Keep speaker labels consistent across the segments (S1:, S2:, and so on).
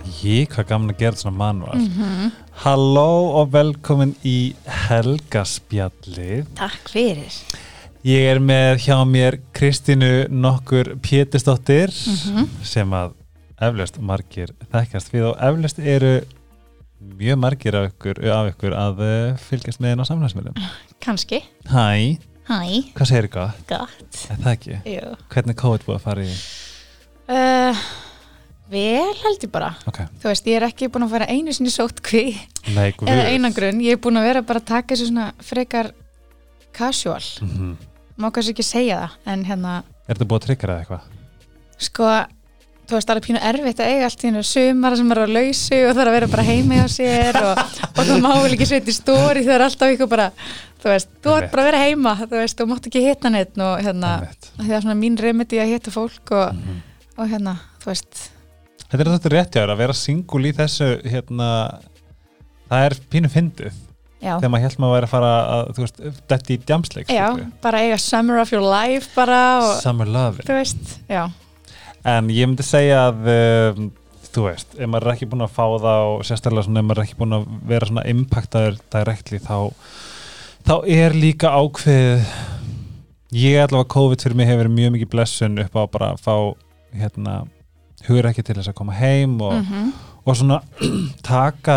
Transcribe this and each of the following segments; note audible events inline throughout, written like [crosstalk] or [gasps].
S1: hvað gaman að gera svona manual Halló og velkomin í Helgaspjallið
S2: Takk fyrir.
S1: Ég er með hjá mér Kristínu nokkur Pétisdóttir sem að eflaust margir þekkjast við og eflaust eru mjög margir af ykkur, af ykkur að eh, fylgjast með henn á samlæsmiðlum
S2: Kanski.
S1: Hæ,
S2: Hæ.
S1: hvað segir ykkur?
S2: Gott.
S1: Er það ekki?
S2: Jú.
S1: Hvernig COVID búið að fara í?
S2: Uh, vel held ég bara.
S1: Ok,
S2: Þú veist, ég er ekki búin að fara einu sinni sótt kví
S1: nei, guð
S2: eða einangrun. Ég er búin að vera bara að taka þessu svona frekar casual.
S1: Mhm.
S2: Má kannski ekki segja það, en hérna,
S1: Er þetta búið að tryggja það eitthvað?
S2: sko, þú veist, það er pínu erfitt að eiga allt í hennu sumara sem eru á lausu og það er að vera bara heimi á sér og, og það má vel ekki setja í stóri þegar alltaf ykkur bara, þú veist, þú átt
S1: Einmitt.
S2: bara að vera heima, þú veist, þú mátt ekki hitta neitt og hérna,
S1: Einmitt. Mhm.
S2: það er svona mín remedi að hitta fólk
S1: Mm.
S2: og, og hérna, þú veist,
S1: Þetta er þetta rétt hjá þér að vera singul í þessu hérna, það er pínu fyndið
S2: já,
S1: þegar maður held maður væri að fara að, þú veist, detti í djamsleik
S2: já,
S1: skilurðu.
S2: bara eiga summer of your life bara og,
S1: Summer love
S2: þú veist, já,
S1: En ég myndi segja að um, þú veist, ef maður er ekki búin að fá það og sérstaklega svona, ef maður er ekki búin að vera svona impactaður direktli þá þá er líka ákveð ég allavega COVID fyrir mig hefur verið mjög mikið blessun upp á bara að fá hérna, hugur ekki til þess að koma heim og
S2: mm -hmm.
S1: og svona [clears throat] taka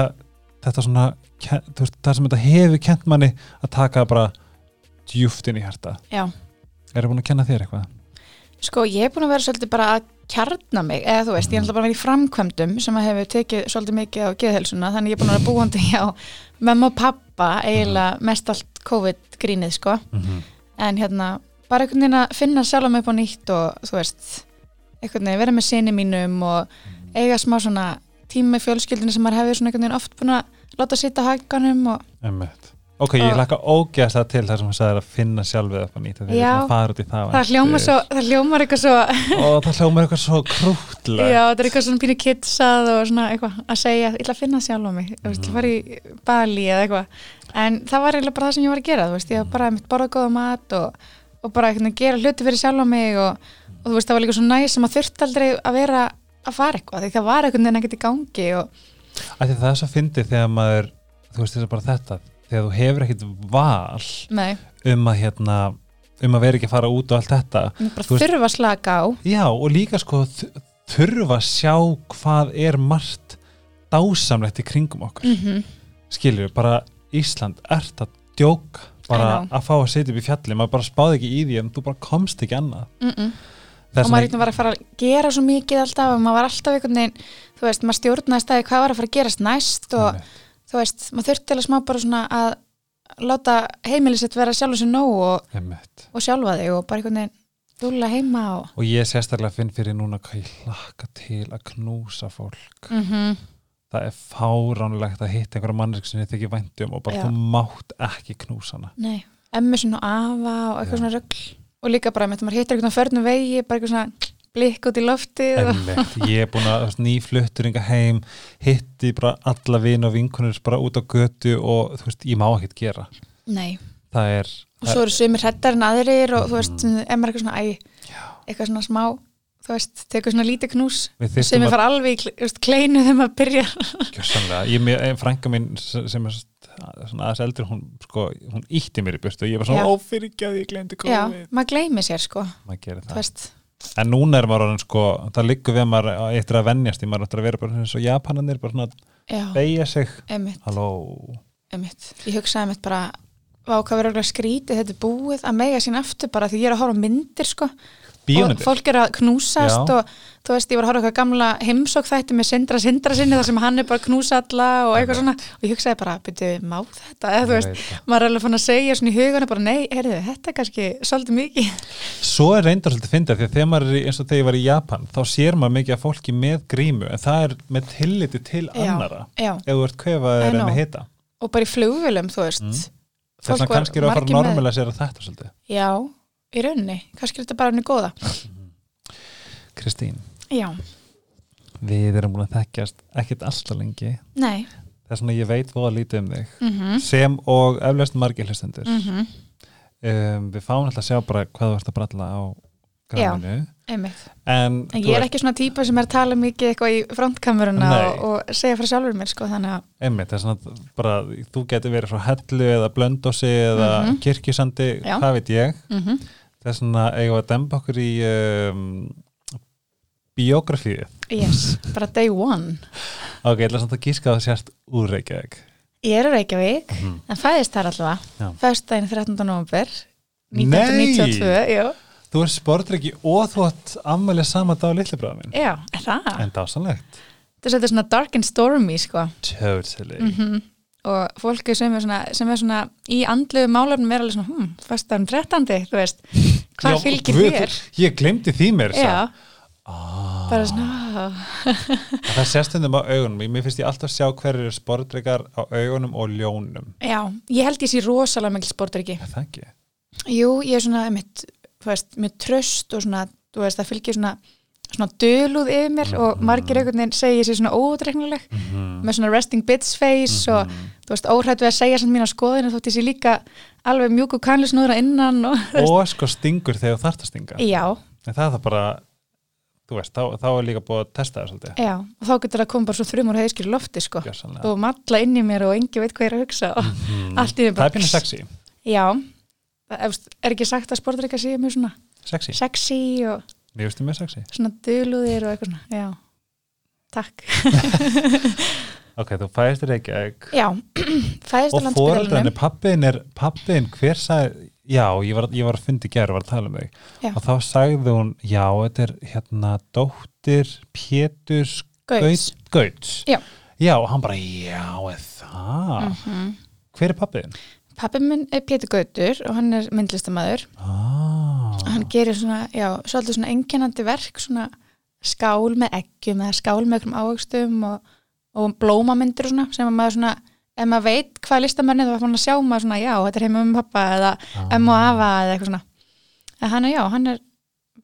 S1: þetta svona ke- þú veist, það sem þetta hefur kent manni að taka það bara djúft inn í hjarta
S2: já.
S1: er það búin að kenna þér eitthvað?
S2: Sko, ég er búin að vera svolítið bara að kjarna mig, eða þú veist,
S1: Mm.
S2: ég er alltaf bara að vera í framkvæmdum sem að hefur tekið svolítið mikið á geðhelsuna, þannig ég er búin að vera búandi hjá mamma og pappa, eiginlega mest allt COVID-grínið, sko
S1: Mm -hmm.
S2: en hérna, bara einhvern veginn að finna sjálfa mig upp á nýtt og þú veist einhvern veginn vera með sinni mínum og eiga smá svona tíma í fjölskyldinu sem maður hefur svona einhvern veginn oft búin að láta sitja á hakanum og
S1: ok, ég
S2: Og-
S1: laka ógeðslega til það sem þú sagðir að finna sjálfið upp að nýta því
S2: Já.
S1: að fara út í það á
S2: það hljómar
S1: eftir.
S2: svo, það hljómar eitthvað svo
S1: og það hljómar eitthvað svo krútlega
S2: Já, þetta er eitthvað svona pínu kitsað og svona eitthvað að segja, ég ætla að finna sjálf á mig þú veist, ég var í Bali eða eitthvað en það var eiginlega bara það sem ég var að gera þú veist, ég var bara mitt borða góða mat og, og bara eitthvað að gera hluti fyrir sjálf á mig og, og þú veist, það var líka svo næs sem að þurfti aldrei að vera að fara eitthvað því það var eitthvað en ekkert í gangi og
S1: af því það er svo fyndið þegar maður þú veist þess að bara þetta þegar þú hefur ekkit val
S2: nei,
S1: um að hérna um að vera ekki að fara út og allt þetta
S2: ég bara
S1: Þú veist-
S2: þurfa að slaka á
S1: Já, og líka sko þ- þurfa að sjá hvað er margt dásamlegt í kringum okkur. Mm.
S2: Mhm.
S1: Skilur, bara Ísland ert að djóka bara
S2: I
S1: að fá að setja upp í fjalli, maður bara spáði ekki í því en þú bara komst ekki annað.
S2: mm -mm.
S1: Það
S2: og maður eitthvað var að fara að gera svo mikið alltaf og maður var alltaf einhvern veginn þú veist, maður stjórnaði staði hvað var að fara að gerast næst og þú veist, maður þurfti alveg smá bara svona að láta heimilisitt vera sjálfur sér nóg og,
S1: Einmitt.
S2: og sjálfa þig og bara einhvern veginn dúlla heima og
S1: Og ég sérstaklega finn fyrir núna hvað ég hlakka til að knúsa fólk.
S2: mm -hmm.
S1: Það er fáránlegt að hitta einhverja mannesk sem ég þykir væntum og bara
S2: Já.
S1: þú mátt ekki knúsa hana.
S2: nei, emmisun og afa og eitthvað
S1: Já.
S2: svona rögl og líka bara með þetta maður hittir einhvern veginn á förnum vegi bara eitthvað svona blikk út í loftið og,
S1: Einmitt, ég er búin að nýfluttur inga heim, hitti bara alla vin og vinkunur bara út á götu og þú veist, ég má ekkert gera
S2: nei,
S1: það er,
S2: og svo eru sumir hrettar en aðrir og þú veist, mm. emma eitthvað svona æ, eitthvað svona smá þú veist, tekur svona lítið knús
S1: Við þyrftum
S2: sem
S1: að-
S2: er fara alveg í kl- þú veist, kleinu þegar maður byrjar
S1: kjössanlega ég, mér, frænka mín s- sem er s- svona aðeins eldri, hún sko hún ítti mér í burtu, ég var
S2: Já.
S1: svona ófyrirgjað ég glemdi
S2: já,
S1: COVID
S2: maður gleymi sér sko
S1: maður gerir
S2: þú
S1: það,
S2: veist,
S1: en núna er maður orðinn, sko, það liggur við að maður á- eftir að venjast í maður eftir að vera bara eins og japananir bara svona að
S2: já,
S1: beigja sig
S2: emmitt
S1: halló,
S2: Einmitt. Ég hugsaði mitt bara Vá, hvað verður að skrítið þetta er búið að mega sín aftur bara því ég er að horfa á myndir sko og
S1: bíómyndir
S2: fólk er að
S1: Já.
S2: knúsast og þú veist, ég var að horfa á eitthvað gamla heimsók þætti með Sindra Sindra sinni þar sem hann er bara að knúsa alla og eitthvað svona og ég hugsaði bara, byrju, má þetta eða þú
S1: Ég
S2: veist,
S1: veit það.
S2: maður er alveg fann að segja svona í hugunni bara, nei, heyrðu, þetta er kannski svolítið mikið
S1: Svo er reyndar svolítið fyndið því að þegar maður er í, eins og þegar ég var í Japan þá sér maður mikið að fólki með grímu en það er með tilliti til annara
S2: já,
S1: ef þú ert
S2: I
S1: kvefaður en
S2: know.
S1: að hita
S2: og bara í flugvölum, þú veist
S1: þess
S2: Fólk
S1: vegna
S2: var
S1: kannski eru að fara
S2: margir með-
S1: normal að sér að þetta svolítið
S2: Já, í rauninni, kannski er þetta bara henni góða
S1: Kristín,
S2: Já,
S1: við erum búin að þekkjast ekkert alltaf lengi
S2: nei
S1: þess vegna ég veit voða lítið um þig
S2: mm
S1: sem og eflaust margir hlustendur
S2: -hmm.
S1: um, við fáum alltaf að sjá bara hvað þú ert að bralla á
S2: Já.
S1: græminu
S2: einmitt.
S1: en,
S2: En
S1: þú
S2: ég er
S1: veist,
S2: ekki svona típa sem er að tala mikið eitthvað í frontkameruna
S1: Nei.
S2: og, og segja frá sjálfur mér sko þannig að
S1: einmitt, þess að bara, þú getur verið frá hellu eða blöndósi eða
S2: Mhm.
S1: kirkjusandi,
S2: Já.
S1: hvað veit ég
S2: mm
S1: þess vegna eigum við að demba okkur í um, biografíu
S2: yes, bara day one.
S1: ok, ég ætla samt að gíska að það sérst úr Reykjavík
S2: Ég er úr Reykjavík,
S1: Mhm.
S2: en fæðist þar allavega,
S1: Já.
S2: föstudaginn 13. november
S1: Nei!
S2: 1992, jú,
S1: þú er sportryggi og þú átt ammælið sama dag litli bráða minn
S2: já, er það.
S1: en dásanlegt,
S2: Þetta er svolítið svona dark and stormy sko
S1: totally
S2: Mhm. og fólki sem er svona, sem er svona í andluðu málefnum er alveg svona, hm, föstudaginn 13. þú veist, hvað
S1: Já,
S2: fylgir
S1: guð,
S2: þér?
S1: ég glemdi því mér
S2: Já,
S1: ah,
S2: bara svona, "Ó,
S1: það sérstundum á augunum Ég- mér finnst ég alltaf sjá hverju sportryggar á augunum og ljónum
S2: já, ég held ég sé rosalega mikil sportur ekki.
S1: er það ekki?
S2: Jú, ég er svona mitt, þú veist, mjög tröst og svona, þú veist, það fylgir svona svona döluð yfir mér og margir einhvern veginn segja sér svona óútreiknuleg
S1: Mhm.
S2: með svona resting bitch face og þú veist, óhrætt við að segja samt mína skoðin þótt ég sé líka alveg mjúku kanlisnúðra innan og
S1: og sko stingur þegar þú þarft að stinga
S2: já,
S1: en það er það bara þú veist, þá, þá er líka búið að testa það svolítið
S2: já, og þá getur það komið bara svo þrjumur heiðskil lofti sko
S1: Gjörsamlega.
S2: og matla inn í mér og engi veit hvað ég er að hugsa og allt í mér
S1: Mhm. það
S2: bara
S1: er pínu sexy,
S2: já, það, þú veist, er ekki sagt að sportreika séu mjög svona
S1: sexy.
S2: sexy og
S1: mér finnst það mjög sexy
S2: svona döluðir og eitthvað svona, já takk,
S1: ok, þú fæðist í Reykjavík
S2: já [clears throat] fæðist á
S1: og fóreldrarnir,
S2: landsbyggðalunum
S1: pappin er pappin, hver sagði já, ég var, ég var að fundi gerð og var að tala um þig
S2: Já.
S1: og þá sagði hún, já, þetta er hérna dóttir Péturs
S2: Gauts.
S1: Gaut- Gauts
S2: Já.
S1: já, og hann bara, já, er það
S2: Mhm.
S1: hver er pappin?
S2: pappi minn er Pétur Gautur og hann er myndlistamæður
S1: Ah.
S2: hann gerir svona, já, svolítið svona einkennandi verk, svona skál með eggjum eða skál með einhverjum ávöxtum og, og blómamyndir og svona sem að maður svona, ef maður veit hvað listamennið þá var hann að sjá maður svona, já, þetta er heima um pappa eða ah. emma og afa eða eitthvað svona en hann er, já, hann er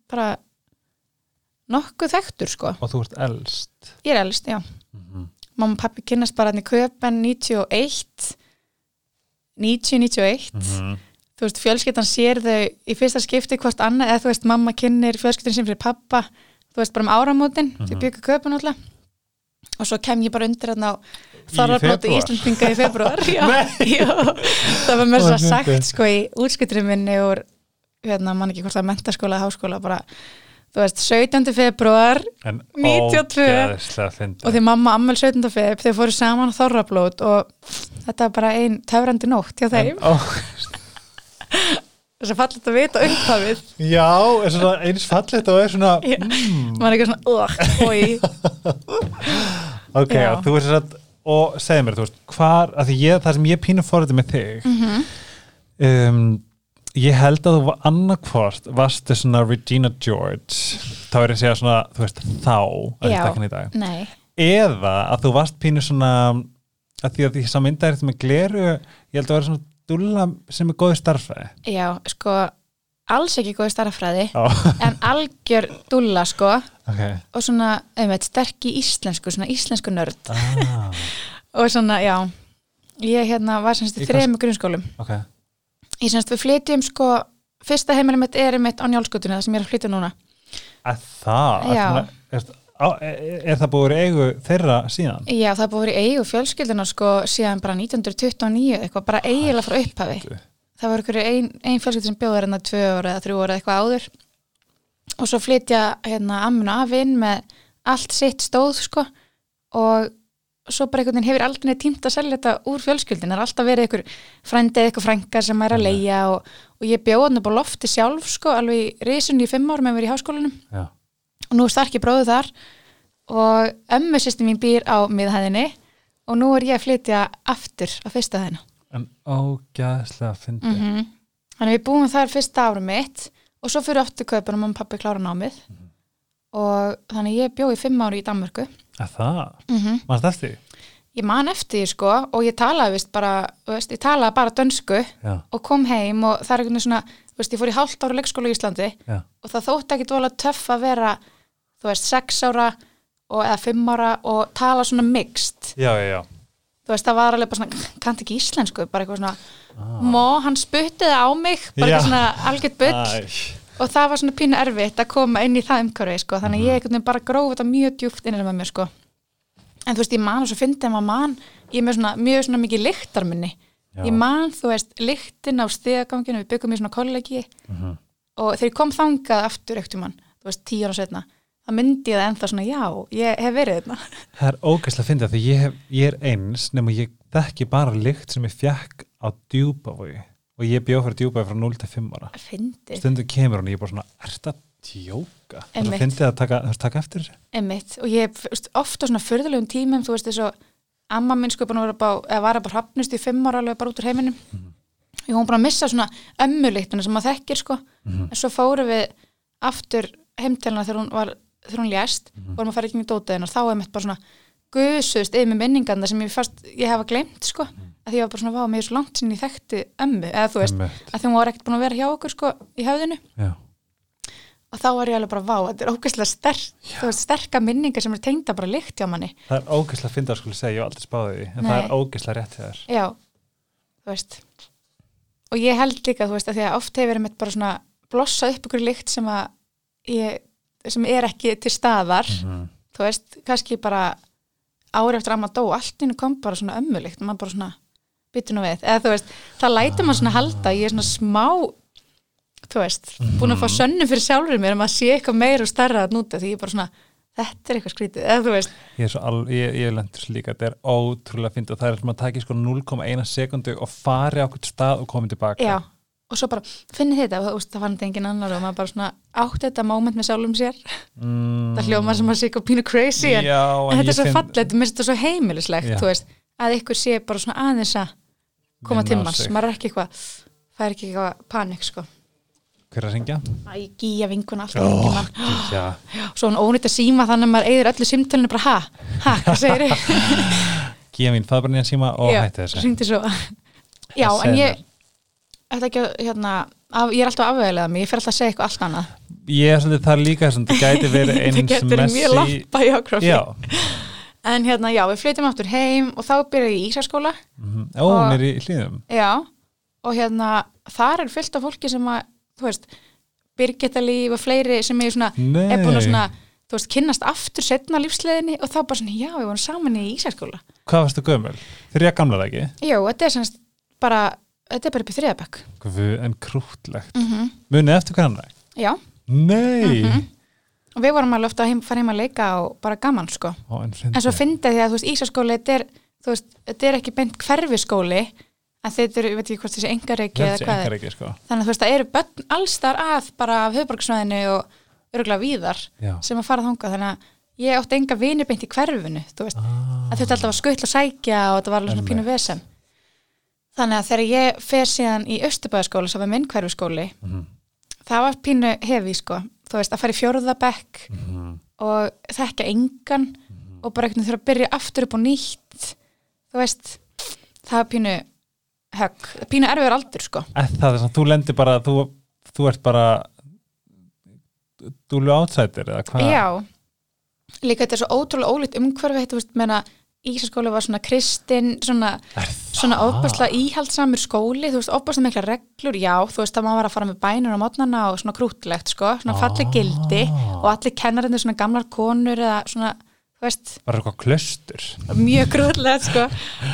S2: bara nokkuð þekktur, sko
S1: og þú ert elst
S2: ég er elst, já mamma og pappi kynnast bara hann í köpen 91 90-91
S1: Mhm.
S2: þú veist, fjölskyldan sér þau í fyrsta skipti hvort annað, eða þú veist, mamma kynnir fjölskyldan sem fyrir pappa, þú veist, bara um áramótin
S1: Mhm.
S2: þau byggu köpun alltaf og svo kem ég bara undir hann á þarrablóti
S1: febrúar?
S2: Íslandinga í februar já,
S1: [laughs] Nei.
S2: já, það var mér
S1: Það
S2: svo
S1: var fyndið.
S2: sagt sko í útskiptrið minni úr, hérna, man ekki hvort það er mentaskóla eða háskóla, bara þú veist, 17. februar
S1: en
S2: 92.
S1: ógeðslega fyndi
S2: og því mamma ammel 17. feb þau fóru saman á þorrablót og þetta var bara ein töfrandi nótt hjá þeim, þess að falla þetta vita upphafið
S1: [laughs] já, er svona eins fallegt og er svona
S2: Já. maður er eitthvað svona, óh, oi
S1: Ok,
S2: Já.
S1: já. þú veist að og segðu mér, þú veist, hvar að því ég, það sem ég pínu fórhætti með þig um, ég held að þú var annarkvort varstu svona Regina George þá er ég að segja svona, þú veist, þá að
S2: Já.
S1: þetta ekki í dag,
S2: [laughs] Nei,
S1: eða að þú varst pínu svona að því að því sammynda er þetta með gleru ég held að vera svona dulla sem er góði starfæði
S2: já, sko alls ekki góði starffræði
S1: Já,
S2: en algjör dulla, sko
S1: [laughs] ok
S2: og svona, einmitt, sterk í íslensku svona íslensku nörd
S1: ah,
S2: og svona, já, ég hérna var semst
S1: Í
S2: í
S1: hvers-
S2: þrejum grunnskólum
S1: Ok,
S2: ég semst við flytjum, sko fyrsta heimilum mitt er einmitt á njálskutunni það sem ég er að flytja núna
S1: að það
S2: Já.
S1: er, er, er, e, er það búið í eigu þeirra síðan?
S2: já, það er búið að vera í eigu fjölskylduna, sko síðan bara 1929, eitthvað, bara eiginlega frá upphafi það voru einhverju ein, ein fjölskyldi sem bjóður hérna tvö ára eða þrjú ára eða eitthvað áður og svo flytja hérna ammun og afinn með allt sitt stóð sko og svo bara einhvern veginn hefur aldrei tímt að selja þetta úr fjölskyldin, það er alltaf verið einhver frændi eða einhver frænga sem er að leia og, og ég bjóð hann upp á lofti sjálf sko alveg í risunni í fimm árum en verið í háskólanum
S1: Já.
S2: og nú er starki bróðu þar og ömmu sýstum mín býr á miðhæðinni og nú er ég að flytja aftur á fyrsta hæðina
S1: En ógæðslega fyndi. Mm
S2: Mhm. Þannig að við búum þar fyrsta árum mitt og svo fyrir aftur kaupunum og pappi klára námið og þannig að ég bjó í fimm ári í Danmörku.
S1: Að það?
S2: Mm -hmm.
S1: Mannst eftir? því?
S2: Ég man eftir því sko og ég talaði vist bara, þú veist, ég talaði bara dönsku
S1: Já,
S2: og kom heim og það er einhvern veginn svona, þú veist, ég fór í hálft ára leikskóla í Íslandi
S1: já.
S2: og það þótti ekki dvolega töff að vera, þú veist, sex ára og, eða fimm ára og tala svona mixt.
S1: Já, já, já.
S2: Þú veist, það var alveg bara svona, kannti ekki íslensku, bara eitthvað svona, mó, hann sputtiði á mig, bara
S1: Ah. Já.
S2: eitthvað svona algjört bull.
S1: Æ,
S2: og það var svona pínu erfitt að koma inn í það umhverfi sko, þannig að
S1: Mhm.
S2: ég einhvern veginn bara gróf þetta mjög djúpt innir með mér sko en þú veist, ég man og svo fyndi að maður man ég er með svona, mjög svona mikið lyktarminni
S1: Já.
S2: ég man, þú veist, lyktin á stegaganginu, við byggum í svona kollegi
S1: Mhm.
S2: og þegar ég kom þangað aftur ekkert um hann, þú veist, tíu ára setna það myndi ég það ennþá svona, já, ég hef verið þetta
S1: Það er ógæslega að finna því ég, hef, ég er eins nema ég þekki bara lykt sem ég fjekk á djúpavogi og ég bjóð fyrir djúpavogi frá 0 til 5 ára
S2: fyndið,
S1: stundum kemur hún og ég er bara svona er þetta djóka? Það
S2: Einmitt.
S1: finnst þið að taka, þarf að taka eftir þessu?
S2: emmitt og ég, þú veist, oft á svona fyrðulegum tímum þú veist, þess að amma minn sko bara var að vara bara hafnust í fimm ára alveg bara út úr heiminum ég hún bara að missa svona ömmuliktuna sem maður þekkir sko en svo fórum við aftur heimtelina þegar hún var þegar hún lést, vorum að fara ekki í dótaðina þá er mitt bara svona guðsust yfir með minningarna sem ég fast, ég hafa glemt sko, að því ég var bara svona vá, mér er svo langt sinni ég þekkti ömmu, eða þú veist
S1: Einmitt.
S2: að því hún var ekkert búin að vera hjá okkur sko í höfðinu
S1: Já.
S2: og þá var ég alveg bara vá, þetta er ógæslega sterk þú veist, sterka minningar sem er tengda bara lykt hjá manni,
S1: Það er ógæslega að finna að skulle segja, ég hef aldrei spáði því en
S2: Nei.
S1: það er ógæslega rétt hjá þér
S2: já þú veist og ég held líka, þú veist, að því að oft hefur mitt bara svona blossað upp ykkur lykt sem að ég, sem er ekki til staðar,
S1: mm.
S2: þú veist kannski bara ári eftir að maður dó allt innu kom bara svona ömmulikt maður bara svona býtur nú við eða þú veist, það lætur maður svona halda ég er svona smá þú veist, búin að fá sönnum fyrir sjálfur mér um að sé eitthvað meira og starra að núta því ég er bara svona, þetta er eitthvað skrítið eða þú veist,
S1: Ég er svo al, ég, ég lendur svo líka, þetta er ótrúlega fyndið og það er sem að taki sko 0,1 sekundu og fari á okkur stað og komið tilbaka
S2: já og svo bara, finni þetta, og þú veist, það fann þetta engin annar og maður bara svona átt þetta moment með sjálfum sér
S1: mm,
S2: það hljóma sem að sé eitthvað pínu crazy en,
S1: já,
S2: en þetta
S1: ég
S2: er svo
S1: finn-
S2: fallegt, þetta minnst þetta svo heimilislegt
S1: Já.
S2: þú veist, að ykkur sé bara svona aðeins að koma
S1: Vinna
S2: til
S1: á
S2: manns,
S1: sig.
S2: maður er ekki eitthvað það er ekki eitthvað panik sko
S1: Hver er að syngja?
S2: Æ, gíja vinkun
S1: Ó,
S2: alltaf oh. mann.
S1: já,
S2: [gasps] svo hann ónýtt að síma þannig að maður eigður öllu símtölinu bara ha, ha, hvað segir þið
S1: [laughs] gíja mín, faðbrinn í að síma og hætti þessu
S2: hringdi svo já,
S1: Segðu
S2: en
S1: mér.
S2: ég þetta ekki að, hérna, af, ég er alltaf afvegilegað mig, ég fer alltaf að segja eitthvað allt annað
S1: Ég er svolítið það líka sem þetta gæti verið
S2: [laughs] þetta
S1: eins
S2: getur mjög
S1: messi
S2: langt bæjókrafi
S1: Já,
S2: en hérna, já, við flytjum aftur heim og þá byrja ég í Ísaskóla
S1: mhm. ó, hún
S2: Og-
S1: er í hlýðum
S2: Já, og hérna þar er fullt af fólki sem að þú veist, Birgitta líf og fleiri sem er svona,
S1: Nei.
S2: er búin að svona þú veist, kynnast aftur setna lífsleðinni og þá bara svona, já, við vorum saman í Ísarskóla
S1: Hvað varstu gömul? Þegar ég gamla það ekki?
S2: Jó, þetta er semst bara þetta er bara upp í þriðabökk
S1: Guð, en krútlegt
S2: mm -hmm.
S1: Munið eftir hvernig?
S2: Já,
S1: Nei!
S2: Mhm.
S1: Mm
S2: og við vorum alveg ofta að heim, fara heim að leika og bara gaman, sko
S1: Ó, en
S2: en svo
S1: fyndið.
S2: fyndið því að þú veist, Ísaskóli þetta er, þú veist, þetta er ekki beint hverfiskóli en þetta er, ég veit ekki hvort þessi engareiki
S1: Ég
S2: eða
S1: held sér
S2: hvað er
S1: engar ekki, sko
S2: þannig að þú veist það eru börn allstar að bara af höfborgsvæðinu og örgulega víðar
S1: Já.
S2: sem að fara þangað þannig að ég átti enga vini beint í hverfinu þú veist,
S1: ah,
S2: að þetta alltaf var skuttla að sækja og þetta var alveg svona pínu
S1: Einmitt.
S2: vesen þannig að þegar ég fer síðan í Östubæðaskóla sem var minn hverfiskóli
S1: Mhm.
S2: það var pínu hefi sko þú veist, að fara í fjórðabekk
S1: mhm.
S2: og þekka engan og bara einhvern veginn þurfa að byrja aftur upp og nýtt þú veist, það var pínu högg, pínu erfiður aldur sko
S1: En Það er svona, þú lendir bara þú, þú ert bara dúlu átsætir eða hvað?
S2: Já, líka þetta er svo ótrúlega ólíkt umhverfi, þetta veist, menna Ísaskóli var svona kristinn, svona,
S1: Er
S2: svona
S1: það?
S2: ofbærslega íhaldsamur skóli, þú veist, ofbærslega mikla reglur, já, þú veist, það maður var að fara með bænir á mótnana og svona krútlegt, sko, svona falleg gildi og allir kennarinnir svona gamlar konur eða svona, þú veist,
S1: Bara eitthvað klöstur
S2: mjög krútlegt, sko,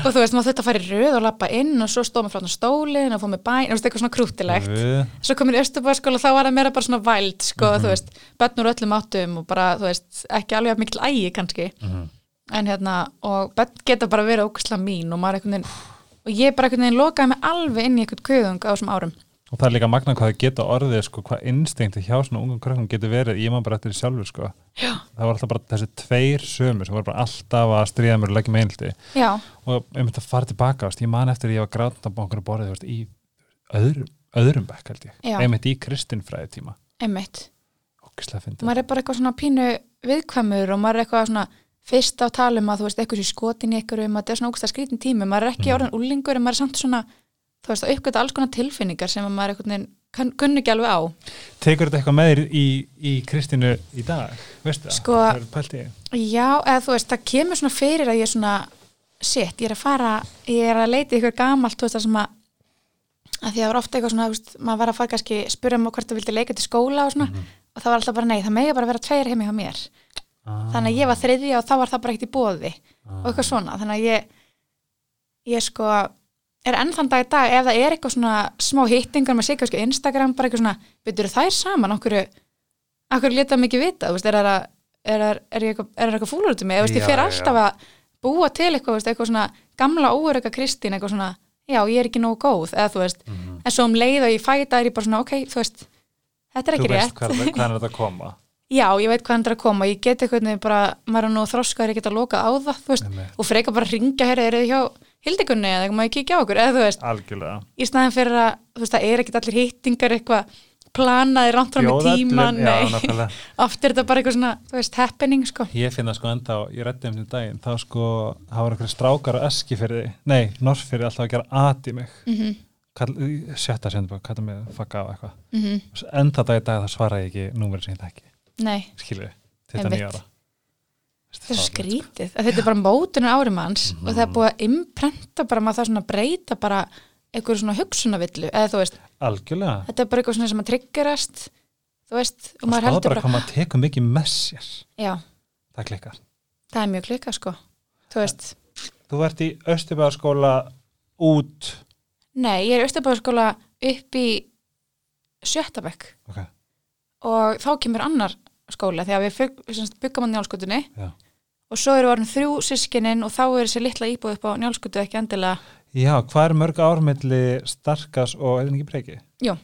S2: og þú veist, maður þetta fara í röð og lappa inn og svo stóð maður frá þarna stólinn og fóð með bæn, þú veist, eitthvað svona krútlegt
S1: Guð.
S2: svo komin í Östubæðaskóla þá var það meira bara svona væld sko, þú veist, börn úr öllum áttum og bara, þú veist, ekki alveg að mikil ægi kannski,
S1: Mhm.
S2: en hérna og börn geta bara verið ókvæsla mín og maður einhvern veginn, og ég bara einhvern veginn lokaði mig alveg inn í einhvern kuðung á þessum árum
S1: Og það er líka magna hvað það geta orðið sko, hvað instinkti hjá svona ungum krökkum getur verið ég maður bara eftir því sjálfur sko.
S2: Já.
S1: það var alltaf bara þessi tveir sömur sem voru bara alltaf að stríða mér og leggja mig einhaldi
S2: já,
S1: og einmitt að fara tilbaka ást, ég man eftir að ég var grátt á okkur borðið þú veist, í öðrum, öðrum bekk held ég
S2: Já.
S1: einmitt í kristinfræði tíma
S2: einmitt
S1: ókislega fyndið
S2: maður er bara eitthvað svona pínu viðkvæmur og maður er eitthvað svona fyrst á talum að þú veist, eitthvað sé skotin í einhverjum að þetta er svona ókvæsla skrítin tími, maður er ekki orðin úlingur en maður er samt svona, þú veist, að uppgöta alls konar tilfinningar sem að maður einhvern veginn kann- kunni ekki alveg á
S1: tekur þetta eitthvað með þér í, í kristinu í dag, veistu það?
S2: Sko-
S1: það er pælt í
S2: Já, eða þú veist, það kemur svona fyrir að ég er svona, shit, ég er að fara, ég er að leita í ykkur gamalt, þú veist, það sem að að því það var ofta eitthvað svona, þú veist, maður var að fara kannski spyrja mig hvort þú vildi leika til skóla og svona Mhm. og það var alltaf bara nei, það megi bara vera tveir heimi hjá mér
S1: Ah,
S2: þannig að ég var þriðja og þá var það bara ekkert í bóði og eitthvað svona, þannig að ég ég sko er enn þann dag í dag, ef það er eitthvað svona smá hittingar, maður sé kannski á Instagram bara eitthvað svona, byrjuðu þær saman, okkur okkur leta mig ekki vita, þú veist, er það er, er, er, ég eitthvað- er það eitthvað fúlur út um mig, þú veist, ég
S1: Já,
S2: fer
S1: já.
S2: alltaf að búa til eitthvað, þú veist, eitthvað svona gamla óuröka Kristín, eitthvað svona já, ég er ekki nógu góð, eða þú veist
S1: Mhm.
S2: en svo um leið og ég fæta er ég bara svona, ok, þú veist þetta er
S1: Þú
S2: ekki
S1: veist
S2: rétt
S1: hvað, hvað er þetta að koma
S2: já, ég veit hvað hann er að koma, ég get eitthvað veginn bara, maður er nú þroskaður, ég get að loka á það þú veist,
S1: Einmitt.
S2: og freka bara að ringja hér er þið hjá hildikunni eða maður kíkja á okkur eða þú veist,
S1: algjörlega
S2: í staðan fyrir að þú veist, það er ekkit allir hittingar eitthvað planaði rámt fram með
S1: Bjóða öllum,
S2: tíman
S1: já,
S2: nei.
S1: nákvæmlega.
S2: [laughs] oft er þetta bara eitthvað svona, þú veist, happening sko.
S1: Ég finna sko enda á, ég reddi um því daginn, þá sko, það var einhverju strákar á eski fyrir því, nei, norfyrir alltaf að gera at í mig. Mm
S2: Mhm.
S1: -hmm. Kall, sjötta sendur bara, kallar mig fucka á eitthvað. Mm -hmm. Enda dag í dag þá svara ég ekki númerið sem ég þekki,
S2: nei,
S1: skilur við, 29
S2: Einmitt.
S1: ára. sko.
S2: þetta er svo skrítið að þetta er bara mótunar árum hans og
S1: Mhm.
S2: það er búið að imprenta bara maður það svona breyta bara einhverju svona hugsunavillu eða þú veist,
S1: Algjörlega.
S2: þetta er bara eitthvað svona sem að triggerast þú veist, og
S1: Það
S2: maður
S1: er
S2: heldur
S1: bara
S2: bara,
S1: hvað maður tekur mikið með sér.
S2: já,
S1: Það klikkar.
S2: það er mjög klika sko þú veist,
S1: Þú ert í Östubæðarskóla út,
S2: nei, ég er austabæðarskóla upp í sjöttabæk
S1: ok,
S2: og þá kemur annar skóla því að við fugg- sem sagt, byggum hann njálskutunni
S1: já.
S2: og svo eru orðin þrjú sískinin og þá er þessi litla íbúð upp á njálskutu ekki endilega
S1: Já, hvað er mörg ármilli starkas og er það ekki breyki?
S2: jú,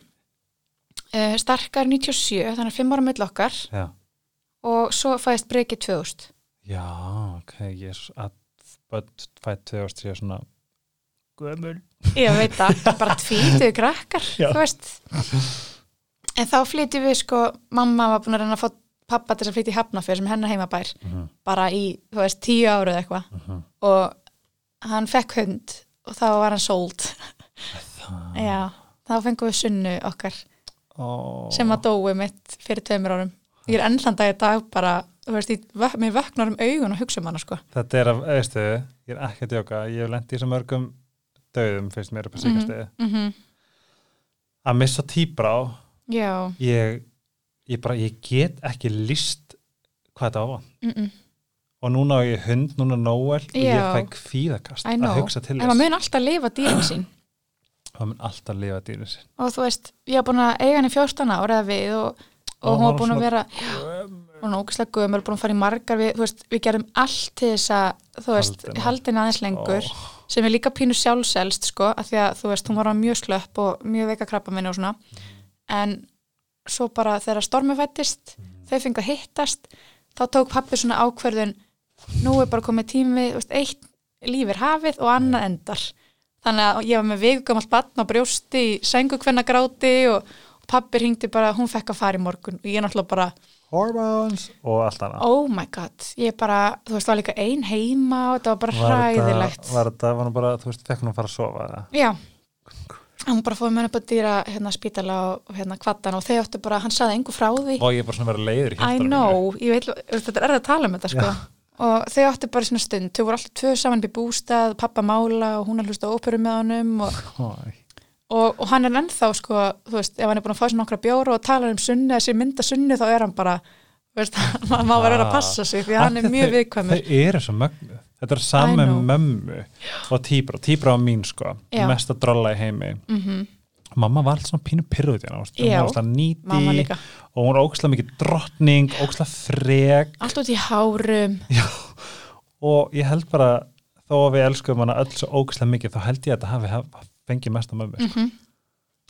S2: uh, starkar 97 þannig að fimm ára mill okkar
S1: Já.
S2: og svo fæðist breki 2000
S1: Já, ok, ég er svo að börn fætt 2003 svona gömul.
S2: Ég veit það, [laughs] bara tvítuðu krakkar,
S1: Já.
S2: þú veist. En þá flytjum við sko, mamma var búin að reyna að fá pappa til að flytja í Hafnafjörð sem er hennar heimabær,
S1: Mhm,
S2: bara í, þú veist, tíu áru eða eitthvað. Og hann fekk hund og þá var hann sold. Já, þá fengum við sunnu okkar
S1: Ó,
S2: sem að dói mitt fyrir tveimur árum. Ég er ennþann dag í dag bara, þú veist, ég, vök- mér vöknar um augun og hugsa um hana sko.
S1: Þetta er að, veistu, ég er ekki að djóka, ég hef lent í þessum mörgum döðum, finnst mér upp að síkast mm
S2: Mm
S1: Að missa tíbrá,
S2: Já,
S1: ég, ég bara, ég get ekki list hvað þetta var.
S2: mm -mm.
S1: Og núna á ég hund, núna Noel, og ég
S2: Já.
S1: fæ kvíðakast
S2: I know.
S1: að hugsa til
S2: En maður
S1: þess.
S2: mun alltaf lifa dýrin
S1: [clears throat]
S2: sín.
S1: Það mun alltaf lifa dýrið sér.
S2: og þú veist, ég var búin að eiga henni 14 ára eða við og, og
S1: Og
S2: hún var
S1: var
S2: búin að
S1: svona
S2: vera hún var ógæslega gömul, búin að fara í margar við, þú veist, við gerum allt til þess að þú veist,
S1: Haldina.
S2: haldin aðeins lengur sem er líka pínu sjálfselst sko, af því að þú veist, hún var á mjög slöpp og mjög veika krabba minni og svona en svo bara þegar stormi fættist þau fengu að hittast þá tók pappi svona ákverðun nú er bara komið tími, þú veist, eitt líf er hafið og annað endar þannig að ég var með vikugamalt batn á brjósti í sengu hvenna gráti og, og pappi ringdi bara, hún fekk að fara í morgun og ég náttúrulega bara,
S1: Hormones og allt annað.
S2: oh my god ég bara, þú veist, var líka ein heima og þetta var bara
S1: Var þetta-
S2: hræðilegt
S1: Var þetta, var nú bara, þú veist, fekk hún að fara að sofa það?
S2: já, hún bara fóði með henni upp að dýra hérna spítala og- og hérna kvattan og þau áttu bara, hann saði engu frá því
S1: og ég er bara svona að vera leiður í
S2: I
S1: hjartanu mínu.
S2: know, ég veit, þetta er erfið að tala um þetta sko. og þau áttu bara svona stund þau voru alltaf tvö saman upp í bústað, pappa mála og hún að hlusta á óperu með honum og,
S1: Æ.
S2: og, og hann er ennþá sko, þú veist, ef hann er búin að fá sér nokkra bjóru og talar um sunni, þessi mynda sunni þá er hann bara, þú veist, [laughs] maður má vera
S1: Ah.
S2: að passa sig því að hann er
S1: Þau-
S2: mjög viðkvæmur
S1: þau eru svo mögnu þetta er
S2: I
S1: sami
S2: know.
S1: mömmu og tíbra, tíbra á mín sko
S2: Já. Mhm.
S1: mesta drolla í heimi -hmm. mamma var alltaf svona pínu pyrruð hérna, hún
S2: Já.
S1: var alltaf
S2: Mamma
S1: nýti
S2: líka.
S1: og hún var ókslega mikið drottning ókslega frek
S2: allt út í hárum
S1: Já. og ég held bara þó að við elskum hana öll svo ókslega mikið þá held ég að þetta hafi haf- fengið mest á mömmu
S2: Mhm.
S1: sko.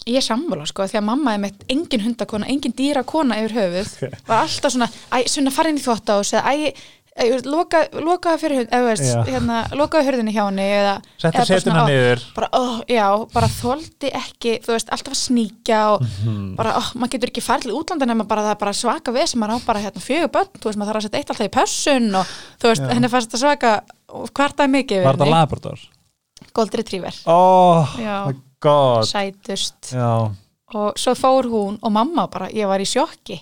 S2: ég er sammála sko, því að mamma er með engin hundakona, engin dýrakona yfir höfuð var alltaf svona, æ, svona farin í þvótt á þessu, æ, æ, loka, lokaðu fyrir hund, eða þú veist,
S1: Já.
S2: hérna lokaðu hörðinni hjá henni eða,
S1: Settu
S2: eða bara
S1: setuna
S2: svona, ó,
S1: niður.
S2: bara, ó, já, bara þóldi ekki, þú veist, alltaf að sníkja og
S1: Mhm.
S2: bara, ó, maður getur ekki farið til útlanda nema bara það er bara svaka við sem maður á bara hérna fjögur börn, þú veist, maður þarf að setja eitt alltaf í pössun og þú veist, henni fannst þetta svaka hvartaði mikið yfir
S1: var þetta labrador?
S2: Gold Retriever,
S1: oh
S2: Já.
S1: my god
S2: sætust
S1: Já.
S2: og svo fór hún og mamma bara, ég var í sjokki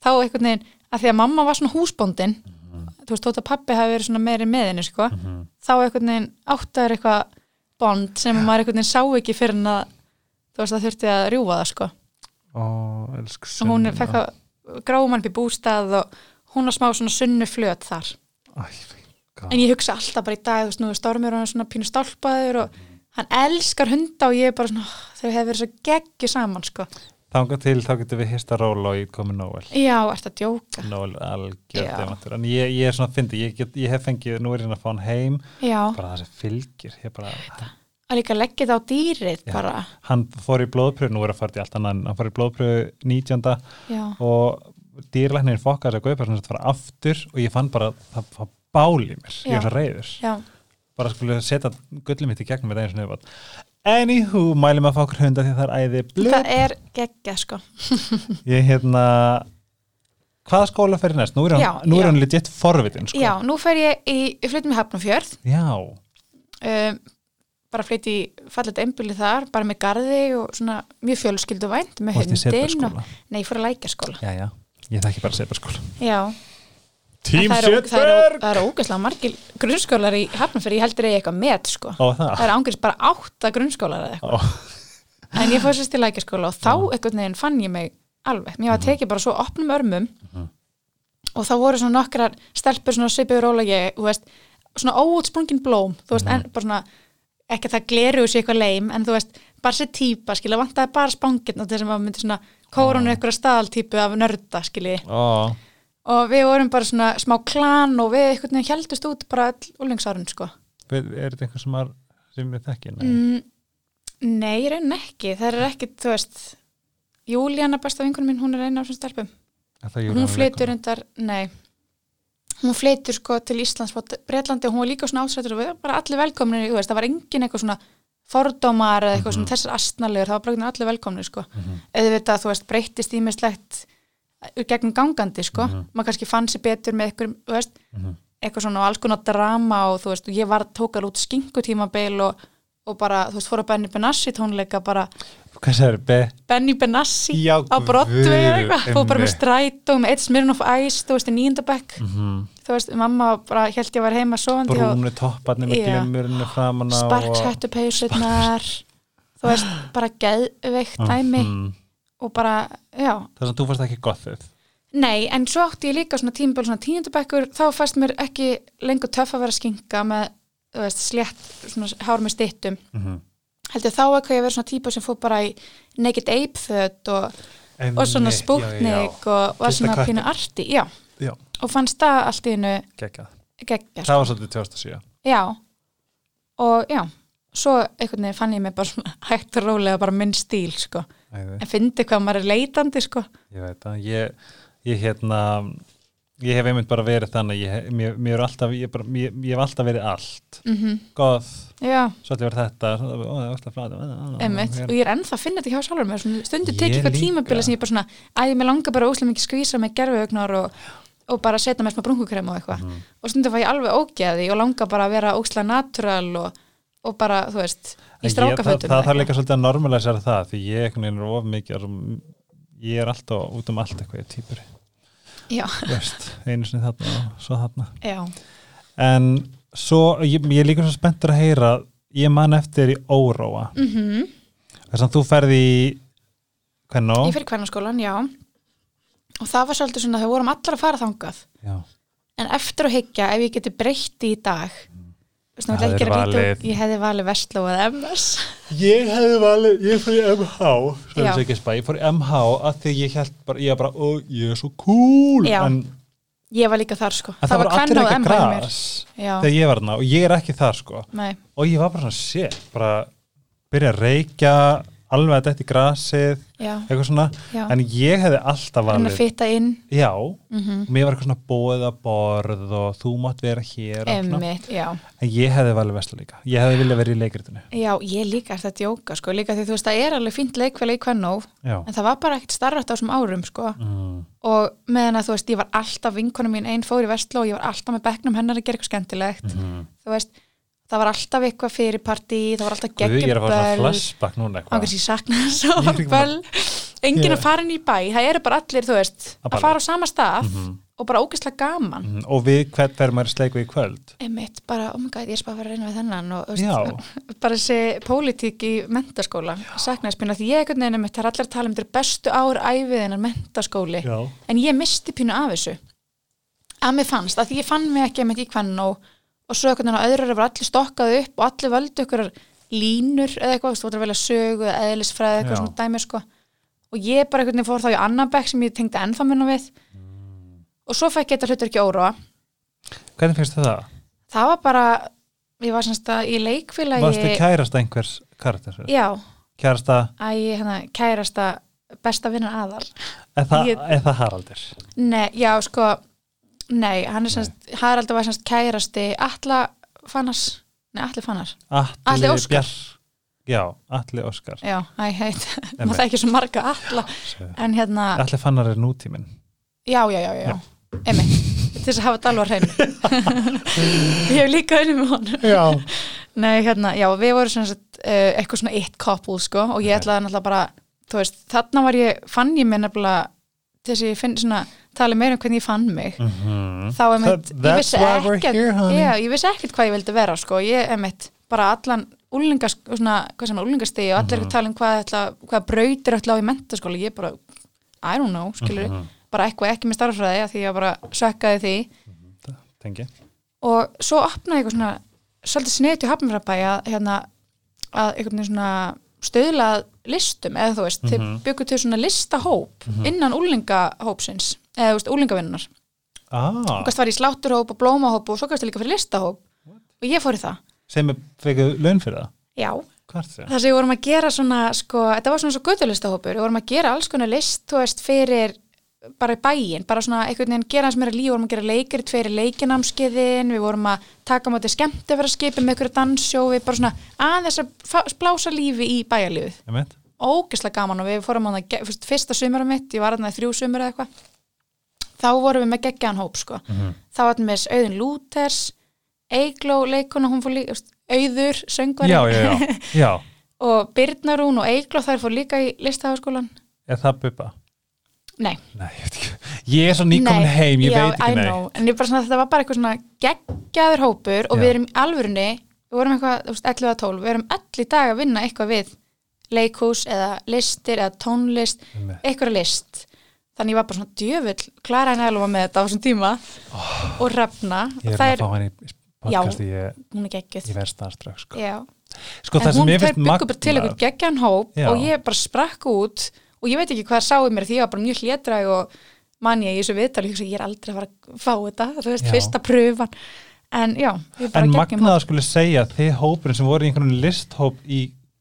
S2: þá einhvern veginn, að því að mamma var svona húsbóndin þú veist, þótt að pappi hafi verið svona meiri með henni, sko
S1: Mhm.
S2: þá einhvern veginn áttaður eitthvað bond sem maður einhvern veginn sá ekki fyrir en að þú þú veist það þurfti að rjúfa það sko
S1: Ó, elsku
S2: og
S1: sunna.
S2: hún fekk að gráum hann upp í bústað og hún var smá svona sunnu flöt þar
S1: Æ, fín, gá.
S2: en ég hugsa alltaf bara í dag þú veist nú er stormur og hann er svona pínu stálpaður og hann elskar hunda og ég er bara svona "Ah, þau hefur verið svo geggju saman sko
S1: Þangað til þá getum við hýrst að róla og ég komi Nóel.
S2: já, ert að djóka
S1: Nóel er algjörð
S2: Já.
S1: demantur. En ég, ég er svona að fyndi, ég, get- ég hef fengið, nú er ég svona að fá hann heim,
S2: já,
S1: bara það sem fylgir. Ég bara,
S2: að líka leggja það á dýrið
S1: Já.
S2: bara,
S1: hann fór í blóðpröfu, nú er að fara til allt annan, hann fór í blóðpröfu 19.
S2: já
S1: og dýrlæknirinn fokkaði þess að gaupa þess að fara aftur og ég fann bara, það, það báli mér, ég
S2: Já.
S1: var svo reyður.
S2: já,
S1: bara skulle setja gullið mitt í gegnum þetta eins og nefn Anywho, mælum að fá okkur hunda því það er æði blöð.
S2: það er geggja sko
S1: Ég hérna hvaða skóla fyrir næst? Nú er hann,
S2: Já,
S1: nú er
S2: já.
S1: hann legit forvitin sko.
S2: já, nú fer ég í, ég flytt með Hafnumfjörð
S1: Já,
S2: um, bara flytt í fallet einbili þar, bara með garði og svona mjög fjölskylduvænt með
S1: Varstu í
S2: hundin og,
S1: Setbergsskóla?
S2: nei, ég fór að lækja skóla
S1: já, já. Ég þekki bara Setbergsskóla.
S2: já,
S1: Tím
S2: En það eru- það eru-
S1: Setberg!
S2: það eru ógeðslega margir grunnskólar í Hafnumfjörð, ég heldur ég eitthvað met sko
S1: Ó, það.
S2: það eru ángriðs bara átta grunnskólar eða
S1: Ó,
S2: eitthvað. en ég fór sérst í lækjaskóla og þá einhvern veginn fann ég mig alveg mér var tekið bara svo opnum örmum og þá voru svona nokkrar stelpur svona svipiður rólegi, þú veist svona óutsprungin blóm, þú veist, en bara svona ekki að það gleru sér eitthvað leim en þú veist, bara sér típa, skilja, vantaði bara spangirna til sem að myndi svona kórunu einhverja staðaltípu af nörda, skilji
S1: ó,
S2: og við vorum bara svona smá klan og við einhvern veginn heldust út bara all úlingsárun, sko
S1: við- er þetta einhver sem, er, sem ég þekki? Nei.
S2: Mm, nei, í raunin ekki. Það er ekki, þú veist, Júlíana, besta vinkunum minn, hún er eina af þessum stelpum.
S1: Er það Júlíana
S2: Hún flytur
S1: leikkona?
S2: undar, nei, hún flytur sko til Íslands frá Breitlandi og hún var líka svona ásættur og við varum bara allir velkomnir, þú veist, það var engin eitthvað svona fordómar eða eitthvað
S1: Mhm.
S2: svona þessar astnalegur, það var bara allir velkomnir sko. Auðvitað, þú veist, breyttist ímislegt úr gegnum gangandi sko, maður kannski fann sér betur með eitthvað, þú veist,
S1: Mhm.
S2: eitthvað svona og alls konar drama og þú veist, og ég var tókar út skinkutímabil og, og bara, þú veist, fór að Benny Benassi tónleika bara,
S1: Hvað það er? Be?
S2: Benny Benassi
S1: Já,
S2: á Broadway eða eitthvað,
S1: guð,
S2: fór bara með
S1: einmitt.
S2: strætó með eitt smirn of ice, þú veist, í nýjendabæk
S1: Mm
S2: þú veist, mamma bara held ég var heima svoandi og
S1: Brúnu topparnir með
S2: Já.
S1: glimurinu framan á.
S2: sparkshættu peysurnar þú veist, bara geðveikt dæmi
S1: Mhm.
S2: og bara, já,
S1: Það sem þú fannst ekki gott þið.
S2: Nei, en svo átti ég líka svona tímabil svona tíundabekkur, þá fannst mér ekki lengur töff að vera skinka með þú veist, slétt, svona hár með styttum
S1: Mhm.
S2: held ég þá ekki að vera svona típa sem fór bara í naked ape föt og, og svona spútnik og var
S1: Kista
S2: svona
S1: köttin.
S2: pínu arti, já,
S1: Já,
S2: og fannst það allt í hennu
S1: geggjað.
S2: geggja, sko.
S1: Það var svolítið 2007.
S2: já og já, svo einhvern veginn fann ég mig bara [laughs] svona hægt og rólega bara minn stíl, sko,
S1: Æði.
S2: en fyndi hvað maður er leitandi, sko,
S1: Ég veit það. Ég, ég hérna, ég hef einmitt bara verið þannig, ég, hef- mér, mér er alltaf, ég, bara, ég, ég hef alltaf verið allt. Mm -hmm.
S2: Mhm.
S1: Góð,
S2: já
S1: svolítið verið þetta, svolítið verið, ó, hérna. það var alltaf flata.
S2: Einmitt, og ég er ennþá að finna þetta hjá sjálfur mér svona, stundu
S1: Ég
S2: tekið eitthvað
S1: líka.
S2: tímabila sem ég bara svona að ég með langar bara óslega mikið skvísa með gerfiaugnar og, og bara setja með smá brunkukrem og eitthvað
S1: Mm.
S2: og stundu var ég alveg ógeði og langar bara að vera óslega natúral og, og bara, þú veist, í
S1: það,
S2: strákafötum
S1: það þarf líka svolítið að normalisera það, því ég einhvern veginn er of mikið, að- ég er alltaf út um allt eitthvað, ég er týpur,
S2: Já,
S1: veist, einu sinni þarna og svo þarna.
S2: já,
S1: en svo, ég, ég er líka svo spenntur að heyra ég man eftir í óróa mm -hmm.
S2: Mhm.
S1: þess að þú ferði í hvern og
S2: ég fyrir kvennarskólan, já og það var svolítið svona, þau vorum allar að fara þangað
S1: já,
S2: en eftir að hyggja, ef ég geti breytti í dag Svona,
S1: Það
S2: ég,
S1: er
S2: vil ekki gera lítið úr-
S1: valið.
S2: ég hefði valið Vestló eða MS
S1: ég hefði valið, ég fór í MH svo
S2: Já.
S1: er ekki spæ, ég fór í MH að því ég held bara, ég var bara, ó, ég er svo cool
S2: Já.
S1: en
S2: Ég var líka þar sko
S1: en það, var allir
S2: kvenna og
S1: ekki
S2: MH í mér.
S1: gras
S2: Já.
S1: þegar ég var þarna og ég er ekki þar sko
S2: Nei,
S1: og ég var bara svona shit, bara byrja að reykja alveg að þetta í grasið
S2: já
S1: eitthvað svona,
S2: Já.
S1: en ég hefði alltaf
S2: hann
S1: valið
S2: að Mhm. fitta inn
S1: Já, mér var eitthvað svona bóð að borð og þú mátt vera hér og svona.
S2: emmitt, já.
S1: en ég hefði valið vesla líka ég hefði viljað verið í leikritinu
S2: já, ég líka er þetta jóka sko, líka því þú veist það er alveg fínt leikfélag í Kvennó
S1: Já,
S2: en það var bara ekkert starrætt á þessum árum sko
S1: mm,
S2: og meðan að þú veist, ég var alltaf vinkonum mín einn fór í vestló og ég var alltaf með bekknum hennar að gera eitthvað skemmtilegt
S1: Mm.
S2: þú veist, það var alltaf eitthvað fyrir partí það var alltaf
S1: Guð, ég er að fara svona
S2: geggjuböll
S1: flashback núna eitthvað
S2: ákveðs ég sakna þess
S1: Ég er
S2: og
S1: ekki
S2: böll enginn
S1: Ég-
S2: að fara inn í bæ, það eru bara allir þú veist,
S1: Að
S2: að,
S1: balla.
S2: fara á sama stað og bara ógeðslega gaman
S1: Mhm. og við hvern verðum maður í sleik við í kvöld
S2: einmitt bara, oh my god, ég er bara að fara að reyna við þennan og þú
S1: Já.
S2: veist, [laughs] bara þessi pólitík í mentaskóla, saknaðspínu því ég einhvern veginn einmitt, það er allar að tala um þetta eru bestu ár æfiðinnar mentaskóli
S1: Já.
S2: en ég misti pínu af þessu að mér fannst, að því ég fann mig ekki einmitt í hvern og, og svo einhvern veginn að öðrur var allir stokkað upp og allir völdu ykkur línur eða eitthvað, þú veist, þú voru að velja sögu eða eðlisfræði eða eitthvað
S1: Já.
S2: svona dæmi sko og ég bara einhvern veginn fór þá í annan bekk sem ég tengdi ennþá minna við og svo fæk ég þetta hlutur ekki óróa
S1: hvernig finnst þið það?
S2: það var bara ég var semst að í leikfélagi
S1: varstu kærast einhvers karakter
S2: já,
S1: kærasta,
S2: að ég hérna, kærasta besta vinnan aðal
S1: er það,
S2: Ég-
S1: er það Haraldur
S2: nei, já sko nei, hann er semst, Haraldur var semst kærasti Atla Fannas nei, Atli Fannar, Atli
S1: Atli
S2: Óskar.
S1: Bjar já, Atli Óskar
S2: já, æ, [laughs] heit
S1: Emmi.
S2: maður það ekki svo marga Atla en hérna,
S1: Atli Fannar er nútíminn
S2: já, já, já, já, já. emi, til þess að hafa dalva
S1: [laughs]
S2: hreinu ég hef líka unni með honum
S1: já,
S2: Nei, hérna, já, við vorum svona sett, uh, eitthvað svona eitt couple, sko, og ég
S1: Ok.
S2: ætlaði náttúrulega bara, þú veist, þarna var ég, fann ég mér nefnilega, til þess að ég finn svona, tala meira um hvernig ég fann mig,
S1: mm -hmm.
S2: þá er
S1: That-
S2: mitt, ég vissi
S1: that's why we're
S2: ekkert,
S1: here, honey.
S2: já, ég vissi ekkert hvað ég vildi vera, sko, ég er mitt, bara allan úlingas, svona, hvað sem úlingastegi og allir mm -hmm. tala um hvað, ætla, hvað brautir ætla á í mentaskóla, ég bara, I don't know, skilur, bara eitthvað ekki með starffræði, af því ég bara sökkaði því,
S1: tengi
S2: og svo opnaði eitthvað svona svolítið sniðt í Hafnfrabæ að, hérna, að einhvern veginn svona stöðla að listum eða þú veist, þeir byggu til svona listahóp innan úlingahópsins eða þú veist, úlingavinnunar
S1: ah,
S2: Þú gæst var í slátturhóp og blómahóp og svo gæst líka fyrir listahóp og ég fór í það
S1: sem er fekkuð laun fyrir það
S2: Já,
S1: hvað er það?
S2: það sem við vorum að gera svona sko, þetta var svona svo göttulistahópur við vorum að gera alls konar list, þú veist, fyrir bara í bæinn, bara svona einhvern veginn gera hans meira líf, við vorum að gera leikir, tveiri leikinámskiðin, við vorum að taka á móti skemmt að vera skipið með einhverju danssjó, við bara svona aðeins að fá- blása lífi í bæjarlífið.
S1: Einmitt. óskaplega
S2: Ógeðslega gaman og við fórum að fyrst, fyrsta sumara mitt, ég var að þrjú sumur eða eitthvað, þá vorum við með geggjaðan hóp sko.
S1: Mhm.
S2: Þá var með auðin Lúters, Eigló leikuna, hún fór líka, þú veist, auður, söngvarinn
S1: já, já, já,
S2: [laughs]
S1: já,
S2: og Byrnarún og Eigló þær fór líka í listaháskólan
S1: er það bubba?
S2: nei,
S1: Nei, ég veit ekki Ég er svo nýkomin
S2: Nei.
S1: heim, ég
S2: já,
S1: veit ekki
S2: I
S1: nei
S2: know. en ég bara svona, þetta var bara eitthvað svona geggjaður hópur og
S1: Já.
S2: við erum í alvörunni við vorum eitthvað, þú veist, 11 að 12 við erum all í dag að vinna eitthvað við leikhús eða listir eða tónlist
S1: Einmitt.
S2: eitthvað list þannig ég var bara svona djöfull, Klara henni alveg með þetta á þessum tíma og Rafna
S1: Ég er
S2: Það
S1: að fá henni í podcasti Ég,
S2: hún er geggjuð
S1: ég verð starströkk sko.
S2: já
S1: sko,
S2: en
S1: það sem
S2: hún
S1: ég
S2: fyrir
S1: finnst
S2: byggur bara til
S1: magna
S2: einhvern geggjan hóp
S1: Já.
S2: og ég bara sprakk út og ég veit ekki hvað sáði mér því ég var bara mjög hlétræg og man ég í þessu viðtali hugsa, ég er aldrei að fara að fá þetta þú veist,
S1: Já.
S2: fyrsta pröfan en já, ég er bara
S1: En
S2: geggjum
S1: magnaða skulle segja að Þið hópurinn sem voru í einhvern listhóp í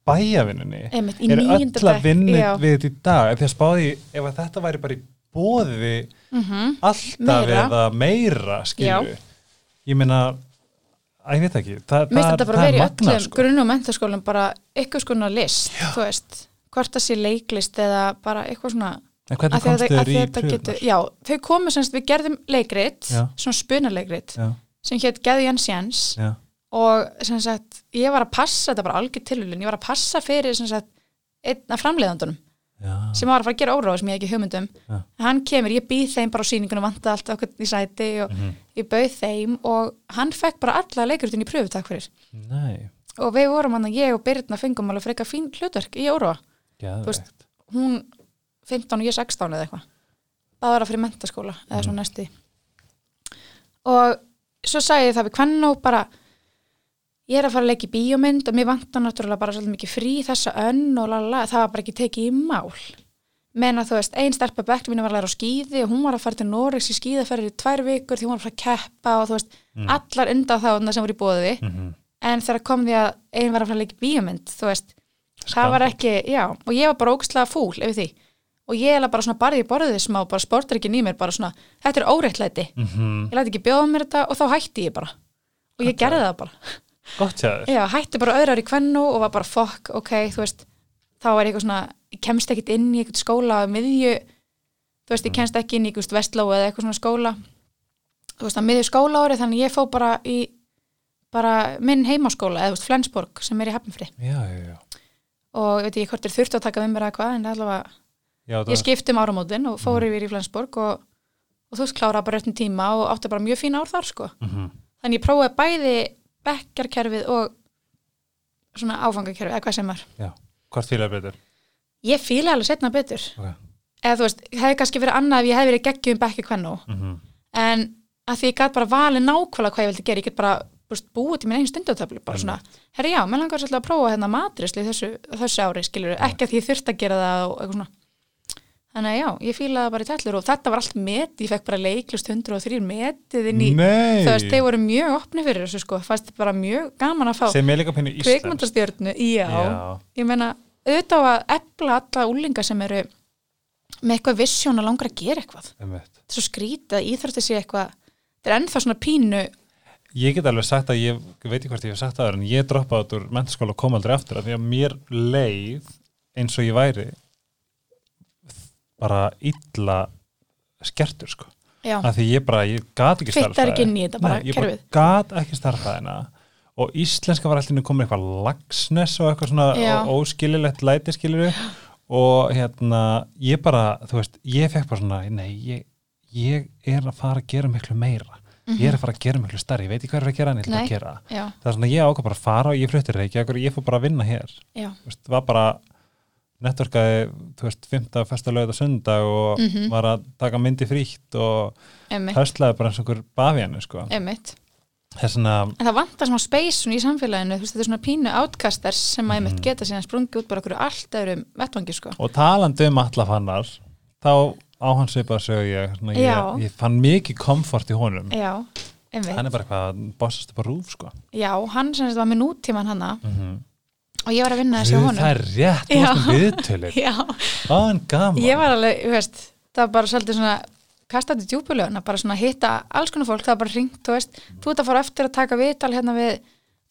S1: bæjavinnunni
S2: Einmitt, í
S1: Eru
S2: níunda
S1: öll að
S2: bekk,
S1: vinna
S2: já.
S1: við þetta í dag Þegar spáði, ég, ef að þetta væri bara í bóði Alltaf
S2: Mhm, Meira.
S1: eða meira skilju Ég meina Æ, ég veit ekki, það,
S2: mér
S1: það,
S2: finnst
S1: er-
S2: þetta bara
S1: það
S2: að
S1: er
S2: vera í
S1: magna
S2: öllum
S1: sko.
S2: grunn- og mentaskólum bara eitthvað skona list þú veist, hvort það sé leiklist eða bara eitthvað svona
S1: En
S2: Af
S1: hvernig
S2: því að
S1: komst
S2: þetta- af
S1: þau
S2: því
S1: í
S2: að þetta getur-
S1: pröfunar?
S2: já, þau komu semst, við gerðum leikrit
S1: Já.
S2: svona spunaleikrit
S1: Já,
S2: sem hétt Geðu Jens Jens
S1: já,
S2: og sem sagt, ég var að passa þetta var algjör tilhulun, ég var að passa fyrir sem sagt, einn af framleiðandunum
S1: já
S2: sem var að fara að gera óráð sem ég hef ekki hugmyndum
S1: Já.
S2: hann kemur, ég býð þeim bara á sýningunum vanda allt okkur í sæti og
S1: Mhm.
S2: ég bauð þeim og hann fekk bara alla leikurutin í pröfu takk fyrir
S1: Nei,
S2: og við vorum hann að ég og Birna fengum alveg frekar fín hlutverk í óráð
S1: geðveikt
S2: hún 15 og ég 16 eða eitthvað það var að fyrir mentaskóla eða svona næsti og svo sagði ég það við kvennó bara ég er að fara að leika í bíómynd og mér vantar náttúrulega bara svolítið mikið frí þessa önn og lala, það var bara ekki tekið í mál menn að þú veist, ein stelpa bekk mínu var að læra á skýði og hún var að fara til Noregs í skýðaferðir í tvær vikur því hún var að fara að keppa og þú veist, allar undan þá sem voru í bóði
S1: Mhm.
S2: en þegar kom því að ein var að fara að leika í bíómynd þú veist, það var ekki, já og ég var bara ógstlega fúl yfir því og ég er bara svona barði í borðið smá bara sportar ekki nýmir, bara svona, þetta er óréttlæti
S1: Mhm.
S2: ég læti ekki bjóða mér þetta og þá hætti ég bara og ég gerði það bara
S1: Gott hjá þér
S2: já, hætti bara öðrar í kvennu og var bara fokk, ok, þú veist þá er ég eitthvað svona, ég kemst ekkit inn í eitthvað skóla að miðju þú veist, ég kemst ekki inn í eitthvað vestló eða eitthvað svona skóla þú veist, að miðju skóla ári þannig að ég fó bara í bara minn heimaskóla eða þú veist, Flensborg sem er í Hafnfri
S1: Já, já, já.
S2: og ég veit ég hvort er þurft að taka við mér að hvað en allavega,
S1: já
S2: ég skipt um áramótin og fór yfir í Flensborg og, og þú veist klára bara réttin tíma og átti bara mjög fín ár þar sko
S1: mm -hmm.
S2: þannig ég prófaði bæði bekkjarkerfið og svona áfangakerfið eða hvað sem er
S1: Hvort fílaði betur?
S2: ég fíla alveg setna betur
S1: Ok.
S2: eða þú veist, hefði kannski verið annað ef ég hefði verið um geggjum bekki kvennu
S1: Mm -hmm.
S2: en að því ég gat bara valið nákvæmlega hvað ég vildi gera, ég get bara þú veist, búið til minn einu stundatöflu, bara svona herri já, mér langar svolítið að prófa hérna matrisli þessu, þessu ári, skilur, ekki að því ég þurft að gera það og eitthvað svona þannig að já, ég fílaði bara í tællur og þetta var allt met, ég fekk bara leiklust 103 metið inn í,
S1: Nei,
S2: þú veist, þeir voru mjög opni fyrir þessu sko, fannst bara mjög gaman að fá
S1: sem er líka pínu íslensk
S2: kveikmyndastjörnu, já,
S1: Já.
S2: ég meina auðvitað á að efla alla úlinga sem eru með eitthvað visjón að langar að gera eitthvað
S1: Einmitt.
S2: þetta er svo skrítið að íþrótti sé eitthvað þetta er ennþá svona pínu
S1: Ég get alveg sagt að ég ég veit ekki hvort ég hef sagt það áður, en ég droppaði út úr mentaskóla og kom aldrei aftur af því að mér leið eins og ég væri bara illa skertur sko
S2: já,
S1: af því ég bara, ég gat ekki
S2: Fittar
S1: starfræði
S2: ekki inn í þetta bara,
S1: Nei, ég bara
S2: kerfið.
S1: gat ekki starfræðina og íslenska var allir komin eitthvað lagsnes og eitthvað svona
S2: Já.
S1: ó- óskililegt læti skililu og hérna, ég bara þú veist, ég fekk bara svona, nei ég, ég er að fara að gera miklu meira ég er að fara að gera miklu starri, ég veit ekki hvað er að gera en ég ætla
S2: Nei.
S1: að gera það
S2: já,
S1: það er svona, ég ákvað bara að fara og ég flutti reykja og ég fór bara að vinna hér
S2: já,
S1: Þú veist, var bara netverkaði, þú veist, 15. fyrsta lögð og sundag og
S2: Mhm.
S1: var að taka myndi frítt og
S2: emmitt
S1: höslaði bara eins og einhver bafiðan sko.
S2: emmitt,
S1: það er svona,
S2: en það vantar svona space svona í samfélaginu, þú veist, þetta er svona pínu átkastars sem að
S1: Mhm.
S2: emmitt geta síðan sprungið út bara okkur allt öðrum vettvangi, sko
S1: og talandi um allafannar þá á hans við bara sögja ég, svona,
S2: Já.
S1: ég, ég fann mikið komfort í honum
S2: já, emmitt,
S1: hann er bara eitthvað að bossast upp á rúf sko.
S2: já, hann sem þetta var með nútíman hanna
S1: Mhm.
S2: og ég var að vinna þessi
S1: Guð,
S2: honum
S1: það er rétt
S2: Já.
S1: úrstum
S2: [laughs]
S1: viðtölir
S2: já,
S1: það er gaman
S2: ég var alveg, þú veist það var bara svolítið svona kastandi djúpulöguna, bara svona hitta alls konar fólk það var bara ringt, þú veist, þú ert að fara eftir að taka viðtal hérna við,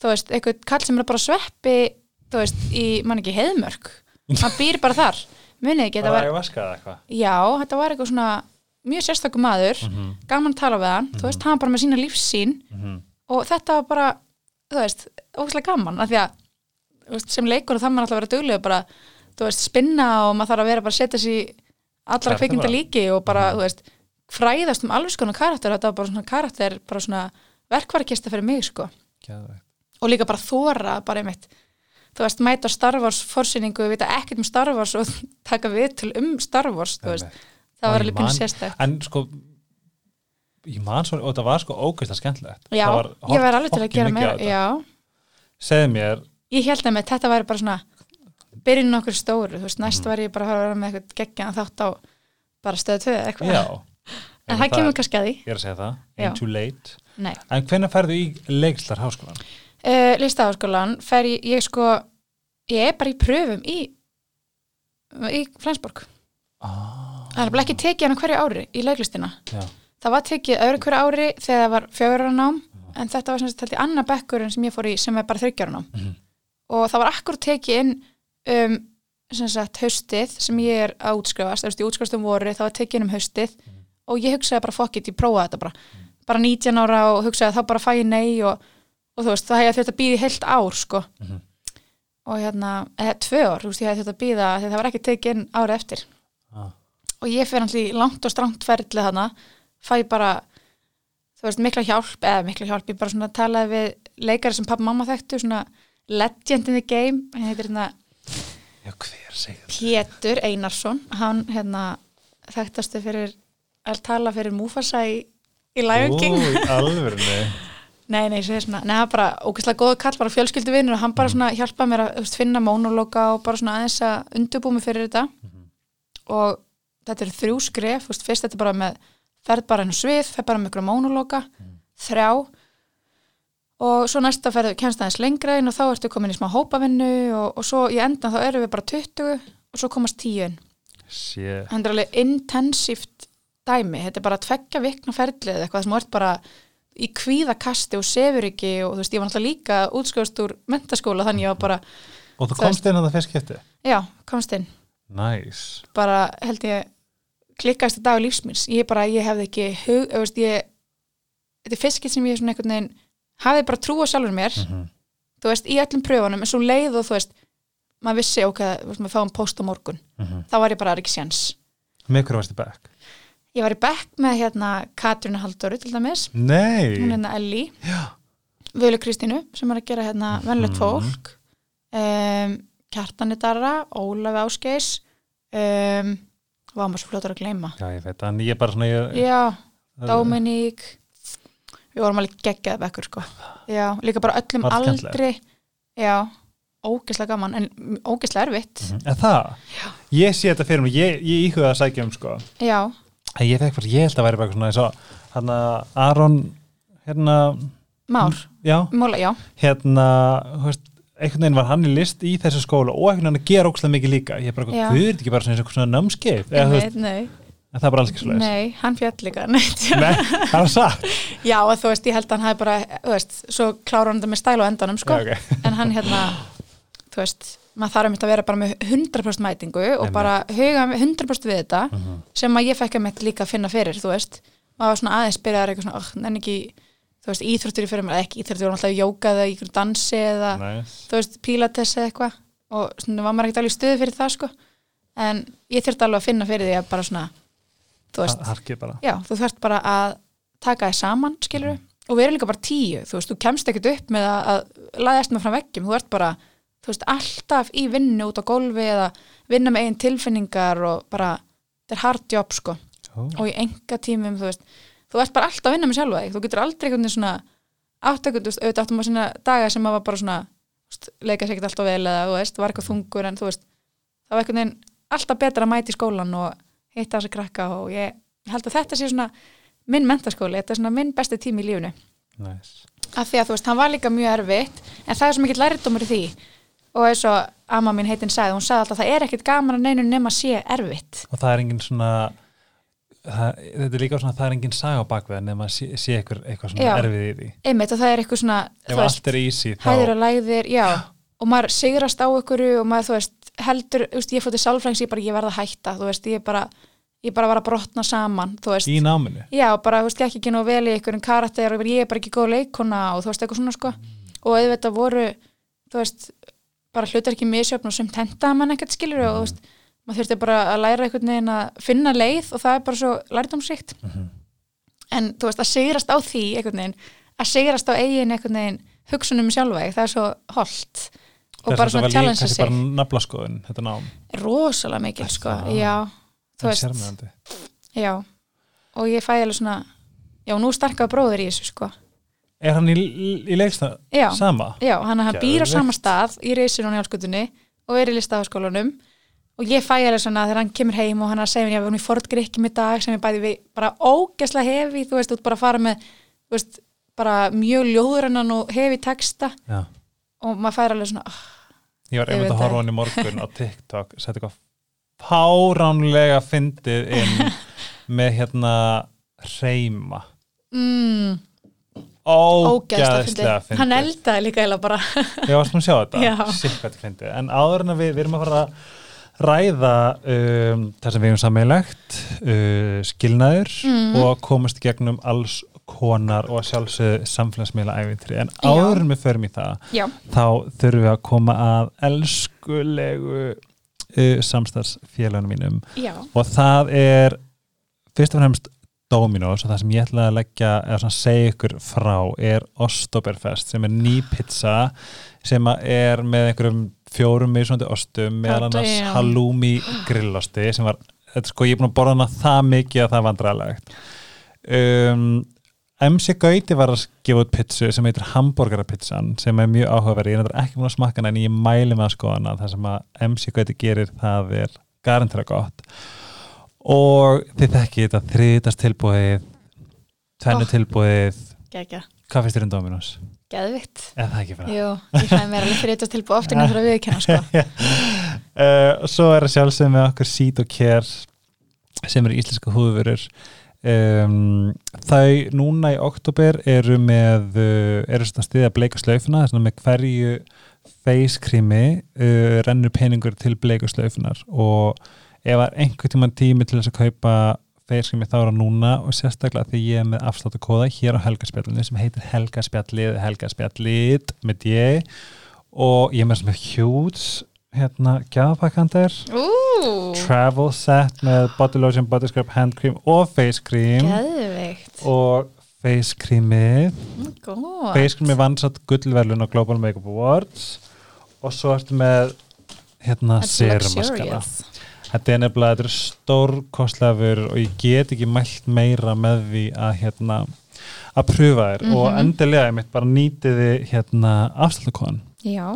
S2: þú veist, eitthvað kall sem er bara á sveppi, þú veist í, mann ekki, heiðmörk, hann býr bara þar, munið ekki,
S1: það
S2: þetta var
S1: var að vaska það eitthvað
S2: já, þetta var eitthvað svona mjög sérstakum maður, gaman að tala við hann þú veist, hann bara með sína lífsýn
S1: Mhm.
S2: og þetta var bara, þú veist ógæslega gaman, af því að þú veist, sem leikur og það maður alltaf að vera duglega bara, þú veist, spinna og maður þarf að vera bara að setja sér í allra
S1: Kjartala.
S2: kveikmynda líki og
S1: Mhm.
S2: bara, þú veist fræðast um alveg skona karakter þetta var bara svona karakter, bara svona verkvarkista fyrir mig, sko
S1: Geðveikt.
S2: og líka bara þóra bara einmitt þú veist, mæta á Star Wars forsýningu við vita ekkert um Star Wars og [laughs] taka við til um Star Wars, þú veist það var
S1: Og ég
S2: alveg
S1: man-
S2: pínu sérstæk
S1: en sko ég man svo, og það var sko ógeðslega skemmtilegt
S2: já,
S1: Það var
S2: ég var alveg til að
S1: fucking
S2: gera
S1: mikið
S2: meira
S1: á þetta.
S2: já,
S1: segðu mér,
S2: ég held að með þetta væri bara svona byrjun okkur stóru, þú veist, næst var ég bara að fara að vera með eitthvað geggjan þátt á bara stöðu tvöðu eitthvað,
S1: já
S2: en það kemur kannski að því
S1: ég er að segja það,
S2: Já.
S1: ain't too late
S2: nei,
S1: En hvenær færðu í leikslar háskólan?
S2: uh, listaháskólan fer ég, ég sko ég er bara í pröfum í í Flensborg
S1: Ah,
S2: það er bara ekki tekið hann á hverju ári í leiklistina
S1: já,
S2: Það var tekið öðru hverju ári þegar það var fjögurra nám en þetta var sem sagt held ég annar bekkurinn sem ég fór í sem er bara þryggjara nám
S1: Mhm.
S2: og það var akkur tekið inn um, sem sagt haustið sem ég er að útskrifast, þú veist ég útskrifast um voru það var tekið inn um haustið
S1: Mhm.
S2: og ég hugsaði bara fuck it, ég prófaði þetta bara bara 19 ára og hugsaði að þá bara fæ ég nei og, og þú veist það hefði þetta býði heilt ár sko
S1: Mhm.
S2: og hérna, eða tvö ár, þú veist ég hefði þetta býða þegar það var ekki tekið inn ári eftir
S1: ah,
S2: og ég fer allir langt og strangt ferli þarna, fæ bara þú veist, mikla hjálp eða mikla hjálp, ég bara svona talaði við leikari sem pappa og mamma þekktu, svona legend in the game, hann heitir hérna
S1: já, hver segir það?
S2: Pétur Einarsson, hann hérna þekktastu fyrir að tala fyrir Mufasa í, í Lion King
S1: Ó, í [laughs] alvörinu
S2: Nei, nei, ég segi svona, nei, það er bara ógeðslega góð kall, bara fjölskylduvinur og hann bara svona hjálpaði mér að þú veist, finna mónolóka og bara svona aðeins að undurbúmi fyrir þetta og þetta eru þrjú skref, þú veist, fyrst þetta er bara með ferð bara inn á svið, ferð bara með ykkur mónolóka, þrjá og svo næsta ferðu kemst aðeins lengra inn og þá ertu komin í smá hópavinnu og, og svo í endan þá erum við bara 20 og svo komast 10 inn
S1: Sjö,
S2: þetta er alveg intensíft dæmi, þetta er bara tveggja vikna ferlið eða eitthvað sem þú ert bara í kvíðakasti og sefur ekki og þú veist, ég var náttúrulega líka útskjóðast úr mentaskóla þannig ég var bara,
S1: og þú
S2: Það
S1: komst inn að það fyrst skipti?
S2: já, komst inn
S1: Næs
S2: bara held ég klikkaðist að dag lífsmins, ég bara, ég hefði ekki hug, þú veist, ég þetta er fyrst fiskið sem ég svona einhvern veginn hafði bara trú á sjálfur mér
S1: Mhm.
S2: þú veist, í öllum pröfunum, en svo leið og þú veist, maður vissi, ok, þú veist, maður fáum post á morgun,
S1: Mhm.
S2: þá var ég bara "Það er ekki séns
S1: Með hverju varst í bekk?
S2: ég var í bekk með hérna Katrínu Halldóru til dæmis hún er
S1: Nei,
S2: hérna Elli
S1: já,
S2: Völu Kristínu sem er að gera hérna
S1: Mhm.
S2: venlegt fólk um, Kjartani Darra, Ólafi Ásgeis um, var maður svo fljótur að gleyma
S1: já, ég veit, en ég er bara svona ég,
S2: já,
S1: það-
S2: Dominík við vorum alveg geggjaði bekkur sko. já, líka bara öllum
S1: Margkenndlega.
S2: aldri já, ógeðslega gaman en ógeðslega erfitt
S1: En Mhm. það, ég sé þetta fyrir mig, ég, ég íhuga að sækja um sko
S2: já,
S1: En ég fekk bara, ég held að væri bara eitthvað svona eins og hann að Aron, hérna,
S2: Már
S1: já,
S2: Móla, já,
S1: hérna, þú veist, einhvern veginn var hann í list í þessu skóla og einhvern veginn að gera ókslega mikið líka. Ég er bara,
S2: Já.
S1: hvað, þú er þetta ekki bara svona eins og eitthvað svona námskeið? Eða, þú
S2: nei,
S1: veist,
S2: nei,
S1: en það er bara alls ekki svo leiðis.
S2: nei, hann fjall líka [laughs] neitt.
S1: [laughs] Nei, það er
S2: [laughs]
S1: satt.
S2: já, og þú veist, ég held að hann hafi bara þú veist, svo klára hann þetta með stæl á endanum sko.
S1: Já, ok.
S2: [laughs] en hann hérna þú veist, maður þarf einmitt að vera bara með 100% mætingu og
S1: Einmitt. Mhm.
S2: bara huga með 100% við þetta sem að ég fekk einmitt líka að finna fyrir, þú veist maður var svona aðeins byrjaðar eitthvað svona, oh, nenni ekki þú veist, íþróttur í fyrir mér, eða ekki íþróttur við erum alltaf í jóka eða í ykkur dansi eða
S1: Nice.
S2: þú veist, pílates eða eitthvað og svona var maður ekkert alveg í stuði fyrir það sko en ég þurfti alveg að finna fyrir því að bara svona, þú veist
S1: Það harkið bara.
S2: já, þú þarft bara að taka þið saman, skilur og við erum líka bara tíu, þú veist, þú kemst ekkert upp með að, að laðast með fram veggjum, þú ert bara þú veist, alltaf í vinnu út á gólfi eða vinna með eigin tilfinningar og bara, þetta er hard job sko
S1: Ó,
S2: og í enga tímum, þú veist þú ert bara alltaf að vinna með sjálfa þig, þú getur aldrei einhvern veginn svona áttökund, þú veist, auðvitað áttum að svona daga sem maður var bara svona þú veist, leika sér ekkert alltaf vel eða, þú veist, var eitthvað þungur en þú veist, það var einhvern veginn alltaf betra að mæta í skólan og hitta þessa krakka og ég held að þetta sé svona minn mentaskóli, þetta er svona minn besti tími í lífinu
S1: nice.
S2: af því að þú veist, hann var líka mjög erfitt en það er svo mikill lærdómur í því og eins og amma mín heitin sagði, hún sagði alltaf það er ekkit gaman að neinu nema sé erfitt
S1: Og það er engin svona, það, þetta er líka svona, það er engin saga á bakveða nema að sé, sé eitthvað, eitthvað svona
S2: Já.
S1: erfið í því.
S2: einmitt og það er eitthvað svona þú
S1: Ef allt er easy, þá...
S2: hæðir og lægðir, já og maður sigrast á ykkur og maður, þú veist, heldur, þú veist, ég fótti sálfræðings, ég bara, ég verða að hætta, þú veist, ég bara ég bara var að brotna saman, þú veist
S1: Í náminu.
S2: já, bara, þú veist, gekk ekki nú vel í einhverjum karakter og ég er bara ekki góð leikona og þú veist, eitthvað svona, sko og auðvitað voru, þú veist bara hlutar ekki misjöfn og sem tenta mann ekkert skilur og, þú veist, maður þurfti bara að læra einhvern veginn að finna leið og það er bara svo lærdómsrikt en þú veist, að sigrast á því einhvern veginn, að sigrast á eigin einhvern veginn hugsunum sjálfa, þig, það er svo holdt og bara svona challenge sig
S1: sig bara naflaskoðun, þetta nám
S2: rosalega mikil,
S1: Er
S2: sko,
S1: það?
S2: já þú
S1: En
S2: veist,
S1: sérmennandi.
S2: já og ég fæ alveg svona, já, nú starkaði bróður í þessu, sko,
S1: er hann í, í leiksta
S2: já
S1: sama
S2: já, hann, hann býr á
S1: Geðveikt.
S2: sama stað í reisinu og njálskutunni og er í listafaskólanum og ég fæ alveg svona þegar hann kemur heim og hann er að segja mér, já, við erum í forðgrikkim í dag sem ég bæði við bara ógesla hefi þú veist, þú ert bara að fara með, þú veist bara mjög ljóðurannan og hefi texta
S1: já.
S2: og maður fær alveg svona oh,
S1: ég var
S2: Ég
S1: einmitt
S2: veit
S1: að horfa
S2: það.
S1: á hann í morgun á TikTok sett eitthvað fáránlega fyndið
S2: [laughs]
S1: inn með hérna reyma
S2: mm, ógeðsla
S1: ógæðslega
S2: fyndið.
S1: fyndið
S2: hann eldaði líka eða bara
S1: ég var svona að sjá
S2: Já.
S1: þetta, sikkert fyndið en áður en að við, við erum að fara að ræða um, það sem við erum sammeilegt uh, skilnaður
S2: Mm.
S1: og komast í gegnum alls konar og sjálfsög samfélagsmiðla æfintri en
S2: Já.
S1: áður en við förum í það
S2: já,
S1: þá þurfum við að koma að elskulegu uh, samstarfsfélagunum mínum
S2: já,
S1: og það er fyrst og fremst Dominos og það sem ég ætla að leggja eða svona segja ykkur frá er Ostoberfest sem er ný pizza sem að er með einhverjum fjórum mismunandi ostum meðal
S2: God
S1: annars
S2: damn.
S1: halloumi grillosti sem var, þetta sko ég er búin að borða hana það mikið að það var vandræðalegt um, MC Gauti var að gefa út pizzu sem heitir hamburgerapizzan sem er mjög áhugaverð ég er reyndar ekki búin að smakka hana en ég mæli með að sko hana það sem að MC Gauti gerir það er garantilega gott og þið þekkið þetta þriðtast tilbúið tvennu
S2: Oh.
S1: tilbúið
S2: geggja,
S1: hvað finnst þér um Dominos?
S2: geðvitt
S1: eða það ekki fyrir [laughs]
S2: jú, ég fæði mér alveg fyrir þetta tilbúið oftin að það viðkenna, sko
S1: uh, svo er að sjálfsögum með okkur Seed og Care sem eru íslenska húðvörur um, þau núna í oktober eru með uh, eru svona stiðið að bleika slaufuna þess vegna með hverju face creami uh, rennur peningur til bleiku slaufunar og ef það er einhvern tíman tími til þess að kaupa face creami þá er það núna og sérstaklega því ég er með afsláttakóða hér á helgaspjallinu sem heitir helgaspjallið helgaspjallið með D og ég er með svona hjúts hérna, gjafapakkandar
S2: Ú,
S1: travel set með body lotion, body scrub, hand cream og face cream
S2: Geðveikt.
S1: og face creamið
S2: Góð.
S1: face creamið vansatt gullverlun á Global Makeup Awards og svo ertu með hérna
S2: That's
S1: serumaskara
S2: luxurious.
S1: þetta er nefnilega, þetta er stórkostlefur og ég get ekki mælt meira með því að hérna að pröfa þér
S2: Mhm.
S1: og endilega ég mitt bara nýtiði hérna afslutakon
S2: Já.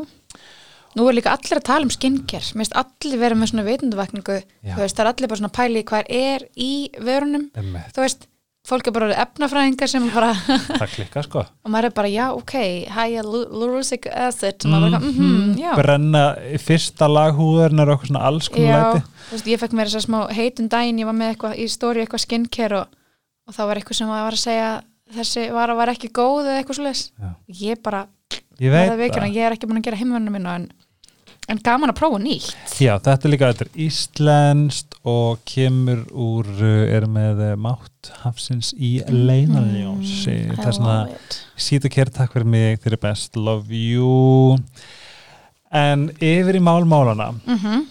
S2: Nú er líka allir að tala um skincare. Mér finnst allir vera með svona vitundavakningu.
S1: Já.
S2: Þú veist, það er allir bara svona að pæla í hvað er í vörunum.
S1: Einmitt.
S2: Þú veist, fólk er bara orðið efnafræðingar sem bara, [laughs]
S1: það klikka sko
S2: og maður er bara, já, ok, hyalurusic acid. Mm -hmm.
S1: Mhm.
S2: mm -hmm, já.
S1: brenna í fyrsta lag húðurnar og eitthvað svona alls konar
S2: Já,
S1: læti
S2: þú veist, ég fekk mér þess að smá heitum daginn, ég var með eitthvað í stóri eitthvað skincare og, og þá var eitthvað sem var að segja þessi vara var ekki góð eða eitthvað svoleiðis.
S1: Já.
S2: Ég bara,
S1: ég
S2: verða
S1: veit
S2: veikina,
S1: það
S2: ég er ekki búin að gera heimvörnum minna en, en gaman að prófa nýtt.
S1: Já, þetta er líka, þetta er íslenskt og kemur úr, uh, er með uh, mátt hafsins í
S2: Mhm. Mm.
S1: leiðanljósi. Það er svona, síðu kér takk fyrir mig, þeir eru best, love you. En yfir í málmálana,
S2: Mm -hmm.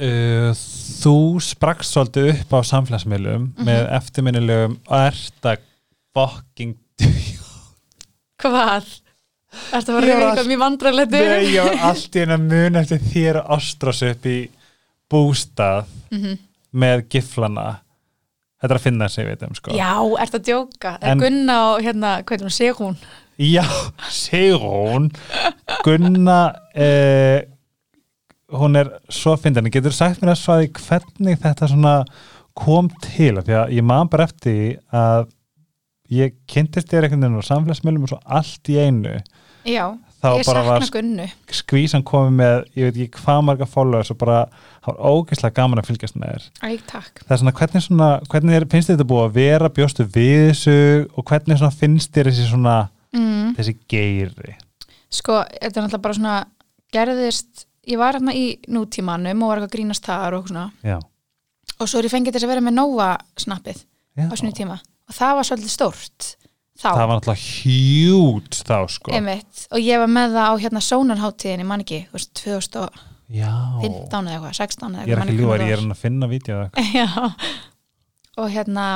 S1: uh, þú sprakst svolítið upp á samfélagsmiðlum með eftirminnilegum erta fucking
S2: Hvað? Ertu að fara að
S1: Ég
S2: reyna
S1: var-
S2: eitthvað mjög vandræðlega
S1: Nei, ég var allt í hennar mun eftir þér og ástrás upp í bústað með giflana. Þetta er að finna sig, veitum, sko.
S2: [laughs] Já, ertu að djóka?
S1: En-
S2: En, Gunna og hérna, hvað er hún, Sigrún?
S1: Já, Sigrún Gunna eh, hún er svo fyndin getur sagt mér að svo að því hvernig þetta svona kom til af því að ég man bara eftir því að ég kynntist þér einhvern veginn á samfélagsmiðlum og svo allt í einu
S2: Já,
S1: Þá
S2: ég
S1: bara
S2: sakna
S1: var-
S2: Gunnu.
S1: skvísan komið með, ég veit ekki hvað marga followers og bara, það var ógeðslega gaman að fylgjast með þér
S2: Æg, takk.
S1: það er svona, hvernig svona, hvernig er, finnst þér þetta búið að vera bjóstu við þessu og hvernig svona finnst þér þessi svona
S2: Mm.
S1: þessi geiri
S2: Sko, þetta er náttúrulega bara svona gerðist, ég var hérna í nútímanum og var eitthvað að grínast þar og eitthvað svona
S1: Já,
S2: og svo er ég fengið þess að vera með Nova snappið
S1: Já.
S2: á svona tíma og það var svolítið stórt þá,
S1: það var náttúrulega hjút þá sko
S2: einmitt og ég var með það á hérna sónarháttíðin ég man ekki, þú veist, 2015
S1: já,
S2: eða eitthvað, 16 eða
S1: ég er
S2: man
S1: ekki ljúar,
S2: hvernig
S1: ég er hann að finna vídeo eða eitthvað.
S2: það var. [laughs] já, og hérna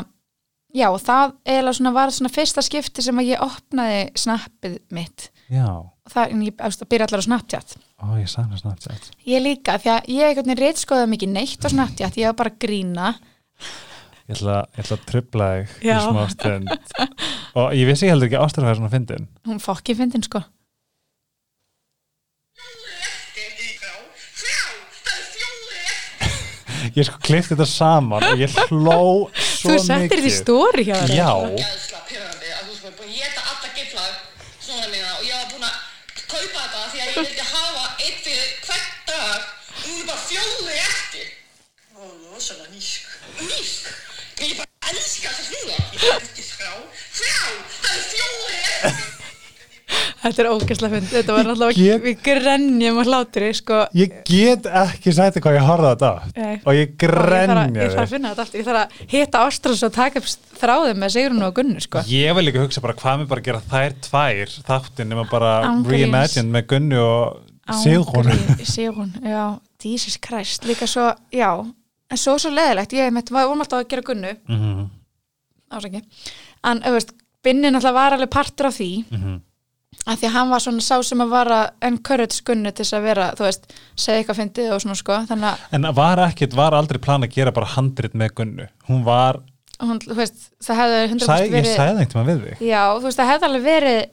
S2: já, og það eiginlega svona var svona fyrsta skipti sem að ég opnaði snappið mitt
S1: já,
S2: og það, en ég þú veist, það byrja allar á Snapchat
S1: ó ég sagði það snart
S2: ég líka, því að ég einhvern veginn reitskoða mikið neitt á Snapchat, ég var bara að grína
S1: ég ætla, ég ætla að trubla þig í
S2: Já.
S1: smá stund og ég vissi heldur ekki að ástæður hvað er svona fyndin
S2: hún fokki fyndin sko
S1: ég sko klift þetta saman og ég hló svo
S2: þú
S1: mikið
S2: settir þetta í stóri hjá þér
S1: já,
S3: gæðsla pyrrandi að þú skulle búin að geta alla giflaður svona mína og ég var búin að kaupa þetta því að ég vildi hafa einn fyrir hvert dag og hún er bara fjóði eftir og rosalega nýsk nýsk ég bara elska þess núna ég er ekki skrá frá það er fjóði eftir
S2: Þetta er ógæslega fynd, þetta var náttúrulega
S1: Get-
S2: við grenjum og hlátri sko.
S1: ég get ekki sagt þér hvað ég horfði á þetta
S2: Nei.
S1: á og ég
S2: Ég þarf að-
S1: grenja
S2: Ég þarf að
S1: þig
S2: finna þetta allt, ég þarf að hitta Ástrós og taka upp þráðum með Sigrun og Gunnu sko.
S1: Ég vil ekki hugsa bara hvað mér bara gera þær tvær þáttin nema bara
S2: Án gríns.
S1: reimagine með Gunnu og Sigrún
S2: Sigrun, já, Jesus Christ líka svo, já, en svo svo leðilegt ég mitt, við vorum alltaf að gera Gunnu
S1: Mhm.
S2: ásækki en, þú veist, Binni náttúrulega var alveg partur af því
S1: Mhm.
S2: af því að hann var svona sá sem að vara encourage Gunnu til þess að vera, þú veist segja eitthvað fyndið og svona sko þannig að
S1: En var ekkert, var aldrei plan að gera bara handrit með Gunnu. Hún var,
S2: hún, þú veist, það hefði 100%
S1: sæ, ég
S2: verið
S1: sæði einhvern tíma við þig.
S2: Já, þú veist, það hefði alveg verið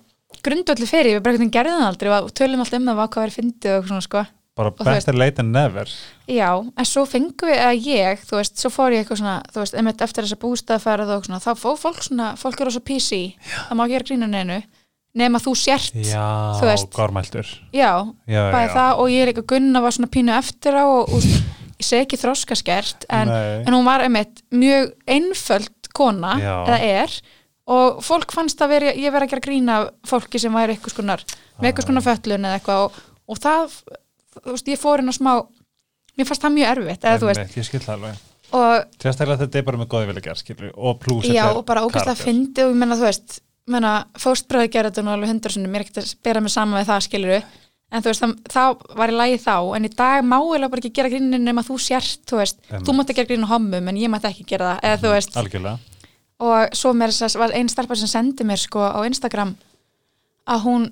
S2: grundvöldu fyrir, við bara einhvern veginn gerðum það aldrei og tölum alltaf um það var hvað verið fyndið og eitthvað svona sko.
S1: Bara
S2: þú
S1: better late than never.
S2: Já, en svo fengum við að ég, þú veist, svo fór ég eitthvað svona, þú veist, einmitt eftir þessa bústæðferð og svona, þá fór fólk svona, fólk er á svo PC, það má ekki gera grínan einu, nema þú sért,
S1: Já,
S2: Þú veist.
S1: gormæltur.
S2: já,
S1: Já,
S2: bæði
S1: já.
S2: það og ég er eitthvað gunna var svona pínu eftir á og, og ég segi ekki þroskaskert, en,
S1: Nei.
S2: en hún var einmitt mjög einföld kona,
S1: Já.
S2: eða er, og fólk fannst að vera, ég vera að gera grína fólki sem væri eitthvað skonar með eitthvað
S1: Ah.
S2: skonar föllun eða eitthvað og, og það, þú veist, ég fór inn á smá mér fannst það mjög erfitt eða þú veist,
S1: Einmitt, Ég skil það alveg.
S2: og
S1: Sérstaklega þetta er bara með góði vilja gerð, skilur. Og plús
S2: já, og bara ógæslega fyndi og ég menna, þú veist, menna fóstbræði gera þetta nú alveg hundur sinni, mér er ekkert að bera mig saman með það skiluru, en þú veist, það, það var í lagi þá en í dag má ég bara ekki gera grínin nema þú sért, þú veist,
S1: Einmitt.
S2: þú mátt að gera grínin á hommum en ég mátt ekki gera það, eða þú veist
S1: algjörlega
S2: og svo mér var einn stelpa sem sendi mér sko á Instagram að hún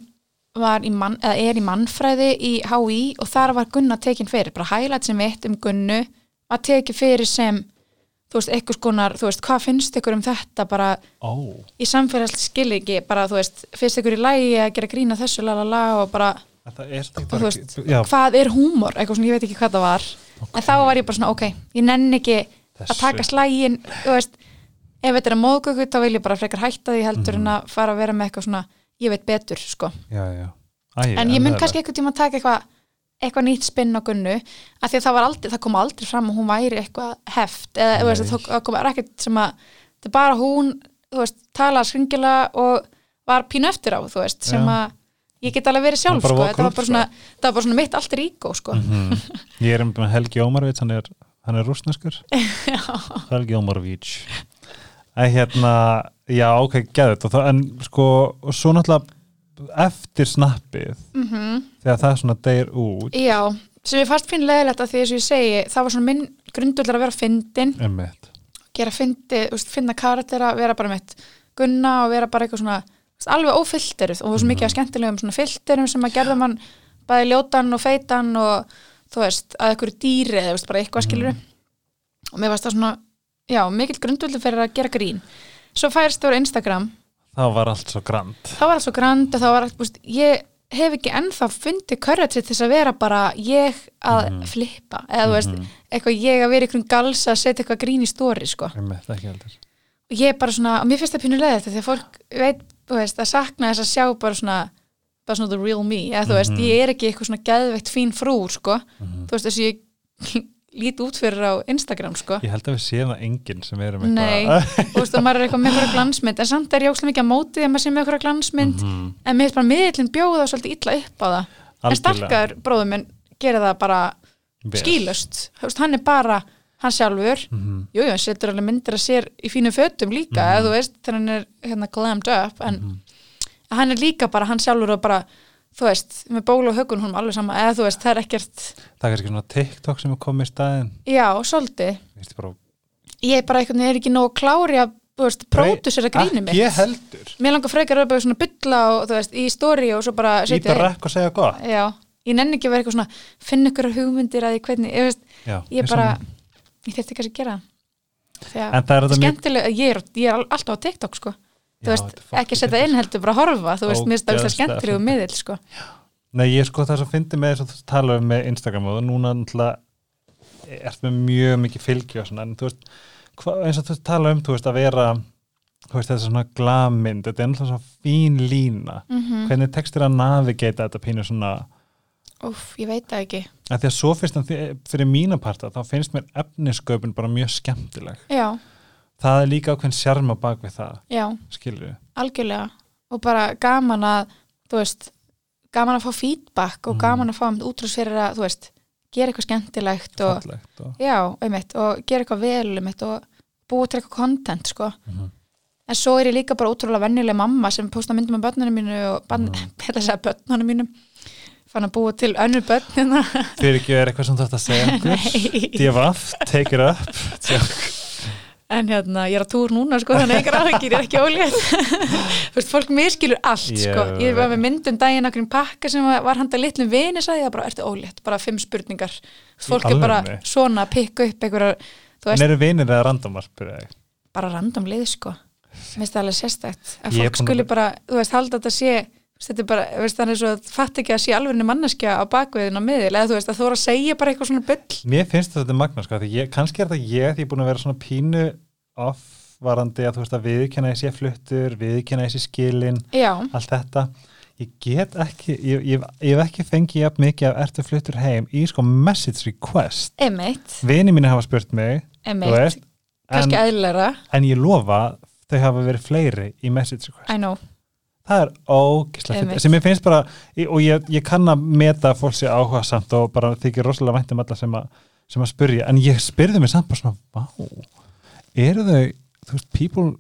S2: var í mann, eða er í mannfræði í HÍ og þar var Gunna tekin fyrir, bara highlight sem eitt um Gunnu að teki fyrir sem þú veist, eitthvað skonar, þú veist, hvað finnst ykkur um þetta bara
S1: Ó,
S2: í samfélagslega skilji ekki, bara þú veist, finnst ykkur í lægi að gera grína þessu la la la og bara,
S1: þetta er þetta ekki
S2: og þú
S1: bara
S2: veist,
S1: já,
S2: hvað er húmor, eitthvað svona, ég veit ekki hvað það var en þá var ég bara svona, ok, ég nenni ekki að
S1: Þessu.
S2: taka slægin, þú veist ef þetta er að móðgöku, þá vil ég bara frekar hætta því
S1: Mhm.
S2: heldur en að fara að vera með eitthvað svona ég veit betur, sko,
S1: já, já. Æ,
S2: en ég mun
S1: það er-
S2: kannski eitthvað tíma að taka eitthvað eitthvað nýtt spinn á Gunnu af því að það, var aldrei, það kom aldrei fram að hún væri eitthvað heft eða þú veist,
S1: Nei.
S2: það tók- það kom ekkert sem að það er bara hún, þú veist, tala skringilega og var pínu eftir á þú veist, sem
S1: Já.
S2: að ég get alveg verið sjálf
S1: Hún bara
S2: sko,
S1: walk
S2: þetta var
S1: out,
S2: bara
S1: sko.
S2: svona, það var bara svona mitt alter ego sko,
S1: Mhm. Ég er um með Helgi Ómarvits, hann er, hann er
S2: [laughs]
S1: rúsneskur Helgi Ómarvits En hérna, já, ok, geðut og það, en sko, og svo náttúrulega eftir snappið
S2: Mhm.
S1: -hmm. þegar það svona deyr út
S2: já, sem ég fast finn leðilegt að því eins og ég segi, það var svona minn grundvöldur að vera fyndin,
S1: einmitt,
S2: gera fyndi, þú veist, finna karaktera, vera bara mitt gunna og vera bara eitthvað svona þú veist, alveg ófilteruð og það var svo mikið af skemmtilegum svona filterum sem að gerða mann bæði ljótan og feitan og þú veist, að einhverju dýri eða þú veist, bara eitthvað skilur og mér varst það svona, já, mikill grundvöldur fyrir að gera grín svo færst það á Instagram
S1: það var allt svo grand
S2: þá var allt svo grand og þá var allt, þú veist, ég hef ekki ennþá fundið courage til þess að vera bara ég að flippa eða þú veist, eitthvað ég að vera í einhverjum galsa að setja eitthvað grín í stóri, sko
S1: einmitt, ekki heldur
S2: og ég er bara svona, og mér finnst það pínulega þetta því að fólk veit, þú veist, að sakna þess að sjá bara svona, bara svona the real me eða þú
S1: Mhm.
S2: veist, ég er ekki eitthvað svona geðveitt fín frú, sko, þú veist, þess að ég [laughs] lít út fyrir á Instagram, sko
S1: Ég held að við séum það enginn sem erum
S2: Nei, þú veist, og maður er eitthvað með einhverja glansmynd en samt er ég óslega mikið að móti því að maður sé með einhverja glansmynd
S1: Mhm.
S2: en mér finnst bara miðlinn bjóða svolítið illa upp á það en
S1: Algjörlega.
S2: starkaður bróður minn gerir það bara
S1: [laughs] Vel.
S2: skýlust, þú veist, hann er bara hann sjálfur, jú, jú, hann setur alveg myndir að sér í fínu fötum líka eða þú veist, þegar hann er hérna glammed up en hann er líka bara hann sjálfur og bara, þú veist, með ból og högun hún alveg sama, eða þú veist, það er ekkert
S1: Það er kannski svona TikTok sem er komið í staðin
S2: já, svolítið,
S1: Veistu bara
S2: ég bara einhvern veginn er ekki nóg klári að, þú veist, pródusir að gríni mitt
S1: Ég heldur
S2: mér langar frekar að bara svona bylla og þú veist, í stóri og svo bara
S1: Íta
S2: setja
S1: rekk og segja gott
S2: já, ég nenni ekki að vera eitthvað svona finna ykkur hugmyndir að því hvernig ég, veist,
S1: Já,
S2: ég
S1: ég
S2: bara,
S1: sammála.
S2: ég þurfti kannski að gera það Þegar,
S1: En það er þetta mjög-
S2: skemmtilega, ég er, ég er al- alltaf á TikTok sko,
S1: Já,
S2: þú veist,
S1: þetta er fucking
S2: ekki að setja inn heldur bara að horfa, þú veist, mér stakst það
S1: Ógeðslega
S2: skemmtilegu
S1: fyndið.
S2: miðil sko,
S1: Nei, ég sko það sem fyndi með þess að þú tala um með Instagram og núna náttúrulega ert með mjög mikið fylgi og svona en þú veist, hva, eins og þú tala um þú veist að vera þú veist, þessi svona glamind, þetta er náttúrulega svona fín lína, -hmm. hvernig tekstir að navigata þetta pínu svona
S2: úf, ég veit það ekki
S1: að því að svo finnst það fyrir mína parta þá finnst mér efnisköpun bara mjög skemmtileg
S2: já,
S1: það er líka ákveðin sjarma bak við það
S2: já,
S1: skilur við,
S2: algjörlega og bara gaman að, þú veist gaman að fá feedback og
S1: Mm.
S2: gaman að fá útrús fyrir að, þú veist, gera eitthvað skemmtilegt og
S1: fallegt og
S2: Já, einmitt, og gera eitthvað vel einmitt, og búa til eitthvað content sko. en svo er ég líka bara ótrúlega vennileg mamma sem posta myndum af börnunum mínu og börn, mm [laughs] að segja börnunum mínum fann að búa til önnur hérna. börnina
S1: fyrir ekki er eitthvað sem þú ætti að segja um
S2: Nei.
S1: okkur, divaf, take it up Tjók.
S2: [laughs] en hérna, ég er að túr núna sko, þannig að einhver aðeingir er ekki ólétt [laughs] Þú veist, fólk miskilur allt
S1: Ég
S2: sko. ég var
S1: veit.
S2: með myndum daginn okkur um pakka sem var handa litlum vini sagði það bara, ertu ólétt, bara fimm spurningar fólk er bara
S1: alvörunni?
S2: svona að pikka upp einhverjar, þú veist,
S1: en eru vinir eða randomar, spyrir ég
S2: bara random lið sko mér finnst það alveg sérstætt að
S1: Ég er
S2: fólk
S1: búin að
S2: skuli
S1: vera-
S2: bara, þú veist, halda að þetta sé þú veist, þetta er bara, þú veist, þannig svo að fatt ekki að sé alvegni manneskja á bakviðin á miðil eða þú veist að þú voru að segja bara eitthvað svona byll
S1: Mér finnst þetta magna sko, því ég, kannski er þetta ég því ég er búin að vera svona pínu offvarandi að þú veist að viðkenna þessi fluttur, viðkenna þessi skilin,
S2: já,
S1: allt þetta. Ég get ekki, ég, ég, ég hef ekki fengið jafn mikið af ertu fluttur heim í sko message request.
S2: emitt,
S1: Vini mínu hafa spurt mig,
S2: Einmitt.
S1: þú veist, en,
S2: kannski eðlera
S1: en ég lofa þau hafa verið fleiri í message request.
S2: I know,
S1: Það er ógislega
S2: Einmitt.
S1: fyrir, sem ég finnst bara, ég- og ég, ég kann að meta að fólk sé áhugasamt og bara þykir rosalega vænt um alla sem að, sem að spyrja, en ég spyrði mig samt bara svona, vá, eru þau, þú veist, people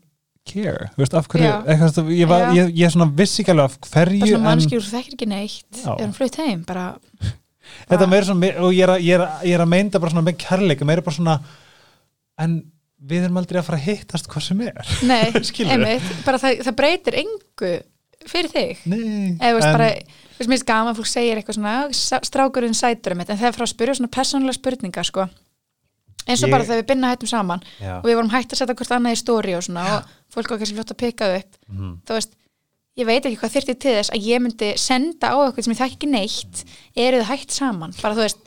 S1: care Þú veist, af hverju,
S2: Já.
S1: eitthvað, þú veist, ég, var,
S2: Já.
S1: ég, ég er svona viss ekki alveg af
S2: bara
S1: hverju
S2: svona
S1: en
S2: mannskjur þú þekkir ekki neitt
S1: Já.
S2: er hann flutt heim bara
S1: þetta meira svona, og ég er, að- ég er, að- ég er að meinda bara svona með kærleika, meira bara svona en við erum aldrei að fara að hittast hvað sem er
S2: nei,
S1: [laughs] Skilurðu?
S2: einmitt, bara það, það breytir engu fyrir þig
S1: Nei,
S2: eða þú veist
S1: en-
S2: bara þú veist, mér finnst gaman að fólk segir eitthvað svona "Sá- strákurinn sætur um þetta, en það er frá að spyrja svona persónulega spurninga sko eins og
S1: Ég-
S2: bara þegar við binna hættum saman
S1: Já.
S2: og við vorum hægt að setja hvort annað í stóri og svona og fólk var kannski fljótt að pikka upp
S1: Mhm.
S2: þú veist, ég veit ekki hvað þyrfti til þess að ég myndi senda á eitthvað sem ég þekki ekki neitt eru þið hægt saman bara þú veist,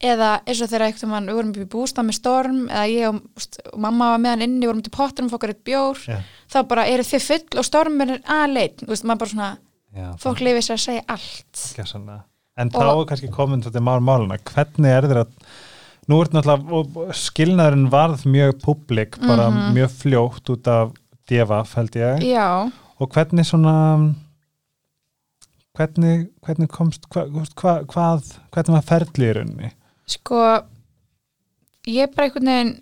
S2: eða eins og þegar eitthvað mann, við vorum upp í bústað með storm eða ég og, st- og mamma var með hann inni, við vorum til pottunum fokkar eitt bjór,
S1: Já.
S2: þá bara eru þið full og storm er aðleit, þú veist, maður bara svona
S1: Já,
S2: fólk lifið sér að segja allt
S1: Gjössanlega. En
S2: Og-
S1: þá er kannski komin þetta mál máluna, hvernig er þér að nú er náttúrulega og- og skilnaðurinn varð mjög publik, bara mjög fljótt út af devaf held ég
S2: já,
S1: og hvernig svona hvernig, hvernig komst hva, hva, hva, hvað, hvernig var ferli í rauninni
S2: sko ég bara einhvern veginn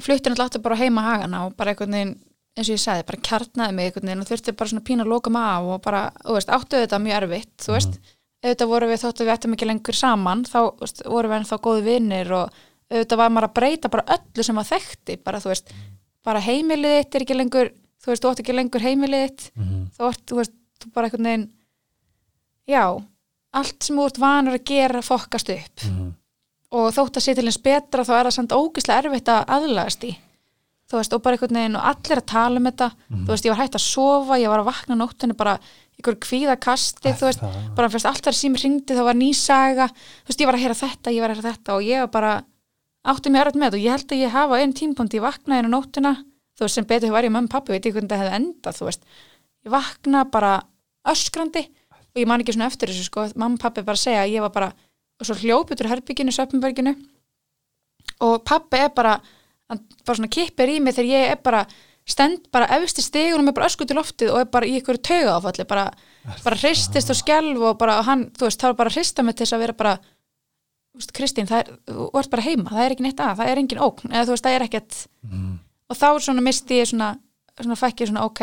S2: fluttir alltaf aftur bara heima að hagana og bara einhvern veginn, eins og ég sagði, bara kjarnaði mig einhvern veginn og þurfti bara svona pína að loka mig af og bara, þú veist, áttu þetta mjög erfitt þú veist, auðvitað vorum við þótt að við ættum ekki lengur saman, þá þú veist, vorum við ennþá góð vinnir og auðvitað var maður að breyta bara öllu sem maður þekkti, bara þú veist bara heimilið þitt er ekki lengur þú veist, þú átt ekki lengur heimilið þitt þú ert, þú veist, þú bara einhvern veginn já, allt sem þú ert vanur að gera fokkast upp og þótt að sé til eins betra þá er það samt ógislega erfitt að aðlagast í þú veist, og bara einhvern veginn og allir að tala um þetta, þú veist, ég var hægt að sofa ég var að vakna á nóttunni bara ykkur kvíðakasti, þú veist,
S1: það.
S2: bara fyrst alltaf sem ringdi þá var nýsaga þú veist, ég var að heyra þetta, ég var að heyra þetta og ég var bara átti mér örð með þetta og ég held að ég hafa einn tímpóndi, ég vaknaði inn á nóttina þú veist, sem betur var ég mömmu pappi, veit ég hvernig það hefði endað, þú veist, ég vakna bara öskrandi og ég man ekki svona eftir þessu, sko, mamma og pappi bara segja að ég var bara, og svo hljóputur herbygginu, söpnberginu og pappi er bara hann bara svona kippir í mig þegar ég er bara stend bara efst í stegunum er bara ösku til loftið og er bara í ykkur tauga áfalli bara, bara hristist og skelf og bara og hann, þú veist, þá er bara að hrista mig til þess að vera bara þú veist, Kristín, það er, þú ert bara heima það er ekki neitt að, það er engin ógn eða þú veist, það er ekkert og þá svona misti ég svona, svona fækki svona ok,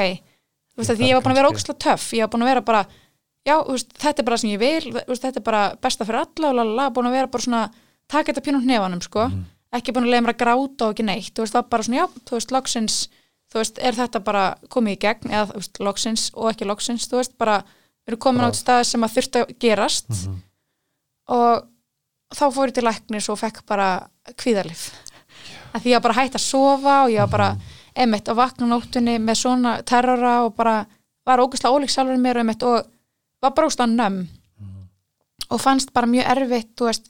S2: þú veist,
S1: Ég
S2: að því ég var búin að vera
S1: kannski-
S2: ógstlega töff, ég var búin að vera bara já, þú veist, þetta er bara sem ég vil þú veist, þetta er bara besta fyrir alla og lala, búin að vera bara svona, taka þetta pínum hnefanum sko, ekki búin að leiða mér að gráta og ekki neitt, þú veist, það bara svona, já, þú veist, loksins þú veist, er þetta bara komið í gegn eða, þú veist, loksins og ekki loksins þú veist, bara, við erum komin
S1: Bara-
S2: átt stað sem að þurft að gerast og þá fór ég til læknis og fekk bara kvíðarlif að því ég var bara hægt að sofa og ég var bara emitt og vakna á nóttunni með svona terrora og bara var ógæslega ólík sjálfur mér og emitt og var bara ógæslega nömm og fannst bara mjög erfitt þú veist,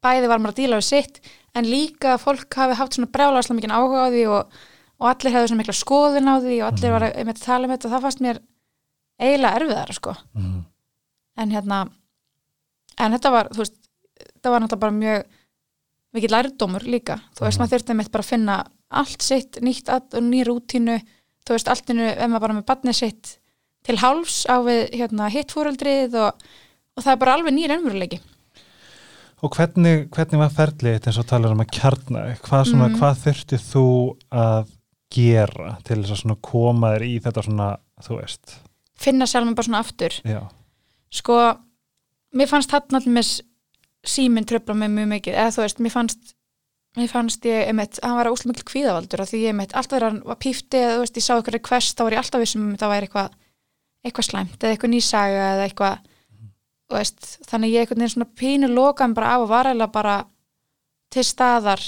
S2: bæði var maður að díla við sitt en líka að fólk hafi haft svona brjálagslega mikið áhuga á því og, og allir hefðu svona mikla skoðun á því og allir var einmitt að tala um þetta og það fannst mér eiginlega erfiðara sko
S1: Mhm.
S2: en hérna en þetta var, þú veist, þetta var náttúrulega bara mjög mikið lærdómur líka þú veist, maður þurfti einmitt bara að finna allt sitt, nýtt að, og ný rútínu þú veist, allt innu, ef maður bara með barnið sitt til hálfs á við hérna, hitt fóreldrið og, og það er bara alveg nýr ennveruleiki
S1: og hvernig, hvernig var ferli þetta eins og talar um að kjarna þig? hvað, svona, hvað þurfti þú að gera til þess að svona koma þér í þetta svona, þú veist
S2: finna sjálfum bara svona aftur
S1: já,
S2: sko, mér fannst hann allir með síminn tröfla mig mjög mikið eða þú veist, mér fannst mér fannst ég, einmitt, hann var óslega mikil kvíðavaldur af því ég, einmitt, alltaf þegar hann var pífti eða þú veist, ég sá eitthvað request, þá var ég alltaf vissum um það væri eitthvað, eitthvað slæmt eða eitthvað nýsaga eða eitthvað þú veist, þannig ég einhvern veginn svona pínu lokaðan bara af og var eiginlega bara til staðar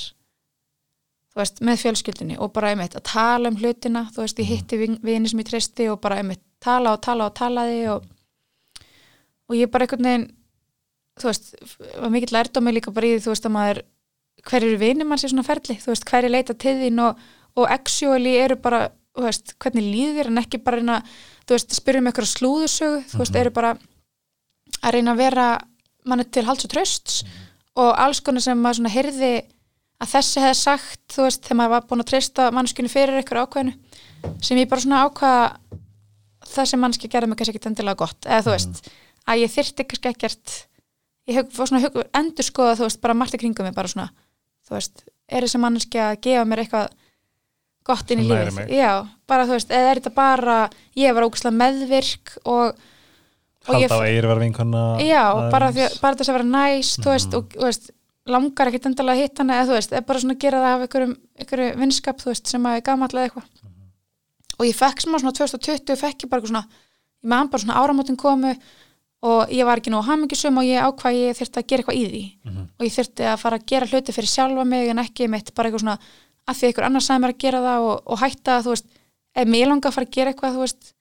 S2: þú veist, með fjölskyldinni og bara einmitt að tala um hlutina, þú veist, ég hitti vin- vini sem ég treysti og bara einmitt tala og tala og talaði og og ég bara einhvern veginn þú veist, var mikill lærdómi líka bara í því, þú veist, að maður hver eru vinir manns í svona ferli, þú veist, hver er leita til þín og, og actually eru bara þú veist, hvernig líður þér en ekki bara reyna, þú veist, spyrjum eitthvað slúðusögu þú veist, eru bara að reyna að vera manni til halds og trösts
S1: Mhm.
S2: og alls konar sem maður svona heyrði að þessi hefði sagt, þú veist, þegar maður var búin að treysta mannskjunni fyrir eitthvað ákveðinu sem ég bara svona ákvaða það sem mannskja gerði mig kannski ekki endilega gott eða
S1: Mhm.
S2: þú veist, að ég þyrfti kannski ekkert ég hug, fór svona hug, endur skoða þú veist, bara margt í kringum mig bara svona, þú veist, er þessi mannskja að gefa mér eitthvað gott inn í
S1: Læri
S2: lífið
S1: mig.
S2: já, bara þú veist, eða er þetta bara ég var ógustlega meðvirk og, og
S1: halda á eigir verða vinkona
S2: já, bara, því,
S1: aðeins.
S2: bara þess að vera næs þú veist, og þú veist, langar ekkit endalega að hitta hana eða þú veist, eða bara svona gera það af einhverjum, einhverju vinskap, þú veist, sem að er gamall eða eitthvað og ég fekk smá svona 2020 fekk ég bara eitthvað svona, ég maður bara svona áramótin komu og ég var ekki nú hamingjusum og ég ákvað ég þyrfti að gera eitthvað í því og ég þyrfti að fara að gera hluti fyrir sjálfa mig en ekki mitt bara eitthvað svona að því eitthvað annars sagði mér að gera það og, og hætta þú veist, ef mér langar að fara að gera eitthvað þú veist,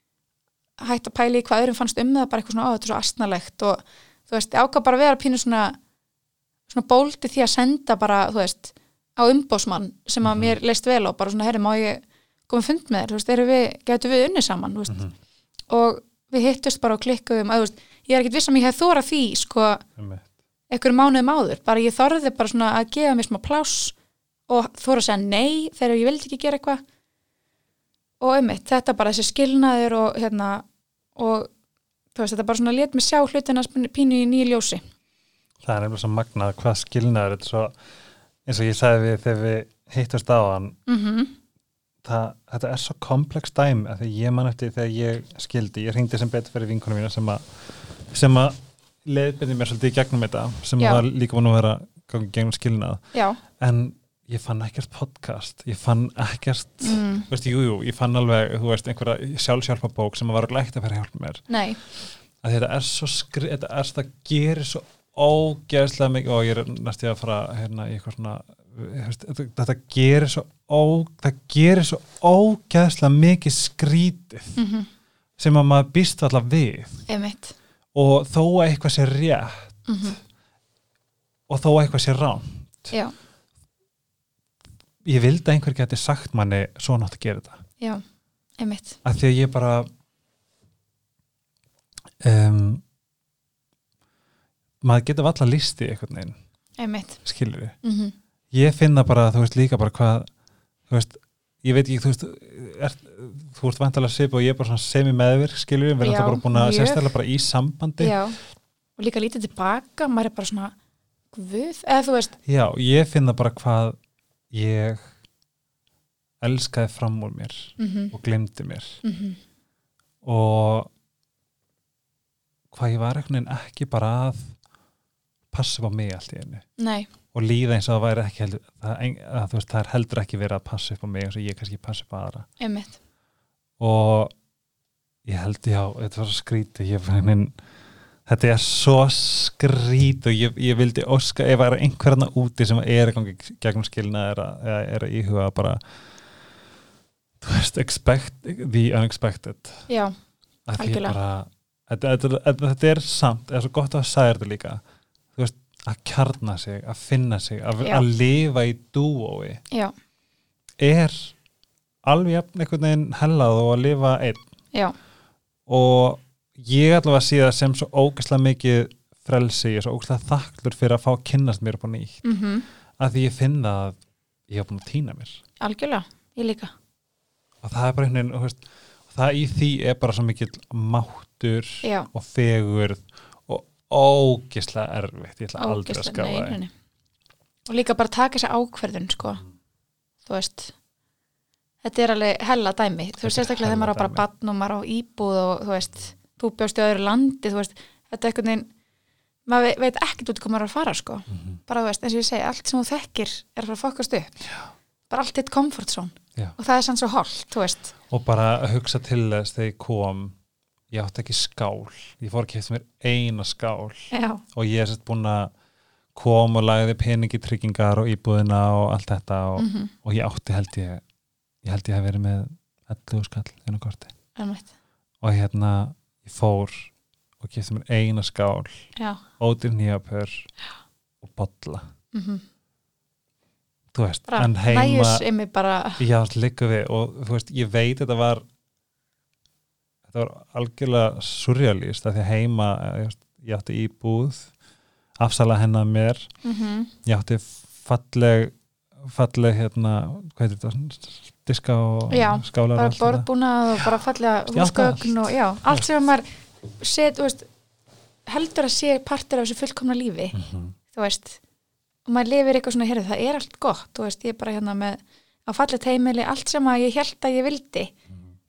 S2: hætt að pæla í hvað öðrum fannst um það bara eitthvað svona, ó, þetta er svo astnalegt og þú veist, ég ákvað bara að vera pínu svona svona bóldi því að senda bara, þú veist, á umbósmann sem að mér leist vel á, bara svona, herri, má ég koma að fund með þér, þú veist, erum við getum við unni saman, þú veist og við hittust bara og klikkuðum að, þú veist, ég er ekkit viss um að ég hef þóra því, sko
S1: Einmitt.
S2: einhverjum mánuðum um áður, bara ég þorði bara svona að gefa mér smá pláss og þóra að segja nei þegar ég vildi ekki gera eitthvað og einmitt, þetta bara þessi skilnaður og hérna og þú veist, þetta bara svona lét mig sjá hlutina pínu í nýju ljósi
S1: það er nefnilega svo magnað hvað skilnaður þetta er svo, eins og ég sagði við þegar við hittumst á hann
S2: mm -hmm.
S1: það, þetta er svo komplex dæm að því ég man eftir þegar ég skildi ég hringdi sem betur fyrir vinkunum mína sem að sem að leiðbyrði mér svolítið í gegnum þetta sem
S2: Já.
S1: var líka búin að vera gangi í gegnum skilnað
S2: Já,
S1: en ég fann ekkert podcast ég fann ekkert
S2: mm.
S1: Þú veist, jú, jú, ég fann alveg, þú veist, einhverja sjálfsjálfabók sem var glægt að vera hjálp mér
S2: nei
S1: að þetta er svo skri, þetta er svo, það gerir svo ógeðslega mikið og ég er næst ég að fara hérna í eitthvað svona þú veist, þetta, þetta gerir svo ó, það gerir svo ógeðslega mikið skrítið
S2: Mhm.
S1: sem að maður býst alltaf við
S2: einmitt,
S1: og þó að eitthvað sé rétt
S2: Mhm.
S1: og þó að eitthvað sé rám
S2: já,
S1: ég vildi að einhver geti sagt manni svona átt að gera þetta
S2: já, einmitt
S1: að því að ég bara um, maður getur valla listi einhvern veginn,
S2: einmitt,
S1: skilur við
S2: mm -hmm.
S1: ég finna bara, þú veist, líka bara hvað þú veist, ég veit ekki, þú veist er, þú ert vantalega sip og ég er bara svona semi meðvirk, skilur við, við erum
S2: Já,
S1: þetta bara búin að
S2: mjög.
S1: sérstæðlega bara í sambandi
S2: já og líka lítið tilbaka, maður er bara svona guð, eða þú veist,
S1: Já, ég finna bara hvað ég elskaði fram úr mér
S2: mm -hmm.
S1: og glemdi mér
S2: Mhm.
S1: og hvað ég var einhvern veginn ekki bara að passa upp á mig allt í einu
S2: nei
S1: og líða eins og það væri ekki heldur það, ein- að, þú veist, það er heldur ekki verið að passa upp á mig eins og ég kannski passa upp á aðra
S2: einmitt,
S1: og ég held já, þetta var svo skrítið ég var einhvern veginn Þetta er svo skrít og ég, ég vildi óska ef það er einhverjarna úti sem er í gangi gegnum skilna er að, eða er að íhuga bara þú veist, expect the unexpected
S2: já,
S1: að því
S2: Algjörlega.
S1: bara þetta, þetta, þetta, þetta er samt, það er svo gott að sagði þetta líka þú veist, að kjarna sig að finna sig, að,
S2: Já.
S1: að lifa í dúói
S2: já,
S1: er alveg jafn einhvern veginn hellað og að lifa einn
S2: já
S1: og ég allavega sé það sem svo ógæslega mikið frelsi, ég er svo ógæslega þakklur fyrir að fá að kynnast mér upp á nýtt
S2: mm
S1: að því ég finna að ég hef búin að týna mér
S2: algjörlega, ég líka
S1: og það er bara einhvern veginn þú veist, og það í því er bara svo mikill máttur
S2: Já.
S1: og fegurð og ógislega erfitt ég ætla aldrei að
S2: Ógeðslega-
S1: skáfa
S2: nei, nei,
S1: það
S2: nei. og líka bara taka þessa ákverðun sko.
S1: Mm.
S2: þú veist þetta er alveg hella dæmi þú veist
S1: Þetta er
S2: sérstaklega þegar
S1: hella
S2: maður á bara
S1: dæmi.
S2: bann og maður á íbúð og þú veist, þú bjóst í öðru landi þú veist, þetta er einhvern veginn maður ve- veit ekkert út hvað maður er að fara sko.
S1: Mhm.
S2: bara þú veist, eins og ég segi, allt sem þú þekkir er að fara að fokast upp Já. bara allt þitt comfort zone
S1: Já.
S2: og það er sann svo holt, þú veist
S1: og bara að hugsa til þess þegar ég kom ég átti ekki skál ég fór að kefta mér eina skál
S2: Já,
S1: og ég er sérst búin að kom og lagði peningi tryggingar og íbúðina og allt þetta og, og ég átti held ég ég held ég að verið með 11 skall einu korti
S2: ennvægt
S1: og hérna ég fór og kefti mér eina skál
S2: Já,
S1: ódýr nýjapör og bolla
S2: mm
S1: þú veist,
S2: bara
S1: en heima
S2: nægjus ymi bara,
S1: já, líka við og þú veist, ég veit þetta var þetta var algjörlega surrealist af því að heima ég, veist, ég átti íbúð afsala hennar mér
S2: mm
S1: ég átti falleg falleg hérna hvað heitir þetta, diska og
S2: Já,
S1: skálar og
S2: bara
S1: allt þetta.
S2: borðbúnað og bara fallega
S1: Ég átti
S2: húsgögn og já, allt sem að maður set, þú veist, heldur að sé partur af þessu fullkomna lífi þú veist, og maður lifir eitthvað svona, heyrðu, það er allt gott þú veist, ég er bara hérna með á fallet heimili, allt sem að ég held að ég vildi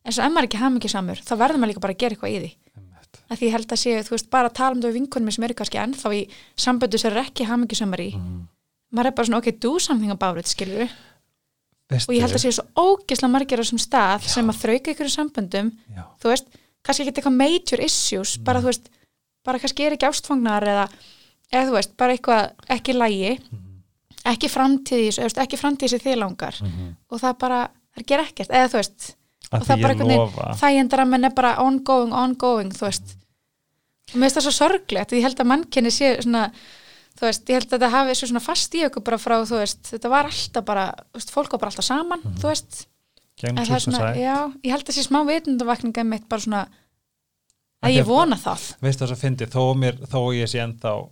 S2: en svo ef maður er ekki hamingi samur þá verður maður líka bara að gera eitthvað í því
S1: Einmitt.
S2: að því ég held að séu, þú veist, bara að tala um þau vinkunum sem eru kannski ennþá í samböndu sem eru ekki hamingi samar í
S1: Mhm.
S2: maður er bara svona, ok, do something about it, skilur og ég held að séu svo ógislega margir á þessum stað sem að þrauka ykkur samböndum
S1: Já,
S2: þú veist, kannski ekki eitthvað major issues
S1: Mm.
S2: bara þú veist, bara kannski er ekki ástfangnar eða, eða þú veist, bara eitthvað ekki lægi
S1: Mm.
S2: ekki framtíðis, eða þú veist, ekki framtíðis í þið langar og það bara, það ger ekkert eða þú veist,
S1: Að
S2: og það
S1: Mhm. því
S2: bara
S1: ég lofa. Mm.
S2: þægjendara menn er bara ongoing, ongoing þú veist, og mér finnst það svo sorglegt því ég held að mannkenni sé svona þú veist, ég held að þetta hafi svo svona fast í okkur bara frá, þú veist, þetta var alltaf bara þú veist, fólk var bara alltaf saman,
S1: Mm.
S2: þú veist
S1: gegnum
S2: En það er
S1: klúsna
S2: svona,
S1: sæ
S2: já, ég held að sé smá vitundavakninga mitt bara svona
S1: Af
S2: að
S1: því
S2: ég
S1: að- hérna-
S2: vona það
S1: Veist það svo fyndi, þó, að mér, þó að ég sé ennþá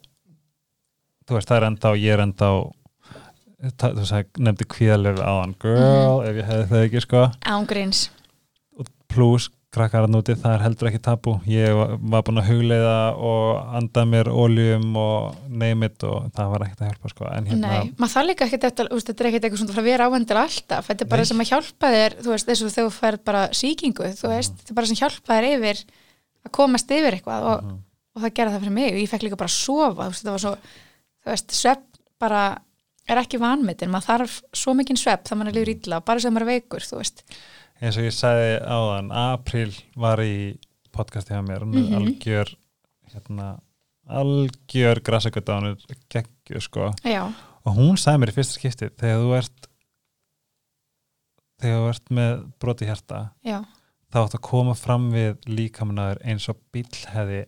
S1: þú veist, það er ennþá ég er ennþá það, þú sagði, nefndi kvíðalöf áðan girl,
S2: Mhm.
S1: ef ég hefði það ekki sko
S2: ángríns,
S1: pluss krakkarinn úti, það er heldur ekki tabu ég var- var búin að hugleiða og anda mér oljum og neymit og það var ekkert að hjálpa sko. en hérna,
S2: nei, maður þarf líka ekkert þetta, úst, þetta er ekkert eitthvað svona frá að vera ávendur alltaf þetta er bara
S1: Nei.
S2: sem að hjálpa þér, þú veist, eins og þegar þú færð bara sýkingu, þú veist, þetta er bara sem hjálpa þér yfir að komast yfir eitthvað og, og það gera það fyrir mig, ég fekk líka bara að sofa, þú veist, það var svo þú veist, svepp bara er ekki vanmetin, maður þarf svo mikinn svepp það mann er líður illa, bara sem maður er veikur, þú veist
S1: eins og ég sagði áðan april var í podcasti hjá mér, hún er algjör hérna, algjör grassakvita, hún er geggju sko
S2: já,
S1: og hún sagði mér í fyrsta skipti þegar þú ert þegar þú ert með broti hjarta
S2: já,
S1: þá átt að koma fram við líkamunaður eins og bíll hefði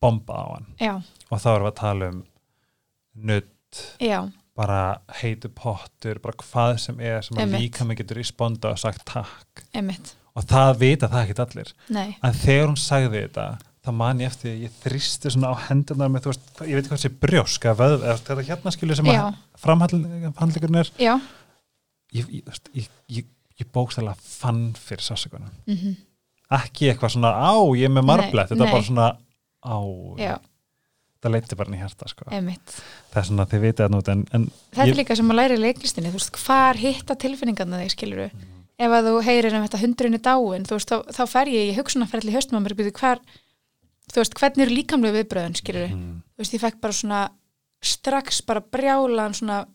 S1: bomba á hann
S2: já,
S1: og þá erum við að tala um nutt,
S2: já,
S1: bara heitu pottur, bara hvað sem er sem að
S2: Einmitt.
S1: líka mig getur responda og sagt takk
S2: einmitt
S1: og það vita það ekkert allir
S2: nei
S1: en þegar hún sagði þetta þá man ég eftir því að ég þrýsti svona á hendurnar með, þú veist, ég veit ekki hvað sé brjósk eða vöð, eða þetta hérna skilur sem
S2: Já.
S1: að framhandleikurinn er
S2: Já,
S1: ég, ég, þú veist, ég, ég, ég bókstælega fann fyrir sásakunum -hmm. ekki eitthvað svona á, ég er með marblett þetta
S2: nei.
S1: var bara svona á
S2: já,
S1: það leiti bara inn í hjarta sko.
S2: einmitt.
S1: það er svona þið vitið að nút en, en
S2: Þetta
S1: ég-
S2: er líka sem að læra í leiklistinni, þú veist, hvar hitta tilfinningarna þig, skilur við? Ef að þú heyrir um þetta hundrinu dáin, þú veist, þá, þá fer ég í hugsunarferðli haustum að mér byrju hvar, þú veist, hvernig eru líkamlegu viðbröðin, skilur við? Þú veist, ég fekk bara svona strax bara brjálan svona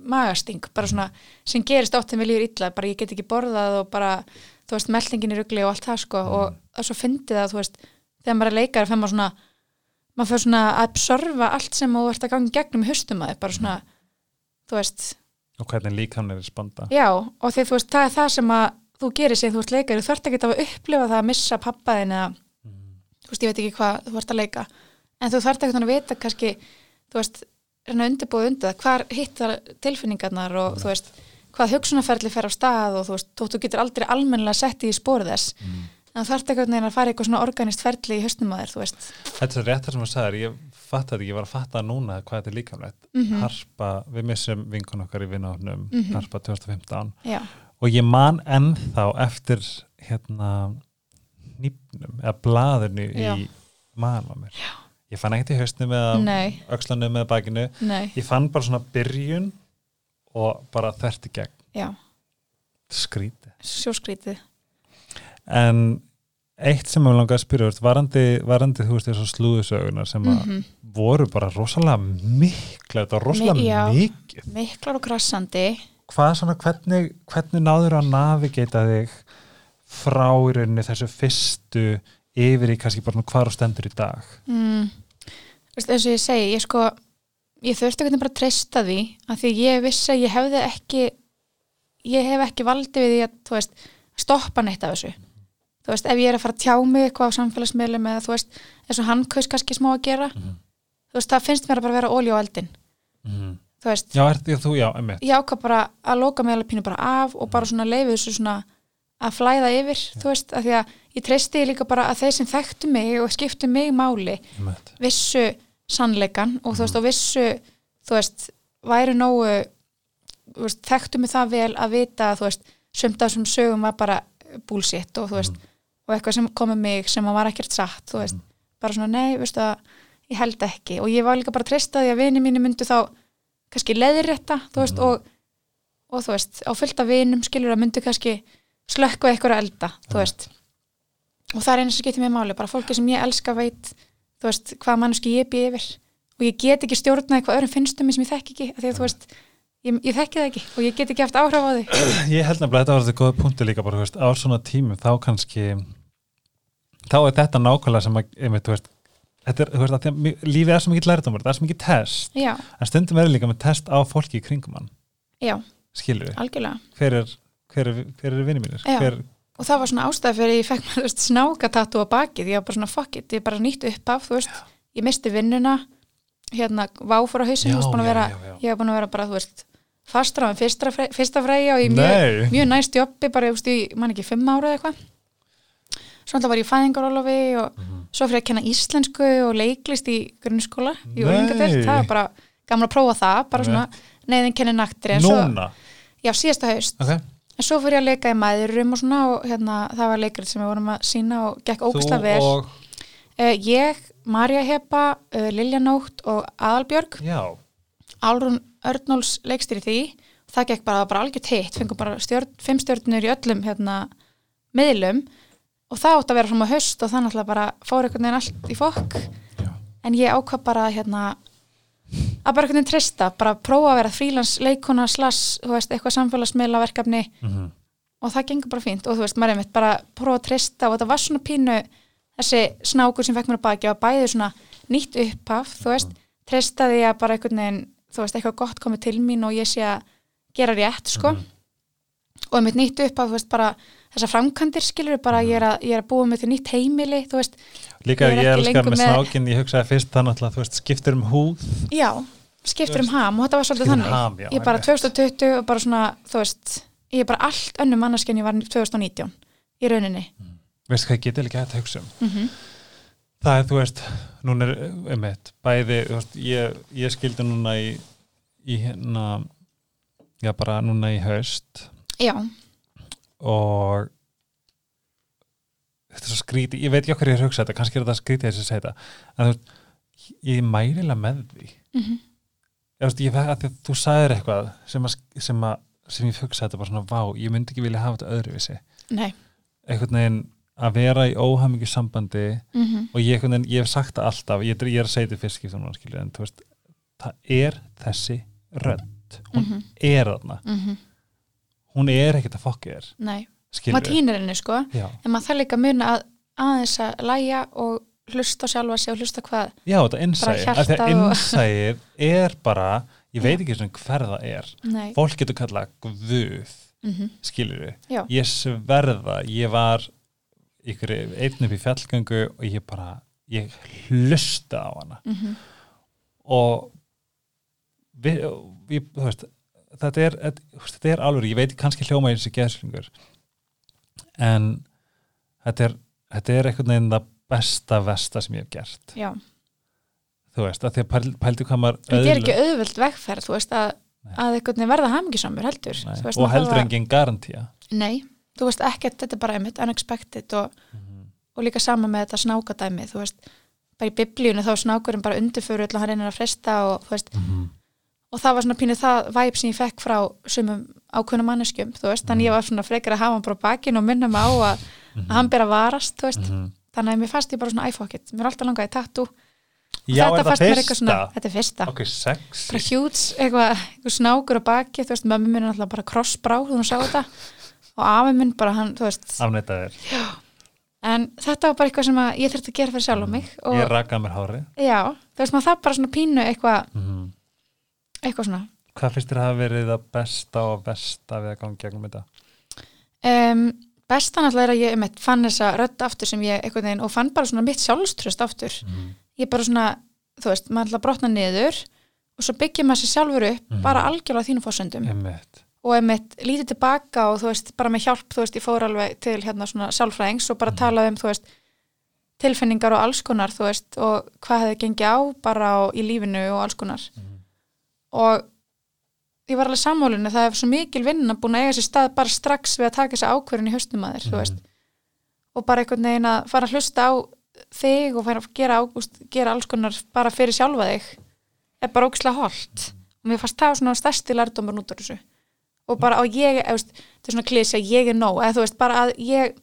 S2: magasting, bara svona sem gerist oft þegar mér líður illa, bara ég get ekki borðað og bara, þú veist, meldingin í rugli og allt það, sko, og það er svo fyndið að, þú veist, þegar maður er leikar, fer maður svona maður fyrir svona að absorfa allt sem þú ert að ganga í gegnum í haustum að þér, bara svona þú veist,
S1: og hvernig líkamlega responda
S2: já og því þú veist, það er það sem að þú gerir sér, þú ert leikari, þú ert ekki að upplifa það að missa pappa þinn eða þú veist, ég veit ekki hvað þú ert að leika en þú þarft ekki að vita kannski þú veist, reyna undirbúið undir það hvar hittar tilfinningarnar og þú veist, hvað hugsunarferðli fer á stað og þú veist, þú, þú getur aldrei almennilega sett í spór þess en þú þarft ekki að fara í eitthvað svona organist ferli í haustum að þér, þú veist
S1: Þetta er rétt það sem þú sagðir, ég fatt þetta ekki, ég var að fatta núna hvað þetta er líkamlegt
S2: Mhm.
S1: Harpa, við missum vinkun okkar í vinahofnum Harpa 2015
S2: já,
S1: og ég man ennþá eftir hérna nýpnum eða blaðurnu
S2: Já.
S1: í manum á mér Já. ég fann ekkert í hausnum eða
S2: Nei.
S1: öxlanum eða bakinu
S2: nei,
S1: ég fann bara svona byrjun og bara þvert í gegn
S2: já,
S1: skríti
S2: sjóskrítið
S1: en eitt sem ég langaði að spyrja þú veist, varandi, varandi þú veist þessu slúðusögunar sem að
S2: Mhm.
S1: voru bara rosalega mikla þetta var
S2: Mi-
S1: rosalega
S2: já.
S1: mikið
S2: miklar og krassandi
S1: hvað svona, hvernig, hvernig náður að navigata þig frá í rauninni þessu fyrstu yfir í kannski bara svona hvar og stendur í dag
S2: mm. Vist, eins og ég segi ég sko, ég þurfti ekki bara að treysta því að því ég vissi að ég hefði ekki ég hef ekki valdi við því að þú veist, stoppa neitt af þessu þú veist, ef ég er að fara að tjá mig eitthvað á samfélagsmiðlum eða þú veist, eins og hann kaus kannski smá að gera þú veist, það finnst mér að bara vera ólí á eldin
S1: mm.
S2: þú veist,
S1: já, ert því að þú, já, emmitt
S2: ég ákvað bara að loka mig alveg pínu bara af og bara svona leiði þessu svona að flæða yfir, þú veist, af því að ég treysti líka bara að þeir sem þekktu mig og skiptu mig máli,
S1: emmitt,
S2: vissu sannleikan og þú veist, og vissu þú veist, væri nógu þú veist, þekktu mig það vel að vita að þú veist, sumt af þessum sögum var bara búlsitt og þú veist og eitthvað sem komið mig sem að var ekkert satt þú veist, bara svona nei, veistu að ég held ekki og ég var líka bara treysta því að vini mínu myndu þá kannski leðir þetta, þú veist, og og þú veist, á fullt af vinum skilur að myndu kannski slökkva eitthvað að elda, þú veist og það er eins og getur mér máli, bara fólki sem ég elska veit, þú veist, hvað manneski ég bý yfir og ég get ekki stjórnað eitthvað öðrum finnst um mig sem ég þekki ekki, af því að þú veist ég, ég þekki það ekki og ég get ekki haft áhrif á því
S1: Ég held nefnilega að þetta var þetta góða punkti líka bara, þú veist, á svona tímum þá kannski þá er þetta nákvæmlega sem að, einmitt, þú veist, þetta er, þú veist, að því að mi- lífið er svo mikið lærdómur, það er svo mikið test
S2: Já,
S1: en stundum er líka með test á fólki í kringum hann,
S2: já,
S1: skilur við
S2: algjörlega
S1: hver er, hver er, hver er vinni mínir
S2: Já.
S1: hver,
S2: og það var svona ástæða fyrir ég fekk [laughs] maður þú veist, snákatatú á bakið, ég var bara svona fuck it, ég bara nýtt upp af, þú veist ég misti vinnuna, hérna váfór á hausinu,
S1: Já,
S2: þú veist, búin
S1: já,
S2: að vera
S1: já, já.
S2: ég var búin að vera bara, þú veist fastra á en fyrsta, fre- fyrsta fræja og ég
S1: Nei.
S2: mjög, mjög næst jobbi, bara, þú veist, ég man ekki fimm ára eða eitthvað svo alltaf var ég í fæðingarólofi og
S1: Mhm.
S2: svo fyrir að kenna íslensku og leiklist í grunnskóla í
S1: Nei.
S2: úlingadelt, það var bara gaman að prófa það, bara
S1: Nei.
S2: svona neyðin kenni naktri en svo,
S1: núna,
S2: já, síðasta haust
S1: ok
S2: En svo fyrir ég að leika í maðurum og svona og hérna, það var leikrið sem við vorum að sína og gekk ógustlega vel. Og...
S1: og,
S2: ég, Marja Hepa, uh, Lilja Nótt og Aðalbjörg,
S1: já,
S2: Álrún Örnóls leikstýri því. Það gekk bara, það var bara algjört hitt, fengum bara stjörn, fimm stjörnur í öllum hérna, miðlum og það átt að vera fram á haust og þannig að bara fór einhvern veginn allt í fokk.
S1: já,
S2: En ég ákvað bara hérna, að bara einhvern veginn treysta, bara prófa að vera frílans leikona slass, þú veist, eitthvað samfélagsmiðla
S1: mhm,
S2: og það gengur bara fínt og þú veist, maður er mitt bara að prófa að treysta og þetta var svona pínu þessi snákur sem fekk mér að baki og bæði svona nýtt upphaf, þú veist treystaði ég að bara einhvern veginn þú veist, eitthvað gott komið til mín og ég sé að gera rétt, sko og mitt nýtt upphaf, þú veist, bara þessar framkantir skilur bara, ég er að, ég er að búa mig til nýtt heimili, þú veist,
S1: líka
S2: Ég er
S1: ég,
S2: ekki
S1: elskar
S2: lengur
S1: með
S2: með-
S1: snákinn, ég hugsaði fyrst það náttúrulega, þú veist, skiptir um húð
S2: já skiptur um ham og þetta var svolítið
S1: Skiptir um
S2: þannig
S1: ham, já,
S2: ég bara
S1: einmitt.
S2: 2020 og bara svona, þú veist ég er bara allt önnum manneskinn ég var 2019 í rauninni
S1: Mm.
S2: Mhm.
S1: veist hvað ég geti líka hægt að hugsa um það er, þú veist, núna er einmitt, bæði, þú veist, ég, ég skildi núna í, í hérna já, bara núna í haust
S2: já,
S1: og þetta er svo skríti, ég veit ekki okkur ég er að hugsa þetta, kannski er þetta skrítið þess að segja þetta en þú veist, ég er mærilega með því mm
S2: Mhm.
S1: ég, veist, ég, að því að þú sagðir eitthvað sem að, sem að sem ég hugsaði þetta bara svona, vá, ég myndi ekki vilja hafa þetta öðruvísi
S2: nei
S1: einhvern veginn að vera í óhamingju sambandi
S2: mm
S1: og ég, einhvern veginn, ég hef sagt það alltaf ég, ég er að segja þetta fyrst skipt núna, skilurðu, en þú veist, það er þessi rödd hún er þarna
S2: Mhm.
S1: hún er ekkert að fokka þér
S2: Nei,
S1: skilur
S2: maður týnir henni sko
S1: já.
S2: en maður þarf líka að muna að aðeins að læja og hlusta á sjálfa sig og hlusta hvað
S1: já, þetta innsæði
S2: Bara
S1: af því að
S2: hjartað og-
S1: innsæðið er bara ég veit ekki svona hver það er
S2: Nei,
S1: fólk getur kallað guð
S2: mm -hmm.
S1: skilur við,
S2: Já.
S1: ég sverða ég var ykkur einn upp í fjallgöngu og ég bara ég hlusta á hana
S2: Mhm.
S1: og við, við, þú veist þetta er, þetta, þú veist, þetta er alveg ég veit kannski hljóma eins og geðslingur en þetta er, þetta er einhvern veginn það besta versta sem ég hef gert
S2: já
S1: þú veist, að því að pæl- pældu hvað maður
S2: Þetta er
S1: öðlu-
S2: ekki auðvöld vegferð, þú veist að
S1: Nei.
S2: að einhvern veginn verða hamingisamur heldur
S1: Nei,
S2: Þú veist,
S1: og
S2: maður
S1: heldur
S2: þarf að-
S1: engin garantía
S2: Nei, þú veist ekkert, þetta er bara einmitt unexpected og, og líka sama með þetta snákadæmi þú veist, bara í biblíunni þá er snákurinn bara undirföru og hann reynir að fresta og þú veist, og það var svona pínu það væp sem ég fekk frá sumum ákveðnum manneskjum, þú veist, þannig ég var svona frekar að hafa hann bara á bakinu og minna mig á að, að hann ber að varast, þú veist
S1: Mhm.
S2: þannig að mér fannst ég bara svona æfókitt, mér er alltaf langað í tattu og
S1: já,
S2: þetta
S1: er það
S2: fannst mér eitthvað svona,
S1: fyrsta?
S2: þetta er fyrsta
S1: ok, sexy
S2: bara hjúts, eitthvað, eitthvað snákur á baki þú veist, mömmu minn er alltaf bara krossbrá þú sá þetta, og afi minn bara hann, þú veist,
S1: afneitað þér,
S2: en þetta var bara eitthvað sem að ég þurfti að gera fyrir sjálf á mig og,
S1: Mhm. ég rakaði mér hárið
S2: já, þú veist, maður það bara svona pínu eitthvað,
S1: Mhm.
S2: eitthvað svona
S1: Hvað finnst þér að hafa verið það besta og besta við að ganga í gegnum þetta?
S2: um, besta náttúrulega er að ég um fann þessa rödd aftur sem ég einhvern veginn og fann bara svona mitt sjálfströst aftur
S1: Mhm.
S2: ég bara svona, þú veist, maður ætla að brotna niður og svo byggja maður sér sjálfur upp
S1: Mhm.
S2: bara algjörlega á þínum fórsöndum
S1: Einmitt.
S2: og einmitt lítið tilbaka og þú veist, bara með hjálp, þú veist, ég fór alveg til hérna svona sálfræðings og bara talaði um, þú veist, tilfinningar og alls konar, þú veist, og hvað hefði gengið á bara á, í lífinu og alls konar og ég var alveg sammálinu, það er svo mikil vinna búin að eiga sér stað bara strax við að taka þessa ákvörðin í haustum að þér, þú veist og bara einhvern veginn að fara að hlusta á þig og fara að gera, ágúst, gera alls konar bara fyrir sjálfa þig er bara ógislega holdt og mér fannst það svona stærsti lærdómur út úr þessu og bara á ég, eða, þú veist, þetta er svona klísja ég er nóg, eða þú veist, bara að ég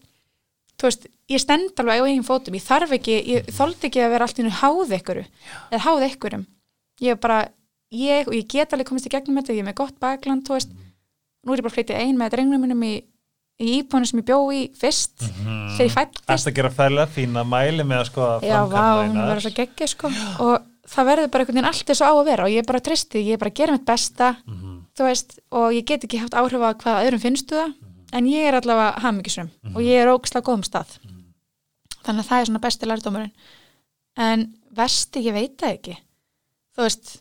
S2: þú veist, ég stend alveg á eigin fótum ég þarf ekki, ég þoldi ekki að vera allt í nú háð ykkur, eða háð ykkurum ég er bara, ég og ég get alveg komist í gegnum þetta, ég er með gott bakland þú veist, nú er ég bara flyttið ein með drengnum minnum í, í íbúinu sem ég bjó í fyrst, þegar ég fættist
S1: Æst að gera fælega fína mæli með að sko
S2: já, vá, hún verður svo geggja sko og það verður bara einhvern veginn allt eins og á að vera og ég er bara tristi, ég er bara að gera mitt besta
S1: Mhm.
S2: þú veist, og ég get ekki haft áhrif á hvað öðrum finnstu það, en ég er allavega hamingisum og ég er ógislega góðum stað þannig að það er svona besti lærdómurinn en vesti, ég veit það ekki þú veist,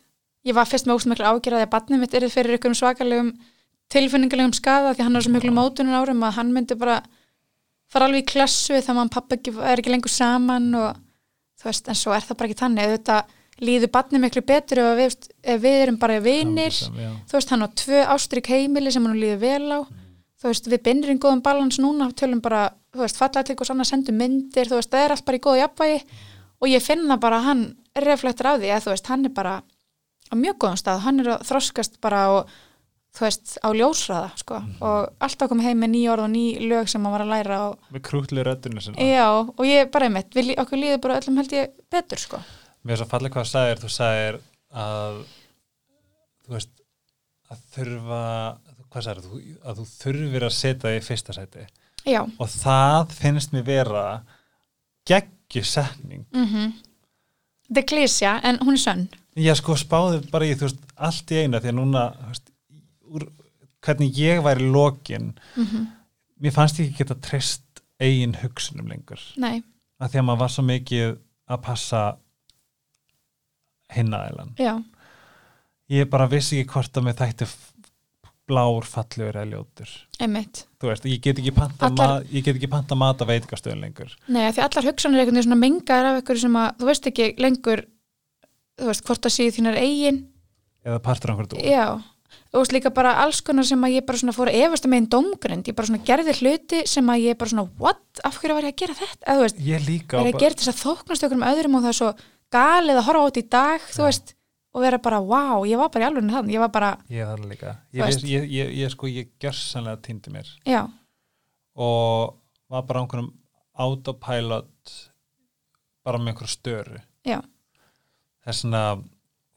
S2: ég var fyrst með óstum miklu ágjörði að barnið mitt yrði fyrir ykkur svakalegum tilfinningalegum skaða því hann er svo miklu mótunum árum að hann myndi bara fara alveg í klassu þá maður pappa ekki, er ekki lengur saman og þú veist, en svo er það bara ekki þannig auðvitað líður barnið miklu betur ef við, ef við erum bara vinir þú veist, hann á tvö ástrík heimili sem hann líður vel á þú veist, við binnir einn góðum balans núna tölum bara, þú veist, falla til eitthvað annað sendum myndir, þú veist, það er allt bara í góðu jafnvægi og ég finn það bara að hann reflektur á því að þú veist, hann er bara á mjög góðum stað, hann er að þroskast bara og þú veist, á ljósraða sko, og alltaf kom heim með ný orð og ný lög sem hann var að læra og
S1: Með krútlu röddunni sinna
S2: Já, og ég bara einmitt, við, lí- okkur líður bara öllum held ég betur, sko.
S1: Mér er svo fallið hvað þú sagðir, þú sagðir að þú veist að þurfa hvað sagðir, þú, að þú þurfir að setja þig í fyrsta sæti
S2: Já,
S1: og það finnst mér vera geggjusetning
S2: Mm. þetta er klísja, en hún er sönn.
S1: Já, sko, spáði bara í, þú veist, allt í einu, því að núna, þú veist, úr, hvernig ég væri lokin,
S2: Mhm.
S1: mér fannst ég ekki geta treyst eigin hugsunum lengur.
S2: Nei,
S1: Af því að maður var svo mikið að passa hinn aðeilan.
S2: já,
S1: Ég bara vissi ekki hvort að mér þætti f- blár fallegur eða ljótur.
S2: einmitt.
S1: Þú veist, ég get ekki panta,
S2: Allar-
S1: ma ég get ekki panta mat að veitingastöðun lengur.
S2: Nei, af því allar hugsanir einhvern veginn svona mengaðar af einhverju sem að þú veist ekki lengur, þú veist, hvort það séu þínar eigin.
S1: Eða partur einhverjum dúr.
S2: Já, þú veist líka bara alls konar sem að ég bara svona fór að efast um einn dómgrind. Ég bara svona gerði hluti sem að ég bara svona, what, af hverju var ég að gera þetta? Eða, þú veist,
S1: Ég líka.
S2: er
S1: og
S2: að
S1: bara-
S2: gera þess að þóknast okkur um öðrum og það er svo galið að horfa át í dag, þú veist, og vera bara, wow, ég var bara í alveg þannig, ég var bara,
S1: Ég er það líka.
S2: Þú
S1: Ég,
S2: veist.
S1: veist, ég, ég, ég, sko, ég gjörsanlega týndi mér.
S2: já,
S1: og var bara á einhverjum autopilot bara með einhverju störu
S2: já,
S1: þess að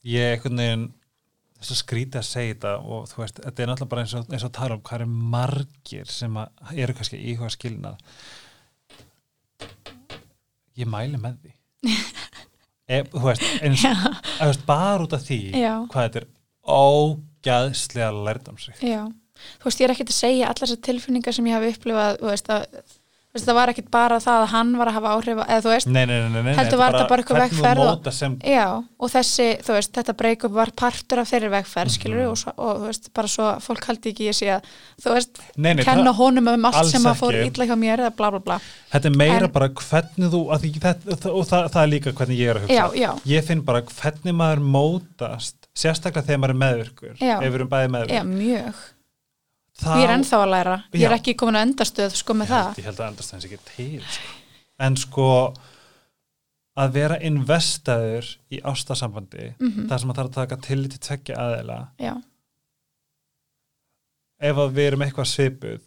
S1: ég einhvern veginn þess að skrýta að segja þetta og þú veist, þetta er náttúrulega bara eins og, eins og tala um hvað er margir sem að eru kannski að íhuga skilnað ég mæli með því
S2: [laughs]
S1: e, þú veist, eins, þú veist bara út af því
S2: Já.
S1: hvað þetta er ógæðslega lært um sig
S2: já. Þú veist, ég er ekkert að segja allar þessar tilfinningar sem ég hafi upplifað, þú veist, að, þú veist, það var ekkert bara það að hann var að hafa áhrif, á- eða þú veist,
S1: nei, nei, nei, nei, nei,
S2: Heldur var þetta bara einhver
S1: hvernig
S2: vegferð
S1: þú
S2: og-
S1: móta sem
S2: já, og þessi, þú veist, þetta breakup var partur af þeirri vegferð, skilur
S1: Mhm.
S2: og, svo, og þú veist, bara svo að fólk haldi ekki ég sé að, þú veist,
S1: Nei, nei,
S2: kenna
S1: það-
S2: honum um allt
S1: alls
S2: sem að fór
S1: ekki.
S2: illa hjá mér, eða bla, bla, bla.
S1: Þetta er meira
S2: En-
S1: bara hvernig þú að því, þetta, og það, og það, það er líka hvernig ég er að hugsa
S2: Já, já.
S1: Ég finn bara hvernig maður mótast sérstaklega þegar maður er meðvirkur
S2: Já.
S1: ef við erum bæði meðvirk
S2: Já, mjög.
S1: Þá,
S2: Ég er ennþá að læra, ég er
S1: Já.
S2: ekki komin að endastöð, sko, með
S1: ég held,
S2: það.
S1: ég held að endast þess ekki til sko. En sko að vera investaður í ástasambandi
S2: Mhm.
S1: þar sem maður þarf að taka til til tvekja aðeila
S2: Já.
S1: ef að við erum eitthvað svipuð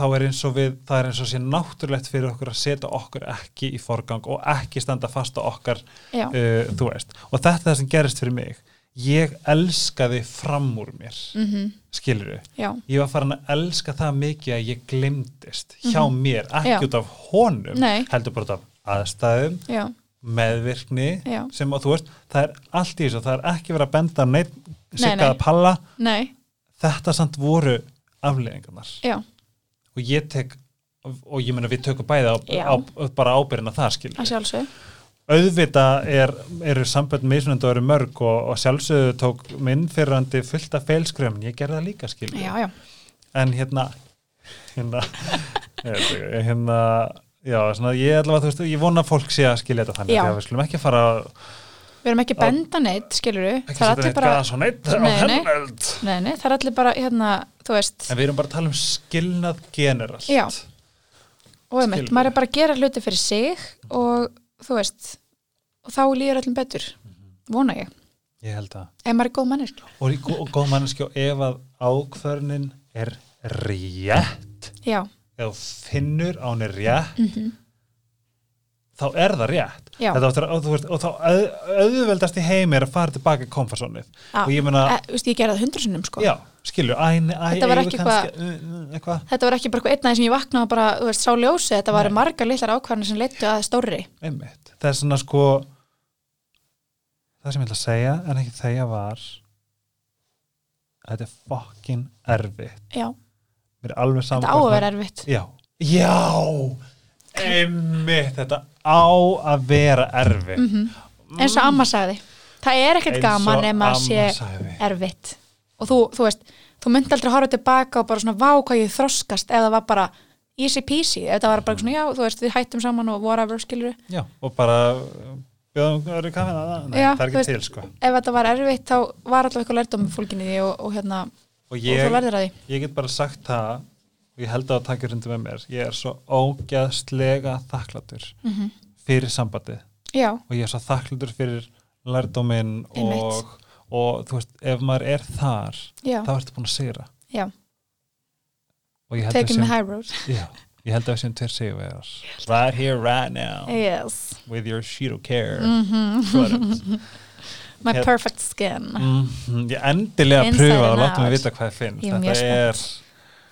S1: þá er eins og við, það er eins og sé náttúrulegt fyrir okkur að setja okkur ekki í forgang og ekki standa fast á okkar
S2: Já.
S1: uh, þú veist og þetta er það sem gerist fyrir mig ég elskaði fram úr mér mm -hmm.
S2: Mhm, Já,
S1: ég var farin að elska það mikið að ég glimtist hjá mér, ekki
S2: Mhm. Já.
S1: út af honum
S2: Nei.
S1: heldur bara út af aðstæðum
S2: já,
S1: meðvirkni
S2: Já.
S1: sem að þú veist, það er allt í þessu það er ekki verið að benda á neitt
S2: nei.
S1: siggaða palla,
S2: nei,
S1: þetta samt voru afleðingarnar
S2: já,
S1: og ég tek og ég meina við tökum bæði á,
S2: Já.
S1: á, bara ábyrðina það skilur
S2: að sjálfsög
S1: auðvita er, eru sambönd mismunandi og eru mörg og, og sjálfsögðu tók minn fyrrandi fullt af feilskröfum ég gerði það líka skilja
S2: Já, já,
S1: en hérna hérna, [laughs] ég veit ekki, hérna já, svona, ég allavega, þú veist, ég vona að fólk sé að skilja þetta þannig
S2: Já.
S1: því að við skulum ekki fara að-
S2: við erum ekki að benda neitt, skilur við
S1: ekki
S2: Það
S1: setja
S2: er allir
S1: neitt
S2: bara,
S1: gas og neitt á
S2: Nei, nei.
S1: hennöld
S2: nei, nei, það er allir bara, hérna, þú veist
S1: en við erum bara að tala um skilnað generalt
S2: Já. Og einmitt,
S1: skilur
S2: maður
S1: við.
S2: er bara að gera hluti fyrir sig og þú veist og þá líður öllum betur,
S1: Mhm.
S2: vona ég
S1: ég held að
S2: ef maður er góð mannir
S1: og, og góð manneskja og ef að ákvörnin er rétt
S2: já,
S1: ef þú finnur að hún er rétt þá er það rétt
S2: Mhm. Já.
S1: Þetta áttur, og, þú veist, og þá auð- auðveldast í heimi er að fara tilbaka í komfarsónið
S2: Já.
S1: og ég meina,
S2: e, þú veist, ég gerði það hundru sinnum sko
S1: já, skilju æ, nei, æ,
S2: Þetta var
S1: eigum
S2: ekki
S1: við
S2: eitthvað-
S1: kannski- uh, uh, eitthvað,
S2: þetta var ekki bara eitthvað einnæði sem ég vaknaði og bara, þú veist, sá ljósi þetta var margar litlar ákvarðanir sem leittu að stórri
S1: einmitt það er svona sko það sem ég ætla að segja en ekki þegar var að þetta er fokkin erfitt
S2: já,
S1: mér er alveg saman
S2: þetta á að vera erfitt
S1: Já, já einmitt, þetta á að vera erfitt
S2: Mhm. eins og amma sagði, það er ekkert
S1: Eins og
S2: gaman nema að
S1: amma
S2: sé
S1: sagði.
S2: erfitt og þú, þú veist, þú myndi aldrei horfa tilbaka og bara svona vá hvað ég þroskast eða var bara easy peasy eða það var bara svona já, þú veist, við hættum saman og whatever skilur
S1: Já, og bara uh, bjóðum öðru kaffin að það, nei,
S2: Já,
S1: það er
S2: þú
S1: ekki
S2: veist-
S1: til sko
S2: ef þetta var erfitt þá var alltaf eitthvað lærdóm fólkinni því og, og hérna
S1: og
S2: og þú
S1: ég,
S2: verður að því
S1: ég get bara sagt það og ég held að það takir undir með mér ég er svo ógæðslega þakklátur
S2: Mhm.
S1: fyrir sambandið
S2: já,
S1: og ég er svo þakklátur fyrir lærdóminn
S2: Einmitt.
S1: og, og þú veist, ef maður er þar
S2: já,
S1: þá ertu búin að sigra
S2: já,
S1: og ég held að
S2: taking
S1: sem,
S2: the high road
S1: já, ég held að sem tveir sigurvegar right here, right now
S2: yes,
S1: with your Shiro Care mm
S2: Mhm.
S1: -hmm.
S2: my
S1: Hef-
S2: perfect skin
S1: Mhm, Ég endilega
S2: Inside
S1: pröfa
S2: and
S1: og láta mig
S2: out.
S1: vita hvað ég finn
S2: Ég er
S1: þetta
S2: mjög
S1: er,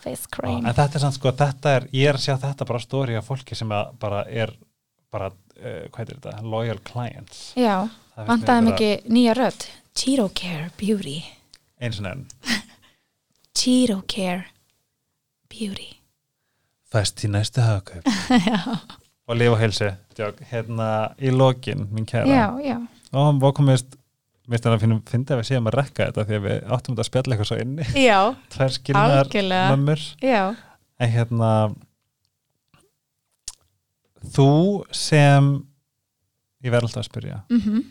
S2: face
S1: á,
S2: cream
S1: en þetta er samt sko þetta er, ég er að sjá þetta bara stóri af fólki sem að bara er bara, uh, hvað er þetta, loyal clients
S2: já,
S1: Það finnst
S2: vantaði
S1: mér
S2: mikið nýja rödd Cheeto Care Beauty
S1: eins og enn,
S2: Cheeto Care Beauty
S1: fæst í næstu
S2: [laughs]
S1: hagkaup og lifa heilsi Djók, hérna í lokin, mín kæra
S2: já, já,
S1: og hann vokumist Mér finnst þannig að finna að við séum að rekka þetta því að við áttum þetta að spjalla eitthvað svo inni
S2: já,
S1: Tvær skilnaðar
S2: Algjörlega.
S1: mömmur
S2: já
S1: en hérna þú sem ég verð alltaf að spyrja
S2: mm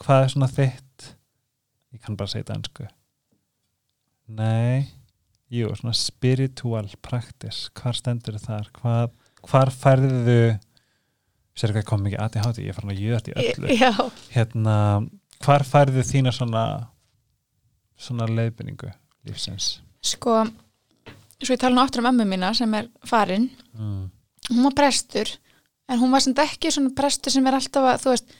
S1: hvað er svona þitt ég kann bara segja þetta ennsku nei jú, svona spiritual practice hvar stendur þar, hvað hvar færðu sér hvað ég kom mikið aðið hátti, ég er farin að jöða þetta í
S2: [laughs]
S1: öllu
S2: já,
S1: hérna, hvar færðu þína svona svona leiðbyrningu lífsins
S2: sko svo ég tala nú aftur um ömmu mína sem er farin
S1: mm.
S2: hún var prestur en hún var sem ekki svona prestur sem er alltaf að þú veist,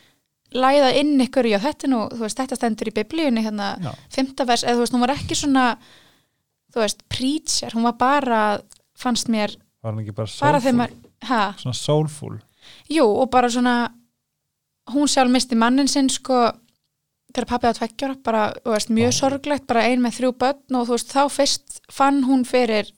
S2: læða inn ykkur já þetta er nú, þú veist, þetta stendur í biblíunni hérna,
S1: Já.
S2: fymta vers, eða þú veist, hún var ekki svona þú veist, preacher hún var bara, fannst mér
S1: var hann ekki bara
S2: bara þeim
S1: soulful,
S2: að, ha,
S1: svona soulful
S2: jú, og bara svona hún sjálf misti mannin sinn sko, þegar pappið á tveggjara bara, þú veist, mjög sorglegt, bara ein með þrjú börn og þú veist, þá fyrst fann hún fyrir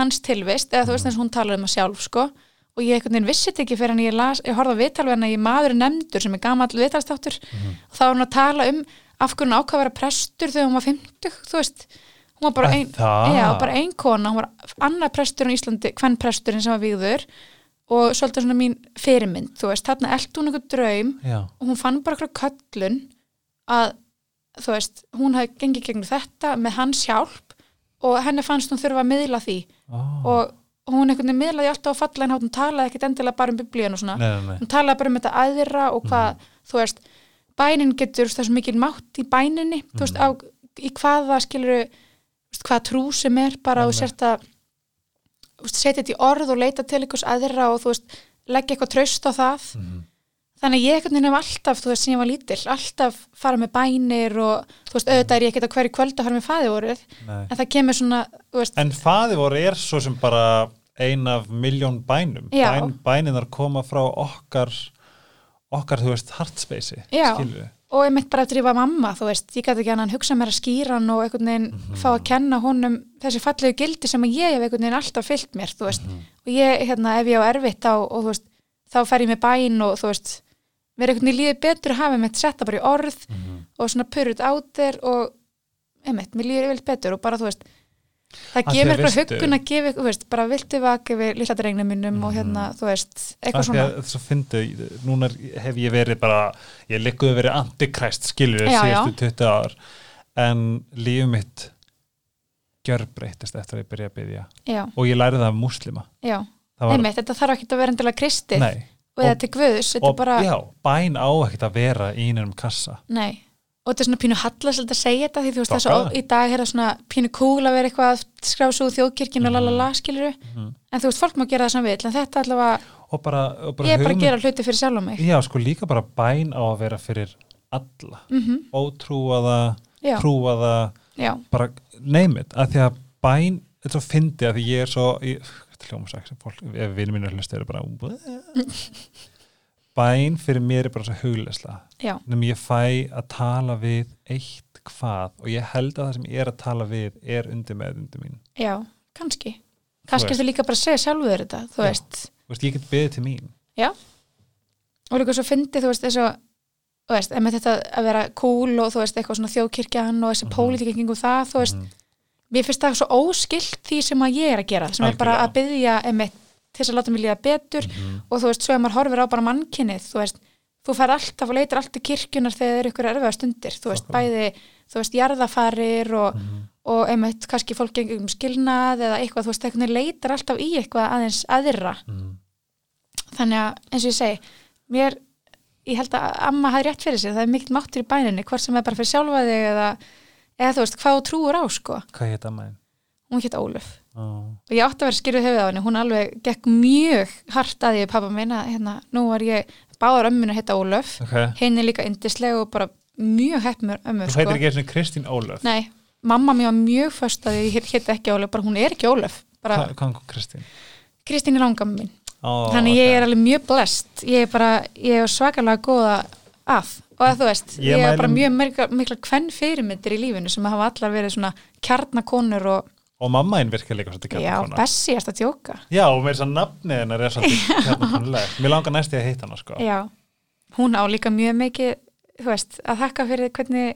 S2: hans tilvist eða þú veist, eins og hún talaði um það sjálf, sko og ég einhvern veginn vissi þetta ekki fyrir en ég las ég horfði á viðtal við hana í maður er nefndur sem er gamall viðtalstáttur og þá var hún að tala um af hverju hún ákvað að vera prestur þegar hún var 50, þú veist hún var bara
S1: Er
S2: ein,
S1: það?
S2: já, bara ein kona, hún var annar prestur á Íslandi, hvern presturinn sem var víður og svolítið svona mín fyrirmynd, þú veist, þarna elt hún einhver draum
S1: já
S2: og hún fann bara eitthvað köllun að þú veist, hún hafði gengið gegnum þetta með hans hjálp og henni fannst hún þurfa að miðla því
S1: oh.
S2: og hún einhvern veginn miðlaði alltaf á fallan hátt, hún talaði ekkit endilega bara um biblíun og svona,
S1: nei, nei, nei.
S2: hún talaði bara um þetta aðra og hvað, þú veist bænin getur það svo mikil mátt í bæninni þú veist, á, í hvaða skilur hvað trú sem er bara þú sért að þú veist, setja þetta í orð og leita til einhvers aðra og þú veist, leggja eitthvað traust á það
S1: Mhm.
S2: þannig að ég einhvern veginn hef alltaf, þú veist, sem ég var lítill alltaf fara með bænir og þú veist, auðvitað er ég ekkert á hverju kvöld að fara með faði voruð
S1: Nei.
S2: en það kemur svona, þú veist,
S1: En faði voru er svo sem bara ein af miljón bænum
S2: Já.
S1: Bæn, Bæninar koma frá okkar okkar, þú veist, heartspacei
S2: Já.
S1: skilur við
S2: og ég mitt bara eftir ég var mamma þú veist, ég gæti ekki hann hugsa mér að skýra hann og einhvern veginn
S1: Mhm.
S2: fá að kenna honum þessi fallegu gildi sem að ég hef einhvern veginn alltaf fyllt mér, þú veist
S1: Mhm.
S2: og ég, hérna, ef ég á erfitt á og þú veist, þá fer ég með bæn og þú veist mér einhvern veginn líður betur að hafa mitt setta bara í orð og svona purrut á þér og einmitt, mér líður yfirleitt betur og bara þú veist það
S1: Af því
S2: gefur
S1: að
S2: eitthvað
S1: veistu- Mhm.
S2: huggun að gefa, þú veist, bara viltu vaka yfir lilla drengnum minnum og hérna, þú veist, eitthvað
S1: Af því að
S2: svona
S1: þetta er svo fyndi, núna er- hef ég verið bara ég likkuði verið antikræst skilur við
S2: Já,
S1: síðustu 20 ár en lífið mitt gjörbreytist eftir að ég byrja að byrja
S2: já,
S1: og ég lærði það af múslima
S2: já,
S1: það var,
S2: einmitt, þetta þarf ekki að vera endilega kristið
S1: nei,
S2: og eða til guðs, þetta er
S1: og
S2: bara
S1: já, bæn á ekkert að vera í einum kassa
S2: nei, og þetta er svona pínu hallast að segja þetta því þú veist þess
S1: Stokkað.
S2: að í dag er það svona pínu cool að vera eitthvað að skrá svo þjóðkirkjun
S1: Mhm.
S2: og lalala skiluru en þú veist, fólk má gera það sem vill en þetta allavega,
S1: og bara, og bara
S2: ég er bara
S1: hugmynd-
S2: að gera hluti fyrir sjálf mig
S1: Já, sko líka bara bæn á að vera fyrir alla, -hmm. ótrúaða
S2: Mhm. Já.
S1: trúaða
S2: já,
S1: bara neymit, að því að bæn þetta er svo fyndi að því ég er svo ég, þetta hljóma sex, fólk, ef vinur mínu hlustu eru bara bæn fyrir mér er bara svo hugleisla
S2: já,
S1: nefnum ég fæ að tala við eitt hvað og ég held að það sem ég er að tala við er undir með undir mín
S2: já, kannski kannski
S1: veist.
S2: ertu líka bara að segja sjálfur þetta þú
S1: Já.
S2: veist,
S1: Þú veist, ég get beðið til mín
S2: já og líka svo fyndi, þú veist, þess að þú veist, ef þetta að vera cool og þú veist, eitthvað svona þjóðkirkjan og þessi
S1: Mhm.
S2: mm -hmm. kringum það, þú veist mér finnst það svo óskilt því sem að ég er að gera sem er bara að byggja einmitt til þess að láta mig líða betur
S1: Mhm.
S2: og þú veist, svo ef maður horfir á bara mannkinnið þú veist, þú fær alltaf og leitir alltaf kirkjunar þegar það eru ykkur erfiða stundir þú veist, bæði, þú veist, jarðafarir og,
S1: Mhm.
S2: og einmitt kannski fólk gengum skilnað eða eitthvað, þú veist, eitthvað leitar alltaf í eitthvað aðeins aðra þannig að, eins og ég segi mér, ég held að amma hafi rétt fyrir sér, það er mikill máttur í bæninni hvort sem er bara fyrir sjálfa þig eða, eða þú veist, hvað þú trúur á, sko
S1: hvað ég heita maður
S2: hún hétt Ólöf
S1: oh.
S2: og ég átti að vera skýrðu höfuð á henni hún alveg gekk mjög hart að ég pappa minna hérna, nú var ég báðar ömminu hétt Ólöf
S1: okay.
S2: henni líka yndislega og bara mjög heppmur ömmur
S1: þú
S2: sko.
S1: heitir ekki einu sinni Kristín Ólöf
S2: Nei, mamma mér var mjög föst að ég hétt ekki Ólöf bara hún er ekki Ólöf bara
S1: Hva- hvað er Kristín?
S2: Kristín er langamma mín
S1: Oh,
S2: þannig ég er alveg mjög blest ég er bara, ég er svakalega góða að og að þú veist,
S1: Ég
S2: ég, er bara
S1: mæli-
S2: mjög mikla, mikla kvenn fyrirmyndir í lífinu sem hafa allar verið svona kjarnakonur og
S1: og mamma einn virkar líka svolítið
S2: já,
S1: kjarnakona
S2: Bessi er þetta djóka
S1: já, og með þess að nafnið hennar er svolítið kjarnakonulegt mér langar næst ég að heita hana sko
S2: já, hún á líka mjög mikið þú veist, að þakka fyrir hvernig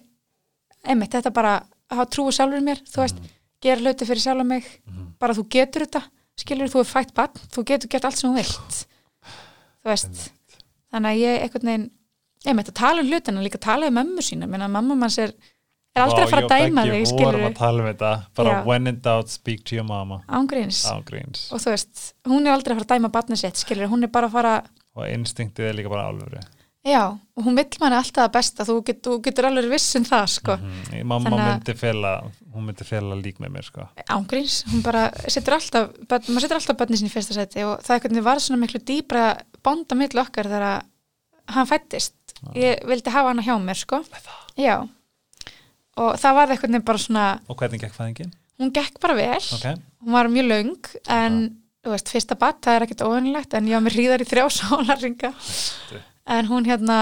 S2: einmitt, þetta bara að hafa trú á sjálfur mér, þú veist gera hluti fyrir sjálfur mig, bara þú getur þetta skilur þú er fætt bann, þú getur gert allt sem þú vilt þú veist þannig að ég einhvern veginn einmitt að tala um hlutina, líka tala um mömmu sína menn að mamma manns er, er aldrei
S1: Vá,
S2: að fara
S1: ég
S2: að
S1: og
S2: dæma
S1: Beggi
S2: þig skilur
S1: vorum að tala um þetta bara
S2: Já.
S1: when in doubt speak to your mama
S2: ángríns
S1: ágríns
S2: og þú veist, hún er aldrei að fara að dæma barnið sitt skilur, hún er bara að fara
S1: og instinktið er líka bara álfri
S2: já, og hún vill manni alltaf að besta þú, get, þú getur alveg viss um það sko.
S1: mm, mamma
S2: Þannig að-
S1: myndi fela hún myndi fela lík með mér sko
S2: ángríns, hún bara setur alltaf börn, maður setur alltaf börnin sín í fyrsta seti og það er hvernig var svona miklu dýbra bónda milli okkar þegar að hann fættist ég vildi hafa hana hjá mér sko já og það var eitthvað nefn bara svona
S1: og hvernig gekk fæðingin?
S2: hún gekk bara vel,
S1: ok,
S2: hún var mjög löng en þú veist, fyrsta bat, það er ekkert óvenilegt en ég var með hríðar í þrjá sólarringa en hún hérna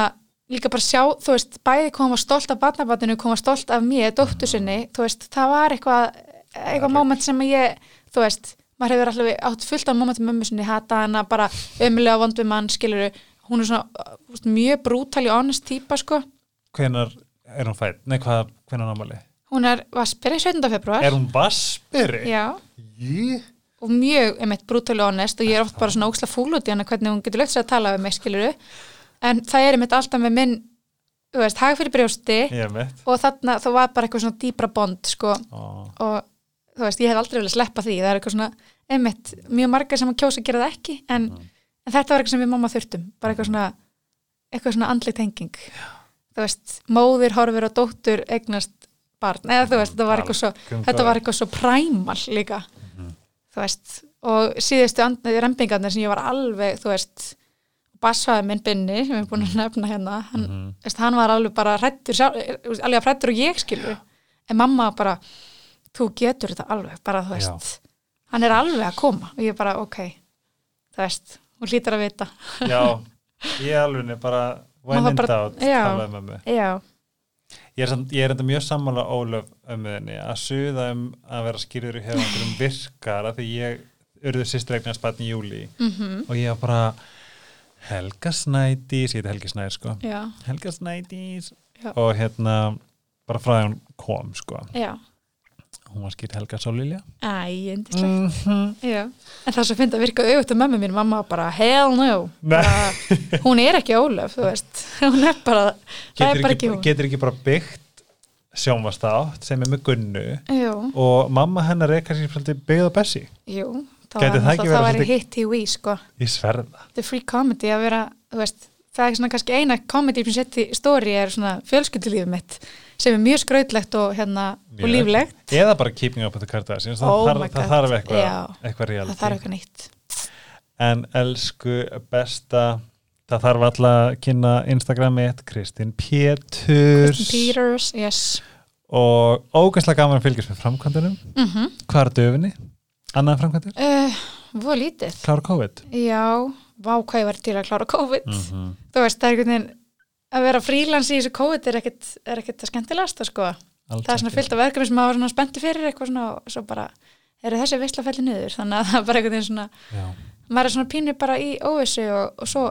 S2: líka bara sjá, þú veist, bæði koma stolt af batnabatinu, koma stolt af mér, dóttu
S1: Mhm.
S2: sinni, þú veist, það var eitthvað eitthvað moment sem ég, þú veist maður hefur alltaf átt fullt af momentum mömmu sinni, hata hana, bara ömulega vond við mann, skilur hún er svona uh, þú veist, mjög brútal í honest típa, sko
S1: hvenar er hún fætt? nei, hvað, hvenar námali?
S2: hún er vasperi 17. februar
S1: er hún vaspiri?
S2: Já,
S1: Jí.
S2: og mjög, einmitt, brútal og honest og ég er oft bara svona óksla fúl út í hana hvernig hún getur lögt sér að tala við mig, skilur en það er einmitt alltaf með minn þú veist, hag fyrir brjósti
S1: ég er mitt
S2: og þarna þá var bara eitthvað svona dýbra bond sko
S1: Ó,
S2: og þú veist, ég hef aldrei viljað sleppa því það er eitthvað svona, einmitt, mjög margar sem að kjósa að gera það ekki en, en þetta var eitthvað sem við mamma þurftum bara eitthvað svona, eitthvað svona andli tenging þú veist, móðir horfir og dóttur eignast barn eða þú veist, þetta var eitthvað svo,
S1: Algjörn
S2: þetta
S1: gaur.
S2: var eitthvað svo præmal líka þú veist, og síðustu and- rembingarnir sem ég var alveg, þú veist basfaði minn Binni sem ég er búin
S1: Mhm.
S2: að nefna hérna hann, veist, hann var alveg bara hrættur alveg hrættur og ég skilur en mamma bara, þú getur þetta alveg bara þú veist, hann er alveg að koma og ég bara ok þú veist, hún hlýtur að vita
S1: já, ég alveg bara when
S2: Maður
S1: in
S2: bara-
S1: doubt
S2: já.
S1: talaði með mig
S2: já,
S1: Ég er, samt, ég er enda mjög sammála Ólöf ömmuðinni að suða um að vera skýrður í hefandurum virkar að því ég urðu sýstur eignar spatn í júli -hmm.
S2: Mhm.
S1: og ég var bara Helga Snædís, ég heiti Helgi Snædís sko
S2: já,
S1: Helga Snædís
S2: Já.
S1: og hérna bara frá því að hún kom sko
S2: já
S1: hún var skýrt Helga Sólilja Mhm.
S2: Æ, endislegt
S1: Mm.
S2: Já, en það sem finnst að virka auðvitað mömmu mín, mamma var bara hell no,
S1: Nei.
S2: bara, hún er ekki Ólöf, þú veist, [laughs] hún er bara það er bara ekki hún
S1: getur ekki bara byggt sjónvastátt sem er með Gunnu
S2: Jú,
S1: og mamma hennar er kannski svolítið byggð á Bessi
S2: jú, það
S1: Gæti
S2: var
S1: það ekki
S2: náttúrulega- það
S1: verið
S2: væri
S1: svolítið-
S2: hitt í Wii, sko
S1: ég sverða
S2: þetta er free comedy að vera, þú veist það er svona kannski eina komedi sem setti stóri er svona fjölskyldulífið mitt sem er mjög skrautlegt og hérna og líflegt
S1: eða bara keeping up with the Kardashians
S2: Oh
S1: það,
S2: my
S1: þarf, það
S2: God,
S1: þarf
S2: já.
S1: eitthvað eitthvað
S2: það
S1: reality
S2: þarf eitthvað nýtt
S1: en elsku besta það þarf alla að kynna Instagrami Kristinn Péturs
S2: Peters, yes
S1: og ógæslega gaman að fylgjast með framkvæmdunum
S2: mm
S1: hvað er döfinni? annað framkvæmdur?
S2: uh, Vó lítið
S1: Klára COVID?
S2: Já, vá hvað ég var til að klára COVID
S1: -hmm.
S2: Þú veist, það er einhvern veginn að vera frílans í þessu COVID er ekkit, er ekkit að skemmtilegasta sko Það er svona fyllt af verkefni sem maður var svona spennti fyrir eitthvað svona og svo bara eru þessi veistla felli niður þannig að það er bara einhvern veginn svona
S1: Já.
S2: maður er svona pínu bara í óvissu og, og svo,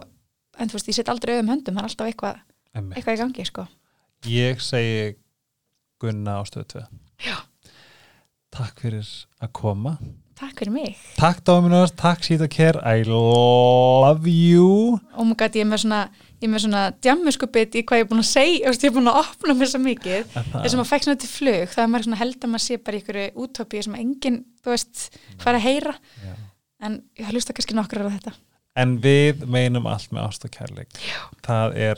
S2: en þú veist, ég set aldrei auðum höndum, það er alltaf eitthvað,
S1: Einmitt.
S2: eitthvað í gangi, sko.
S1: Ég segi Gunna á stöðu 2 Takk fyrir að koma
S2: Takk fyrir mig.
S1: Takk Dominos, takk Sýtakær I love you
S2: Og mjög gæti ég er með svona, ég er með svona djammusku bit í hvað ég er búin að segja, þú veist, ég er búin að opna mér svo mikið, þessum að fæk svona til flug, það er maður svona held að maður sé bara í einhverju útópíu sem enginn, þú veist, fara að heyra,
S1: Já.
S2: en ég hlusta kannski nokkur á þetta.
S1: En við meinum allt með ást og kærleik Það er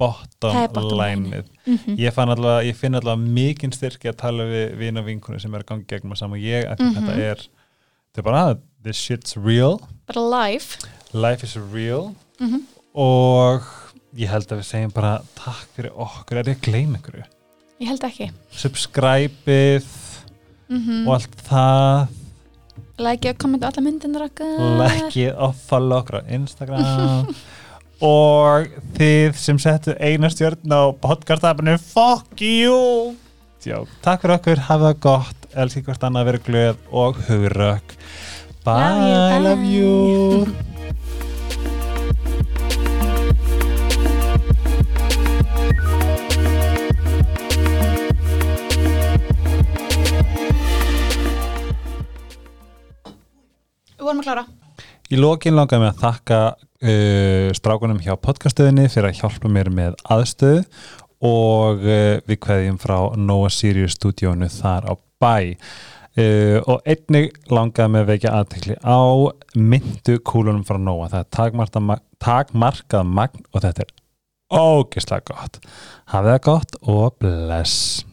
S1: bottom,
S2: Það er bottom line. Mhm.
S1: line-ið ég, fann allavega, ég finn allavega mikinn styrki að tala við vin og vinkunum sem er að gangi gegnum að saman og ég, af því þetta
S2: Mhm.
S1: er þetta er bara, this shit's real
S2: Bara live,
S1: life is real
S2: Mhm.
S1: og ég held að við segjum bara takk fyrir okkur, er ég að gleyma einhverju
S2: ég held ekki.
S1: subscribe-ið
S2: Mm
S1: og allt það
S2: Like og kommenta á alla myndinur okkar.
S1: lækið og follow okkur á Instagram og þið sem settu eina stjórn á podcast-appinu fuck you Jó, takk fyrir okkur, hafa það gott elski hvort annað, verið glöð og hugrökk
S2: Love you,
S1: bye,
S2: bye.
S1: love you
S2: Við vorum að klára.
S1: Í lokin langaði mig að þakka uh, strákunum hjá podcastöðinni fyrir að hjálpa mér með aðstöðu og uh, við kveðjum frá Noah Sirius stúdíónu þar á bæ. Uh, og einnig langaði mig að vekja aðtekli á myndu kúlunum frá Noah. Það er takmarkað magn, takmarkað magn og þetta er ógeðslega gott. Hafið það gott og bless.